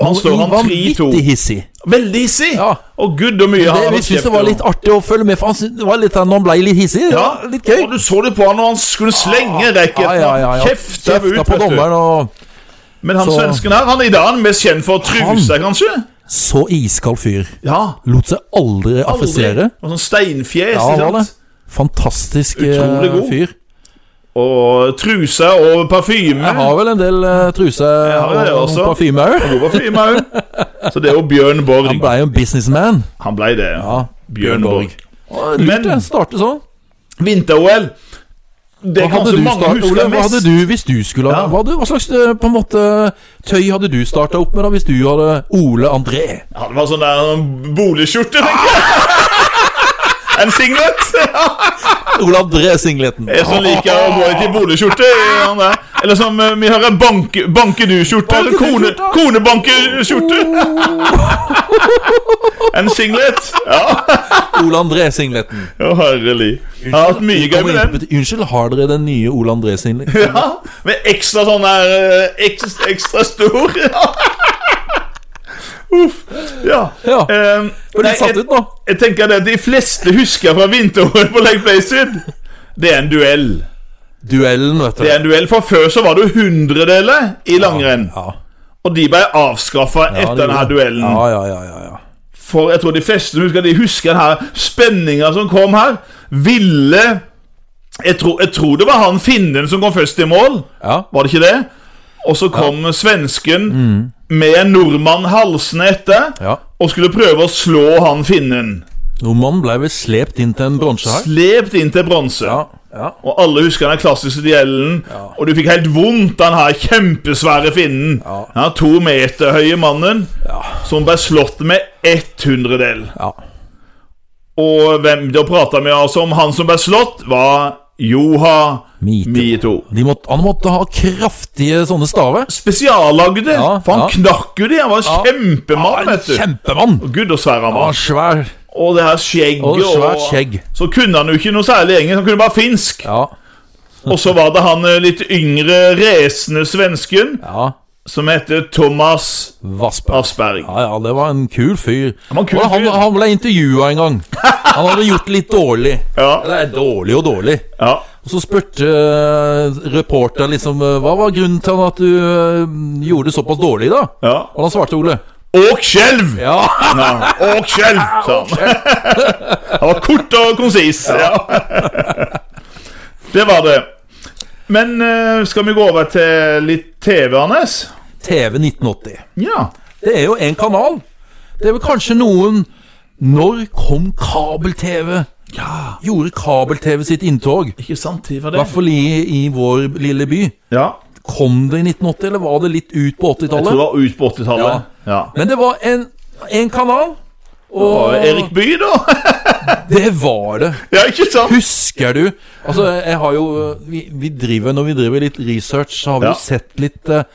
[SPEAKER 2] Og han slår han 3-2.
[SPEAKER 1] Vanvittig hissig.
[SPEAKER 2] Veldig hissig!
[SPEAKER 1] Ja.
[SPEAKER 2] Og gud, hvor mye han
[SPEAKER 1] Det,
[SPEAKER 2] har
[SPEAKER 1] vi
[SPEAKER 2] fått
[SPEAKER 1] syntes
[SPEAKER 2] kjeft
[SPEAKER 1] det var
[SPEAKER 2] over.
[SPEAKER 1] litt artig å følge med, for han syntes- det var litt, når han ble litt hissig. det
[SPEAKER 2] ja,
[SPEAKER 1] var Litt gøy. Ah.
[SPEAKER 2] Og du så det på han når han skulle slenge racketen.
[SPEAKER 1] Ja, ja, ja, ja.
[SPEAKER 2] Kjefta ut,
[SPEAKER 1] på
[SPEAKER 2] vet du.
[SPEAKER 1] dommeren og
[SPEAKER 2] Men han
[SPEAKER 1] Så-
[SPEAKER 2] svensken her, han er i dag han er mest kjent for trusa, kanskje?
[SPEAKER 1] Så iskald fyr.
[SPEAKER 2] Ja.
[SPEAKER 1] Lot seg aldri affisere.
[SPEAKER 2] Og sånn steinfjes.
[SPEAKER 1] Ja, han
[SPEAKER 2] ikke
[SPEAKER 1] var det.
[SPEAKER 2] sant?
[SPEAKER 1] Fantastisk eh,
[SPEAKER 2] Utrolig god.
[SPEAKER 1] fyr.
[SPEAKER 2] Og truse og parfyme.
[SPEAKER 1] Jeg har vel en del eh, truse
[SPEAKER 2] har det
[SPEAKER 1] og
[SPEAKER 2] også.
[SPEAKER 1] parfyme òg.
[SPEAKER 2] God parfyme òg. Så det er jo Bjørn Borg.
[SPEAKER 1] Han blei jo en businessman.
[SPEAKER 2] Han blei det.
[SPEAKER 1] Ja,
[SPEAKER 2] Bjørn Borg.
[SPEAKER 1] Og Lurt
[SPEAKER 2] Men-
[SPEAKER 1] det. Starte sånn.
[SPEAKER 2] Vinter-OL. Det
[SPEAKER 1] Hva
[SPEAKER 2] er
[SPEAKER 1] hadde,
[SPEAKER 2] kanskje
[SPEAKER 1] du
[SPEAKER 2] mange
[SPEAKER 1] start, Ole,
[SPEAKER 2] husker
[SPEAKER 1] hva hadde
[SPEAKER 2] mest.
[SPEAKER 1] du hvis du skulle ha
[SPEAKER 2] Ja.
[SPEAKER 1] hva, hadde- hva slags eh, på en måte, tøy hadde du starta opp med da hvis du hadde Ole André?
[SPEAKER 2] Ja, det var sånn der sånn boligskjorte, tenker jeg. En singlet. Ah!
[SPEAKER 1] Ole André-singleten. Ah!
[SPEAKER 2] Jeg som liker å gå ut i boligskjorte. han der. Eller som eh, vi hører, banke, banke du-skjorte. Eller kone, konebanke-skjorte. en singlet. Ja,
[SPEAKER 1] Ole André Singleten.
[SPEAKER 2] Å, herlig. Jeg har hatt mye gøy med den.
[SPEAKER 1] Unnskyld, har dere den nye Ole André Singleten?
[SPEAKER 2] Ja, Med ekstra sånn der eh, ekstra, ekstra stor. Ja. Uff. Ja.
[SPEAKER 1] Ja.
[SPEAKER 2] Ehm,
[SPEAKER 1] Var
[SPEAKER 2] nei,
[SPEAKER 1] litt satt
[SPEAKER 2] jeg-
[SPEAKER 1] ut nå?
[SPEAKER 2] Jeg tenker det at De fleste husker fra vinteråret på Lake Placid. Det er en duell.
[SPEAKER 1] Duellen, vet
[SPEAKER 2] Det er
[SPEAKER 1] du.
[SPEAKER 2] en duell, For før så var det jo hundredeler i langrenn.
[SPEAKER 1] Ja.
[SPEAKER 2] Og de ble avskaffa
[SPEAKER 1] Ja,
[SPEAKER 2] etter
[SPEAKER 1] det
[SPEAKER 2] denne
[SPEAKER 1] gjorde det.
[SPEAKER 2] duellen.
[SPEAKER 1] Ja, ja, ja, ja, ja.
[SPEAKER 2] For jeg tror de fleste som husker, de husker den her spenninga som kom her. Ville jeg, tror- jeg tror det var han finnen som kom først i mål.
[SPEAKER 1] ja.
[SPEAKER 2] Var det ikke det? Og så kom svensken med en nordmann halsende etter
[SPEAKER 1] Mm. Ja.
[SPEAKER 2] og skulle prøve å slå han finnen.
[SPEAKER 1] Nordmannen ble vel slept inn til en bronse her?
[SPEAKER 2] Slept inn til bronse.
[SPEAKER 1] Ja, ja.
[SPEAKER 2] Og alle husker den klassiske duellen. Og du fikk helt vondt av den her kjempesvære finnen.
[SPEAKER 1] Ja.
[SPEAKER 2] Den her to meter høye mannen som ble slått med ett hundredel.
[SPEAKER 1] ja.
[SPEAKER 2] Og hvem de prata med altså om han som ble slått, var Joha
[SPEAKER 1] Mito.
[SPEAKER 2] Mito.
[SPEAKER 1] De måtte, han måtte ha kraftige sånne staver.
[SPEAKER 2] Spesiallagde,
[SPEAKER 1] Ja,
[SPEAKER 2] for han
[SPEAKER 1] ja.
[SPEAKER 2] knakk jo de. Han var
[SPEAKER 1] Ja.
[SPEAKER 2] kjempemann,
[SPEAKER 1] En
[SPEAKER 2] vet du.
[SPEAKER 1] kjempemann!
[SPEAKER 2] Gud og svære han
[SPEAKER 1] Han
[SPEAKER 2] var.
[SPEAKER 1] var svær.
[SPEAKER 2] Og det her skjegget
[SPEAKER 1] Og svært skjegg.
[SPEAKER 2] Så kunne han jo ikke noe særlig engelsk, han kunne bare finsk.
[SPEAKER 1] Ja.
[SPEAKER 2] Og så var det han eh, litt yngre, resende svensken
[SPEAKER 1] ja.
[SPEAKER 2] som heter Thomas
[SPEAKER 1] Vassberg.
[SPEAKER 2] Asperg.
[SPEAKER 1] Ja, ja, det var en kul fyr.
[SPEAKER 2] var en kul
[SPEAKER 1] Og han,
[SPEAKER 2] fyr.
[SPEAKER 1] han ble intervjua en gang. Han hadde gjort litt dårlig.
[SPEAKER 2] Ja,
[SPEAKER 1] Eller dårlig og dårlig.
[SPEAKER 2] ja.
[SPEAKER 1] Og så spurte uh, reporteren liksom eh, Hva var grunnen til at du eh, gjorde det såpass dårlig, da?
[SPEAKER 2] ja.
[SPEAKER 1] Og da svarte Ole
[SPEAKER 2] Og skjelv!
[SPEAKER 1] Ja!
[SPEAKER 2] Ja, Og skjelv, sa han. Han var kort og konsis. Ja. Det var det. Men eh, skal vi gå over til litt TV, Anders?
[SPEAKER 1] TV 1980.
[SPEAKER 2] Ja.
[SPEAKER 1] Det er jo en kanal. Det er vel kanskje noen Når kom kabel-TV? Gjorde kabel-TV sitt inntog? I
[SPEAKER 2] Ikke sant, det var
[SPEAKER 1] hvert fall i, i vår lille by.
[SPEAKER 2] Ja.
[SPEAKER 1] Kom det i 1980, eller var det litt ut på
[SPEAKER 2] Jeg tror
[SPEAKER 1] 80-tallet?
[SPEAKER 2] det var ut på 80-tallet. Ja.
[SPEAKER 1] Men det var en, en kanal,
[SPEAKER 2] Og
[SPEAKER 1] og
[SPEAKER 2] Erik Bye, da?
[SPEAKER 1] det var det.
[SPEAKER 2] Ja, ikke sant?
[SPEAKER 1] Husker du Altså, jeg har jo Vi, vi driver, når vi driver litt research, så har vi
[SPEAKER 2] Ja.
[SPEAKER 1] jo sett litt eh,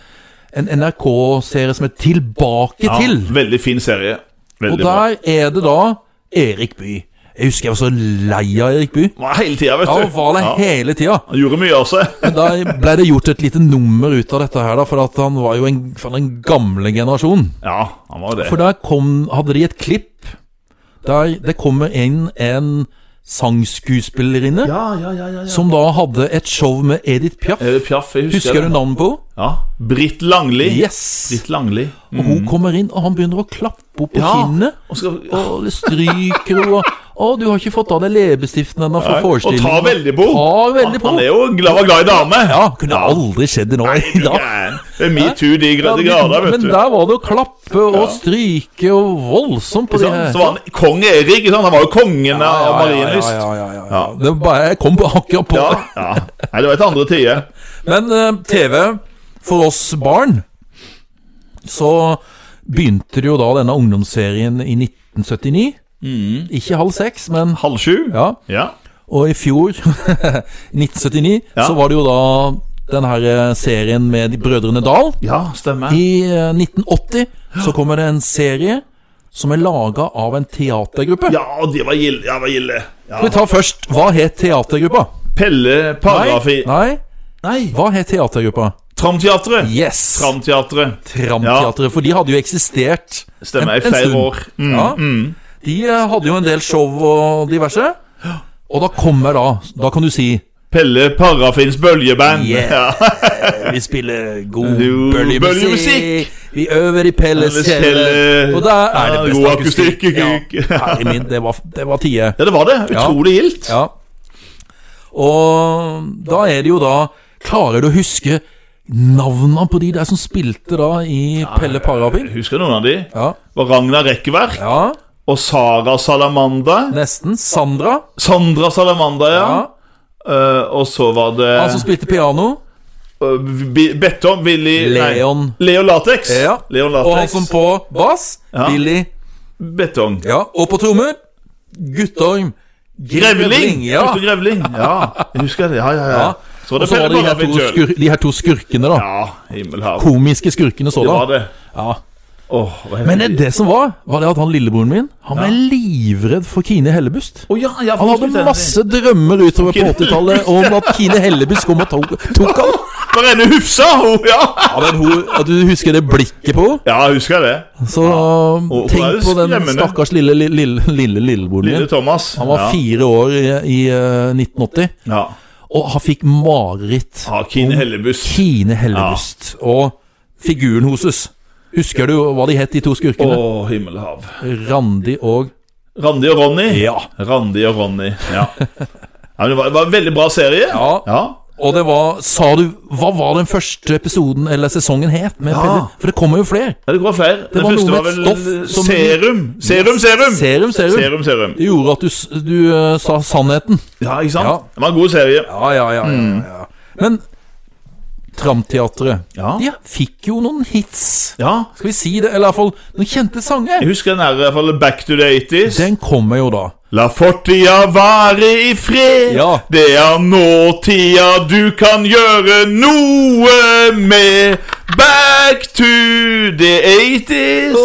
[SPEAKER 1] en NRK-serie som er Tilbake
[SPEAKER 2] Ja,
[SPEAKER 1] til.
[SPEAKER 2] veldig fin serie.
[SPEAKER 1] Og
[SPEAKER 2] Veldig bra.
[SPEAKER 1] der er det da Erik By. Jeg husker jeg var så lei av Erik By.
[SPEAKER 2] Var Hele tida, vet
[SPEAKER 1] Ja,
[SPEAKER 2] du.
[SPEAKER 1] han var der
[SPEAKER 2] Ja,
[SPEAKER 1] hele tida.
[SPEAKER 2] han gjorde mye av seg.
[SPEAKER 1] Men da ble det gjort et lite nummer ut av dette her, da, for at han var jo en, fra den gamle generasjonen.
[SPEAKER 2] Ja, han var det.
[SPEAKER 1] For der kom, hadde de et klipp der det kommer inn en sangskuespillerinne
[SPEAKER 2] Ja, ja, ja, ja, ja.
[SPEAKER 1] som da hadde et show med Edith Piaf.
[SPEAKER 2] Eh, Piaf, jeg husker,
[SPEAKER 1] Husker du
[SPEAKER 2] det.
[SPEAKER 1] navnet på henne?
[SPEAKER 2] Ja. Britt Langli.
[SPEAKER 1] Yes!
[SPEAKER 2] Britt Langli.
[SPEAKER 1] Og
[SPEAKER 2] Mm.
[SPEAKER 1] hun kommer inn, og han begynner å klappe opp på kinnet.
[SPEAKER 2] Og skal,
[SPEAKER 1] Og det stryker henne. og- Å, du har ikke fått av deg leppestiften ennå fra
[SPEAKER 2] Nei, og
[SPEAKER 1] forestillingen.
[SPEAKER 2] tar veldig på.
[SPEAKER 1] Tar veldig på.
[SPEAKER 2] Han er jo glad, var glad i dame.
[SPEAKER 1] Ja, kunne aldri skjedd i nå i dag.
[SPEAKER 2] Gæren. Det er metoo de
[SPEAKER 1] Ja,
[SPEAKER 2] grønne grader,
[SPEAKER 1] men,
[SPEAKER 2] vet
[SPEAKER 1] men
[SPEAKER 2] du.
[SPEAKER 1] der var det å klappe og stryke og voldsomt på det
[SPEAKER 2] Ikke sant?
[SPEAKER 1] her.
[SPEAKER 2] Så var han kong Erik. ikke sant? Han var jo kongen av Marienlyst.
[SPEAKER 1] Ja, ja, ja, ja, ja. Det var bare, jeg kom på akkurat på
[SPEAKER 2] Ja,
[SPEAKER 1] det.
[SPEAKER 2] ja. Nei, det var et andre tider.
[SPEAKER 1] Men eh, TV, for oss barn, så begynte det jo da denne ungdomsserien i 1979.
[SPEAKER 2] Mm.
[SPEAKER 1] Ikke halv seks, men
[SPEAKER 2] Halv sju.
[SPEAKER 1] ja.
[SPEAKER 2] Ja.
[SPEAKER 1] Og i fjor, 1979,
[SPEAKER 2] Ja.
[SPEAKER 1] så var det jo da den her eh, serien med de brødrene Dal.
[SPEAKER 2] ja, stemmer.
[SPEAKER 1] I eh, 1980 så kommer det en serie som er laga av en teatergruppe.
[SPEAKER 2] Ja, og de var gilde. Ja, var gilde. Ja.
[SPEAKER 1] Vi tar først Hva het teatergruppa?
[SPEAKER 2] Pelle Paragrafi.
[SPEAKER 1] Nei,
[SPEAKER 2] Nei.
[SPEAKER 1] hva het teatergruppa?
[SPEAKER 2] Tramteatret.
[SPEAKER 1] Yes!
[SPEAKER 2] Tramteatret.
[SPEAKER 1] Tramteatret. For de hadde jo eksistert
[SPEAKER 2] Stemmer. I flere år. Mm.
[SPEAKER 1] Ja. De eh, hadde jo en del show og diverse. Og da kommer da Da kan du si
[SPEAKER 2] Pelle Parafins bølgeband.
[SPEAKER 1] Yeah.
[SPEAKER 2] Ja.
[SPEAKER 1] Vi spiller god
[SPEAKER 2] Jo,
[SPEAKER 1] bølgemusikk.
[SPEAKER 2] bølgemusikk.
[SPEAKER 1] Vi øver i Pelles
[SPEAKER 2] Pelles
[SPEAKER 1] kjeller.
[SPEAKER 2] kjeller.
[SPEAKER 1] Og der er det
[SPEAKER 2] Ja,
[SPEAKER 1] best
[SPEAKER 2] god akustikk.
[SPEAKER 1] Ja, herre min, det var, det var tide.
[SPEAKER 2] Ja, det var det. Utrolig gildt.
[SPEAKER 1] Ja. Og da er det jo da Klarer du å huske navnene på de der som spilte da i Pelle Parapin?
[SPEAKER 2] Husker noen av de?
[SPEAKER 1] Ja.
[SPEAKER 2] Var Ragnar Rekkverk
[SPEAKER 1] ja.
[SPEAKER 2] og Sara Salamander.
[SPEAKER 1] Nesten. Sandra.
[SPEAKER 2] Sandra Salamander, ja.
[SPEAKER 1] Ja.
[SPEAKER 2] Eh, og så var det
[SPEAKER 1] Han som spilte piano.
[SPEAKER 2] eh, Bi- Bettom, Willy nei,
[SPEAKER 1] Leon.
[SPEAKER 2] Leo Latex.
[SPEAKER 1] Ja.
[SPEAKER 2] Leon
[SPEAKER 1] Og han
[SPEAKER 2] Latex.
[SPEAKER 1] som på bass.
[SPEAKER 2] Ja.
[SPEAKER 1] Billy.
[SPEAKER 2] Betong.
[SPEAKER 1] Ja. Og på trommer. Guttorm.
[SPEAKER 2] Grevling!
[SPEAKER 1] Ja.
[SPEAKER 2] Gutter Grevling. Ja, jeg husker det. Ja, ja, ja.
[SPEAKER 1] Ja.
[SPEAKER 2] Så
[SPEAKER 1] Og så var det de her, to
[SPEAKER 2] skurkene.
[SPEAKER 1] skur, de her to skurkene, da.
[SPEAKER 2] Ja, himmelhav.
[SPEAKER 1] Komiske skurkene
[SPEAKER 2] Det var
[SPEAKER 1] sådan.
[SPEAKER 2] det.
[SPEAKER 1] Ja.
[SPEAKER 2] Åh, hva heter
[SPEAKER 1] Men
[SPEAKER 2] de?
[SPEAKER 1] det, det som var, var det at han lillebroren min Han ble livredd for Kine Hellebust.
[SPEAKER 2] Å, ja, ja,
[SPEAKER 1] Han
[SPEAKER 2] forresten,
[SPEAKER 1] hadde masse drømmer utover på
[SPEAKER 2] Kine
[SPEAKER 1] 80-tallet om at Kine Hellebust kom og tok, tok han.
[SPEAKER 2] Bare henne hufsa, hun, ja!
[SPEAKER 1] Ja, men hun, at du husker det blikket på henne?
[SPEAKER 2] Ja, jeg husker det.
[SPEAKER 1] Så
[SPEAKER 2] hun er
[SPEAKER 1] tenk på den
[SPEAKER 2] skremmende.
[SPEAKER 1] stakkars lille, lille, lille, lille lillebroren
[SPEAKER 2] Lille
[SPEAKER 1] min.
[SPEAKER 2] Thomas.
[SPEAKER 1] Han var
[SPEAKER 2] ja.
[SPEAKER 1] fire år i, i eh, 1980,
[SPEAKER 2] Ja.
[SPEAKER 1] og han fikk mareritt.
[SPEAKER 2] ja Kine Hellebust.
[SPEAKER 1] Kine Hellebust og figuren hennes. Husker du hva de het, de to
[SPEAKER 2] Å,
[SPEAKER 1] skurkene?
[SPEAKER 2] himmelhav.
[SPEAKER 1] Randi og
[SPEAKER 2] Randi og Ronny.
[SPEAKER 1] Ja.
[SPEAKER 2] Randi og Ronny, ja. ja men det, var, det var en veldig bra serie.
[SPEAKER 1] Ja.
[SPEAKER 2] ja.
[SPEAKER 1] Og det var Sa du Hva var den første episoden eller sesongen het? Med
[SPEAKER 2] Ja.
[SPEAKER 1] Pelle? For det kommer jo flere.
[SPEAKER 2] Ja, det var flere. Det,
[SPEAKER 1] var
[SPEAKER 2] første
[SPEAKER 1] noe
[SPEAKER 2] var
[SPEAKER 1] med
[SPEAKER 2] vel
[SPEAKER 1] et stoff som-
[SPEAKER 2] serum. Serum, serum!
[SPEAKER 1] Serum, serum.
[SPEAKER 2] Serum, serum.
[SPEAKER 1] Det gjorde at du, s- du eh, sa sannheten.
[SPEAKER 2] Ja, ikke sant?
[SPEAKER 1] Ja.
[SPEAKER 2] Det var en god serie.
[SPEAKER 1] Ja, ja, ja. ja, ja. Men Tramteatret
[SPEAKER 2] Ja.
[SPEAKER 1] De fikk jo noen hits.
[SPEAKER 2] ja.
[SPEAKER 1] Skal vi si det? Eller i hvert fall noen kjente sanger.
[SPEAKER 2] Jeg husker den her, i hvert fall Back to the 80s.
[SPEAKER 1] Den kommer jo da.
[SPEAKER 2] La fortida vare i fred.
[SPEAKER 1] Ja.
[SPEAKER 2] Det er nåtida du kan gjøre noe med. Back to the 80s.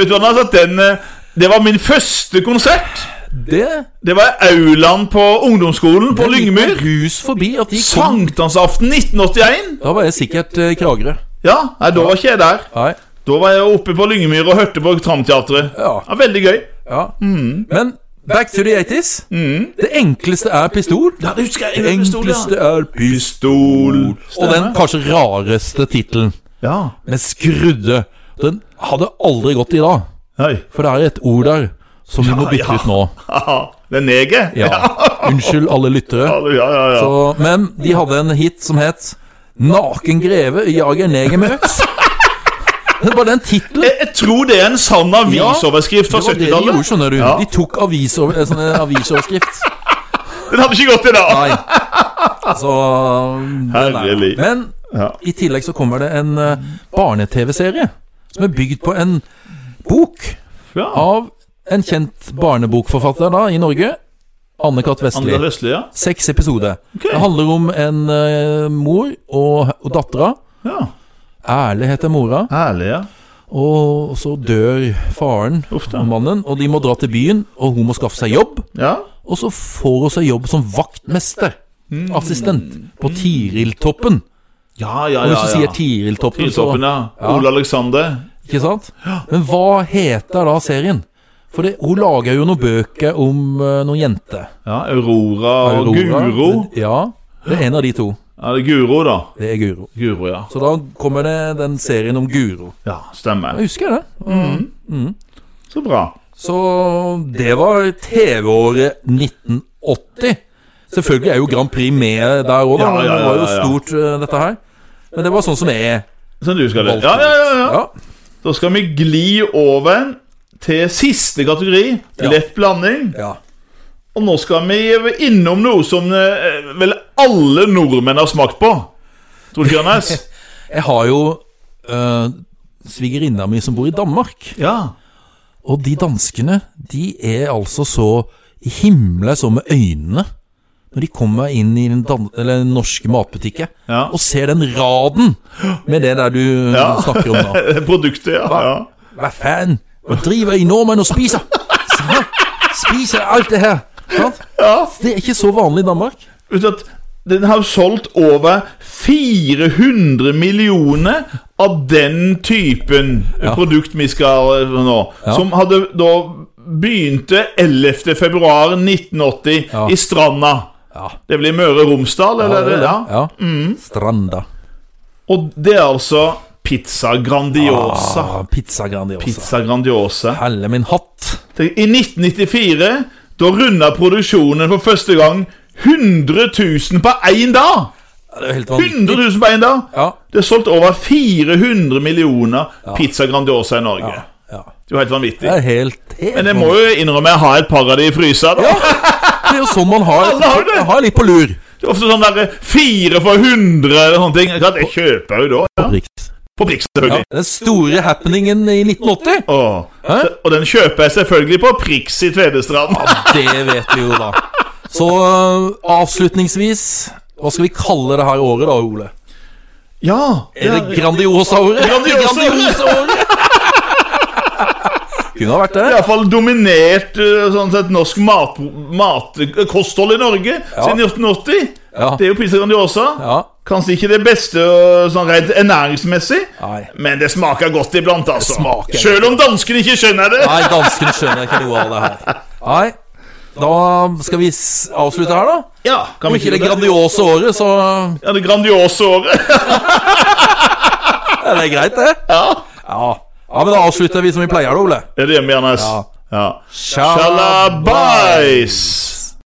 [SPEAKER 2] Vet du hva, altså, den, eh, det var min første konsert.
[SPEAKER 1] Det
[SPEAKER 2] Det var i aulaen på ungdomsskolen på
[SPEAKER 1] det gikk meg
[SPEAKER 2] Lyngmyr.
[SPEAKER 1] Hus forbi at de kom.
[SPEAKER 2] Sankthansaften 1981.
[SPEAKER 1] Da var jeg sikkert eh, i Kragerø.
[SPEAKER 2] Ja, nei, da var ikke jeg der.
[SPEAKER 1] Nei.
[SPEAKER 2] Da var jeg oppe på Lyngemyr og hørte på Tramteatret.
[SPEAKER 1] Ja.
[SPEAKER 2] Ja, veldig gøy.
[SPEAKER 1] Ja.
[SPEAKER 2] Mm.
[SPEAKER 1] Men back to the 80s. Det enkleste er pistol.
[SPEAKER 2] Ja, Mm. det husker jeg.
[SPEAKER 1] Det enkleste er pistol.
[SPEAKER 2] Pistol
[SPEAKER 1] Og den kanskje rareste tittelen,
[SPEAKER 2] Ja.
[SPEAKER 1] med skrudde, den hadde aldri gått i dag.
[SPEAKER 2] Hei.
[SPEAKER 1] For det er et ord der som vi må bytte
[SPEAKER 2] ja.
[SPEAKER 1] ut nå.
[SPEAKER 2] Haha, Den neger?
[SPEAKER 1] Ja. Unnskyld alle lyttere.
[SPEAKER 2] Ja, ja, ja. ja.
[SPEAKER 1] Så, men de hadde en hit som het 'Naken greve jager neger med øks'. Det var den tittelen.
[SPEAKER 2] Jeg, jeg tror det er en sann avisoverskrift fra
[SPEAKER 1] Det var det de gjorde,
[SPEAKER 2] 70-tallet.
[SPEAKER 1] skjønner du.
[SPEAKER 2] Ja.
[SPEAKER 1] De tok avisover, eh, sånne avisoverskrift.
[SPEAKER 2] Den hadde ikke gått i dag.
[SPEAKER 1] Nei. Så den er-
[SPEAKER 2] Herlig.
[SPEAKER 1] Men
[SPEAKER 2] Ja.
[SPEAKER 1] i tillegg så kommer det en eh, barne-TV-serie som er bygd på en bok
[SPEAKER 2] Ja.
[SPEAKER 1] av en kjent barnebokforfatter da i Norge. Anne-Kat. Vestli.
[SPEAKER 2] Andre Vestli, ja.
[SPEAKER 1] Seks episoder. Det handler om en eh, mor og, og dattera.
[SPEAKER 2] ja.
[SPEAKER 1] Erle heter mora.
[SPEAKER 2] Herlig, ja.
[SPEAKER 1] Og så dør faren
[SPEAKER 2] Uff da.
[SPEAKER 1] og mannen, og de må dra til byen, og hun må skaffe seg jobb.
[SPEAKER 2] ja.
[SPEAKER 1] Og så får hun seg jobb som vaktmester.
[SPEAKER 2] Mm.
[SPEAKER 1] Assistent på Tiriltoppen.
[SPEAKER 2] Ja, ja,
[SPEAKER 1] Og
[SPEAKER 2] ja.
[SPEAKER 1] hvis du
[SPEAKER 2] ja.
[SPEAKER 1] sier Tiriltoppen, så
[SPEAKER 2] Tiltoppen, ja. Ole Alexander.
[SPEAKER 1] Ikke sant? Men hva heter da serien? For det, hun lager jo noen bøker om eh, noen jenter.
[SPEAKER 2] Ja, Aurora og
[SPEAKER 1] Aurora.
[SPEAKER 2] Guro.
[SPEAKER 1] Ja. Det er en av de to.
[SPEAKER 2] Ja, det er Guro, da.
[SPEAKER 1] Det er Guro.
[SPEAKER 2] Guro, ja.
[SPEAKER 1] Så da kommer det den serien om Guro.
[SPEAKER 2] Ja, stemmer.
[SPEAKER 1] Jeg husker det.
[SPEAKER 2] Så bra.
[SPEAKER 1] Så det var TV-året 1980. Selvfølgelig er jo Grand Prix med der òg, da.
[SPEAKER 2] Ja, ja, ja,
[SPEAKER 1] Det var jo
[SPEAKER 2] ja, ja.
[SPEAKER 1] stort, eh, dette her. Men det var sånn som jeg
[SPEAKER 2] Sånn du skal det.
[SPEAKER 1] valgte
[SPEAKER 2] Ja, ja, ja, ja.
[SPEAKER 1] ut.
[SPEAKER 2] Da skal vi gli over til siste kategori,
[SPEAKER 1] Ja.
[SPEAKER 2] lett blanding.
[SPEAKER 1] ja.
[SPEAKER 2] Og nå skal vi innom noe som eh, vel alle nordmenn har smakt på. Tror du ikke, Anders?
[SPEAKER 1] Jeg har jo eh, svigerinna mi som bor i Danmark.
[SPEAKER 2] Ja.
[SPEAKER 1] Og de danskene, de er altså så himla så med øynene når de kommer inn i den, dan eller den norske matbutikken
[SPEAKER 2] Ja.
[SPEAKER 1] og ser den raden med det der du
[SPEAKER 2] Ja.
[SPEAKER 1] snakker om nå.
[SPEAKER 2] Produktet, ja. ja.
[SPEAKER 1] Hva faen? Hva driver I nordmenn og spiser? Så, spiser alt det her. Sant? Det er ikke så vanlig i Danmark.
[SPEAKER 2] Vet du at den har solgt over 400 millioner av den typen produkt vi skal eh, nå. Som hadde da begynte 11. februar 1980
[SPEAKER 1] Ja.
[SPEAKER 2] i Stranda.
[SPEAKER 1] Ja.
[SPEAKER 2] Det blir Møre og Romsdal, eller? det, ja.
[SPEAKER 1] Ja. Stranda.
[SPEAKER 2] Og det er altså pizza grandiosa.
[SPEAKER 1] Ah, pizza Grandiosa.
[SPEAKER 2] Pizza grandiosa.
[SPEAKER 1] Helle min hatt.
[SPEAKER 2] Tenk, I 1994 da runda produksjonen for første gang 100 000 på én dag!
[SPEAKER 1] Ja, Det er jo helt
[SPEAKER 2] 100
[SPEAKER 1] vanvittig.
[SPEAKER 2] 000 på én dag!
[SPEAKER 1] Ja.
[SPEAKER 2] Det er solgt over 400 millioner pizza grandiosa i Norge.
[SPEAKER 1] ja.
[SPEAKER 2] Det er jo helt vanvittig.
[SPEAKER 1] Det er helt, helt
[SPEAKER 2] Men jeg må jo innrømme jeg har et par av de i fryseren. da.
[SPEAKER 1] Det er jo sånn man har,
[SPEAKER 2] Alle har det.
[SPEAKER 1] har litt på lur.
[SPEAKER 2] Det er ofte sånn derre fire for 100 eller sånne ting. Klart, Jeg kjøper jo da. Ja. På Prix,
[SPEAKER 1] Ja,
[SPEAKER 2] selvfølgelig.
[SPEAKER 1] den store happeningen i 1980.
[SPEAKER 2] Åh.
[SPEAKER 1] Hæ?
[SPEAKER 2] Og den kjøper jeg selvfølgelig på Prix i Tvedestrand.
[SPEAKER 1] Det vet vi jo, da. Så eh, avslutningsvis, hva skal vi kalle det her året da, Ole?
[SPEAKER 2] Ja!
[SPEAKER 1] Er det Grandiosa-året?
[SPEAKER 2] Grandiosa-året!
[SPEAKER 1] Kunne ha vært det.
[SPEAKER 2] Iallfall dominert eh, sånn sett norsk mat, mat, eh, kosthold i Norge siden 1980.
[SPEAKER 1] Ja.
[SPEAKER 2] Det er jo Pizza Grandiosa.
[SPEAKER 1] Ja.
[SPEAKER 2] Kanskje ikke det beste eh, sånn rent ernæringsmessig,
[SPEAKER 1] Nei.
[SPEAKER 2] men det smaker godt iblant, altså.
[SPEAKER 1] smaker godt.
[SPEAKER 2] Selv om danskene ikke skjønner det.
[SPEAKER 1] Nei, danskene skjønner ikke noe av det her. Nei, da skal vi s- avslutte her, da.
[SPEAKER 2] Ja, kan
[SPEAKER 1] Om
[SPEAKER 2] vi
[SPEAKER 1] ikke det
[SPEAKER 2] ikke gjøre det?
[SPEAKER 1] grandiose året, så
[SPEAKER 2] Ja, det grandiose året.
[SPEAKER 1] er det greit, det.
[SPEAKER 2] Ja.
[SPEAKER 1] Ja. ja, men da avslutter vi som vi pleier, da, Ole.
[SPEAKER 2] Ja, det gjør vi gjerne. ass.
[SPEAKER 1] Ja.
[SPEAKER 2] Ja. Shalabais!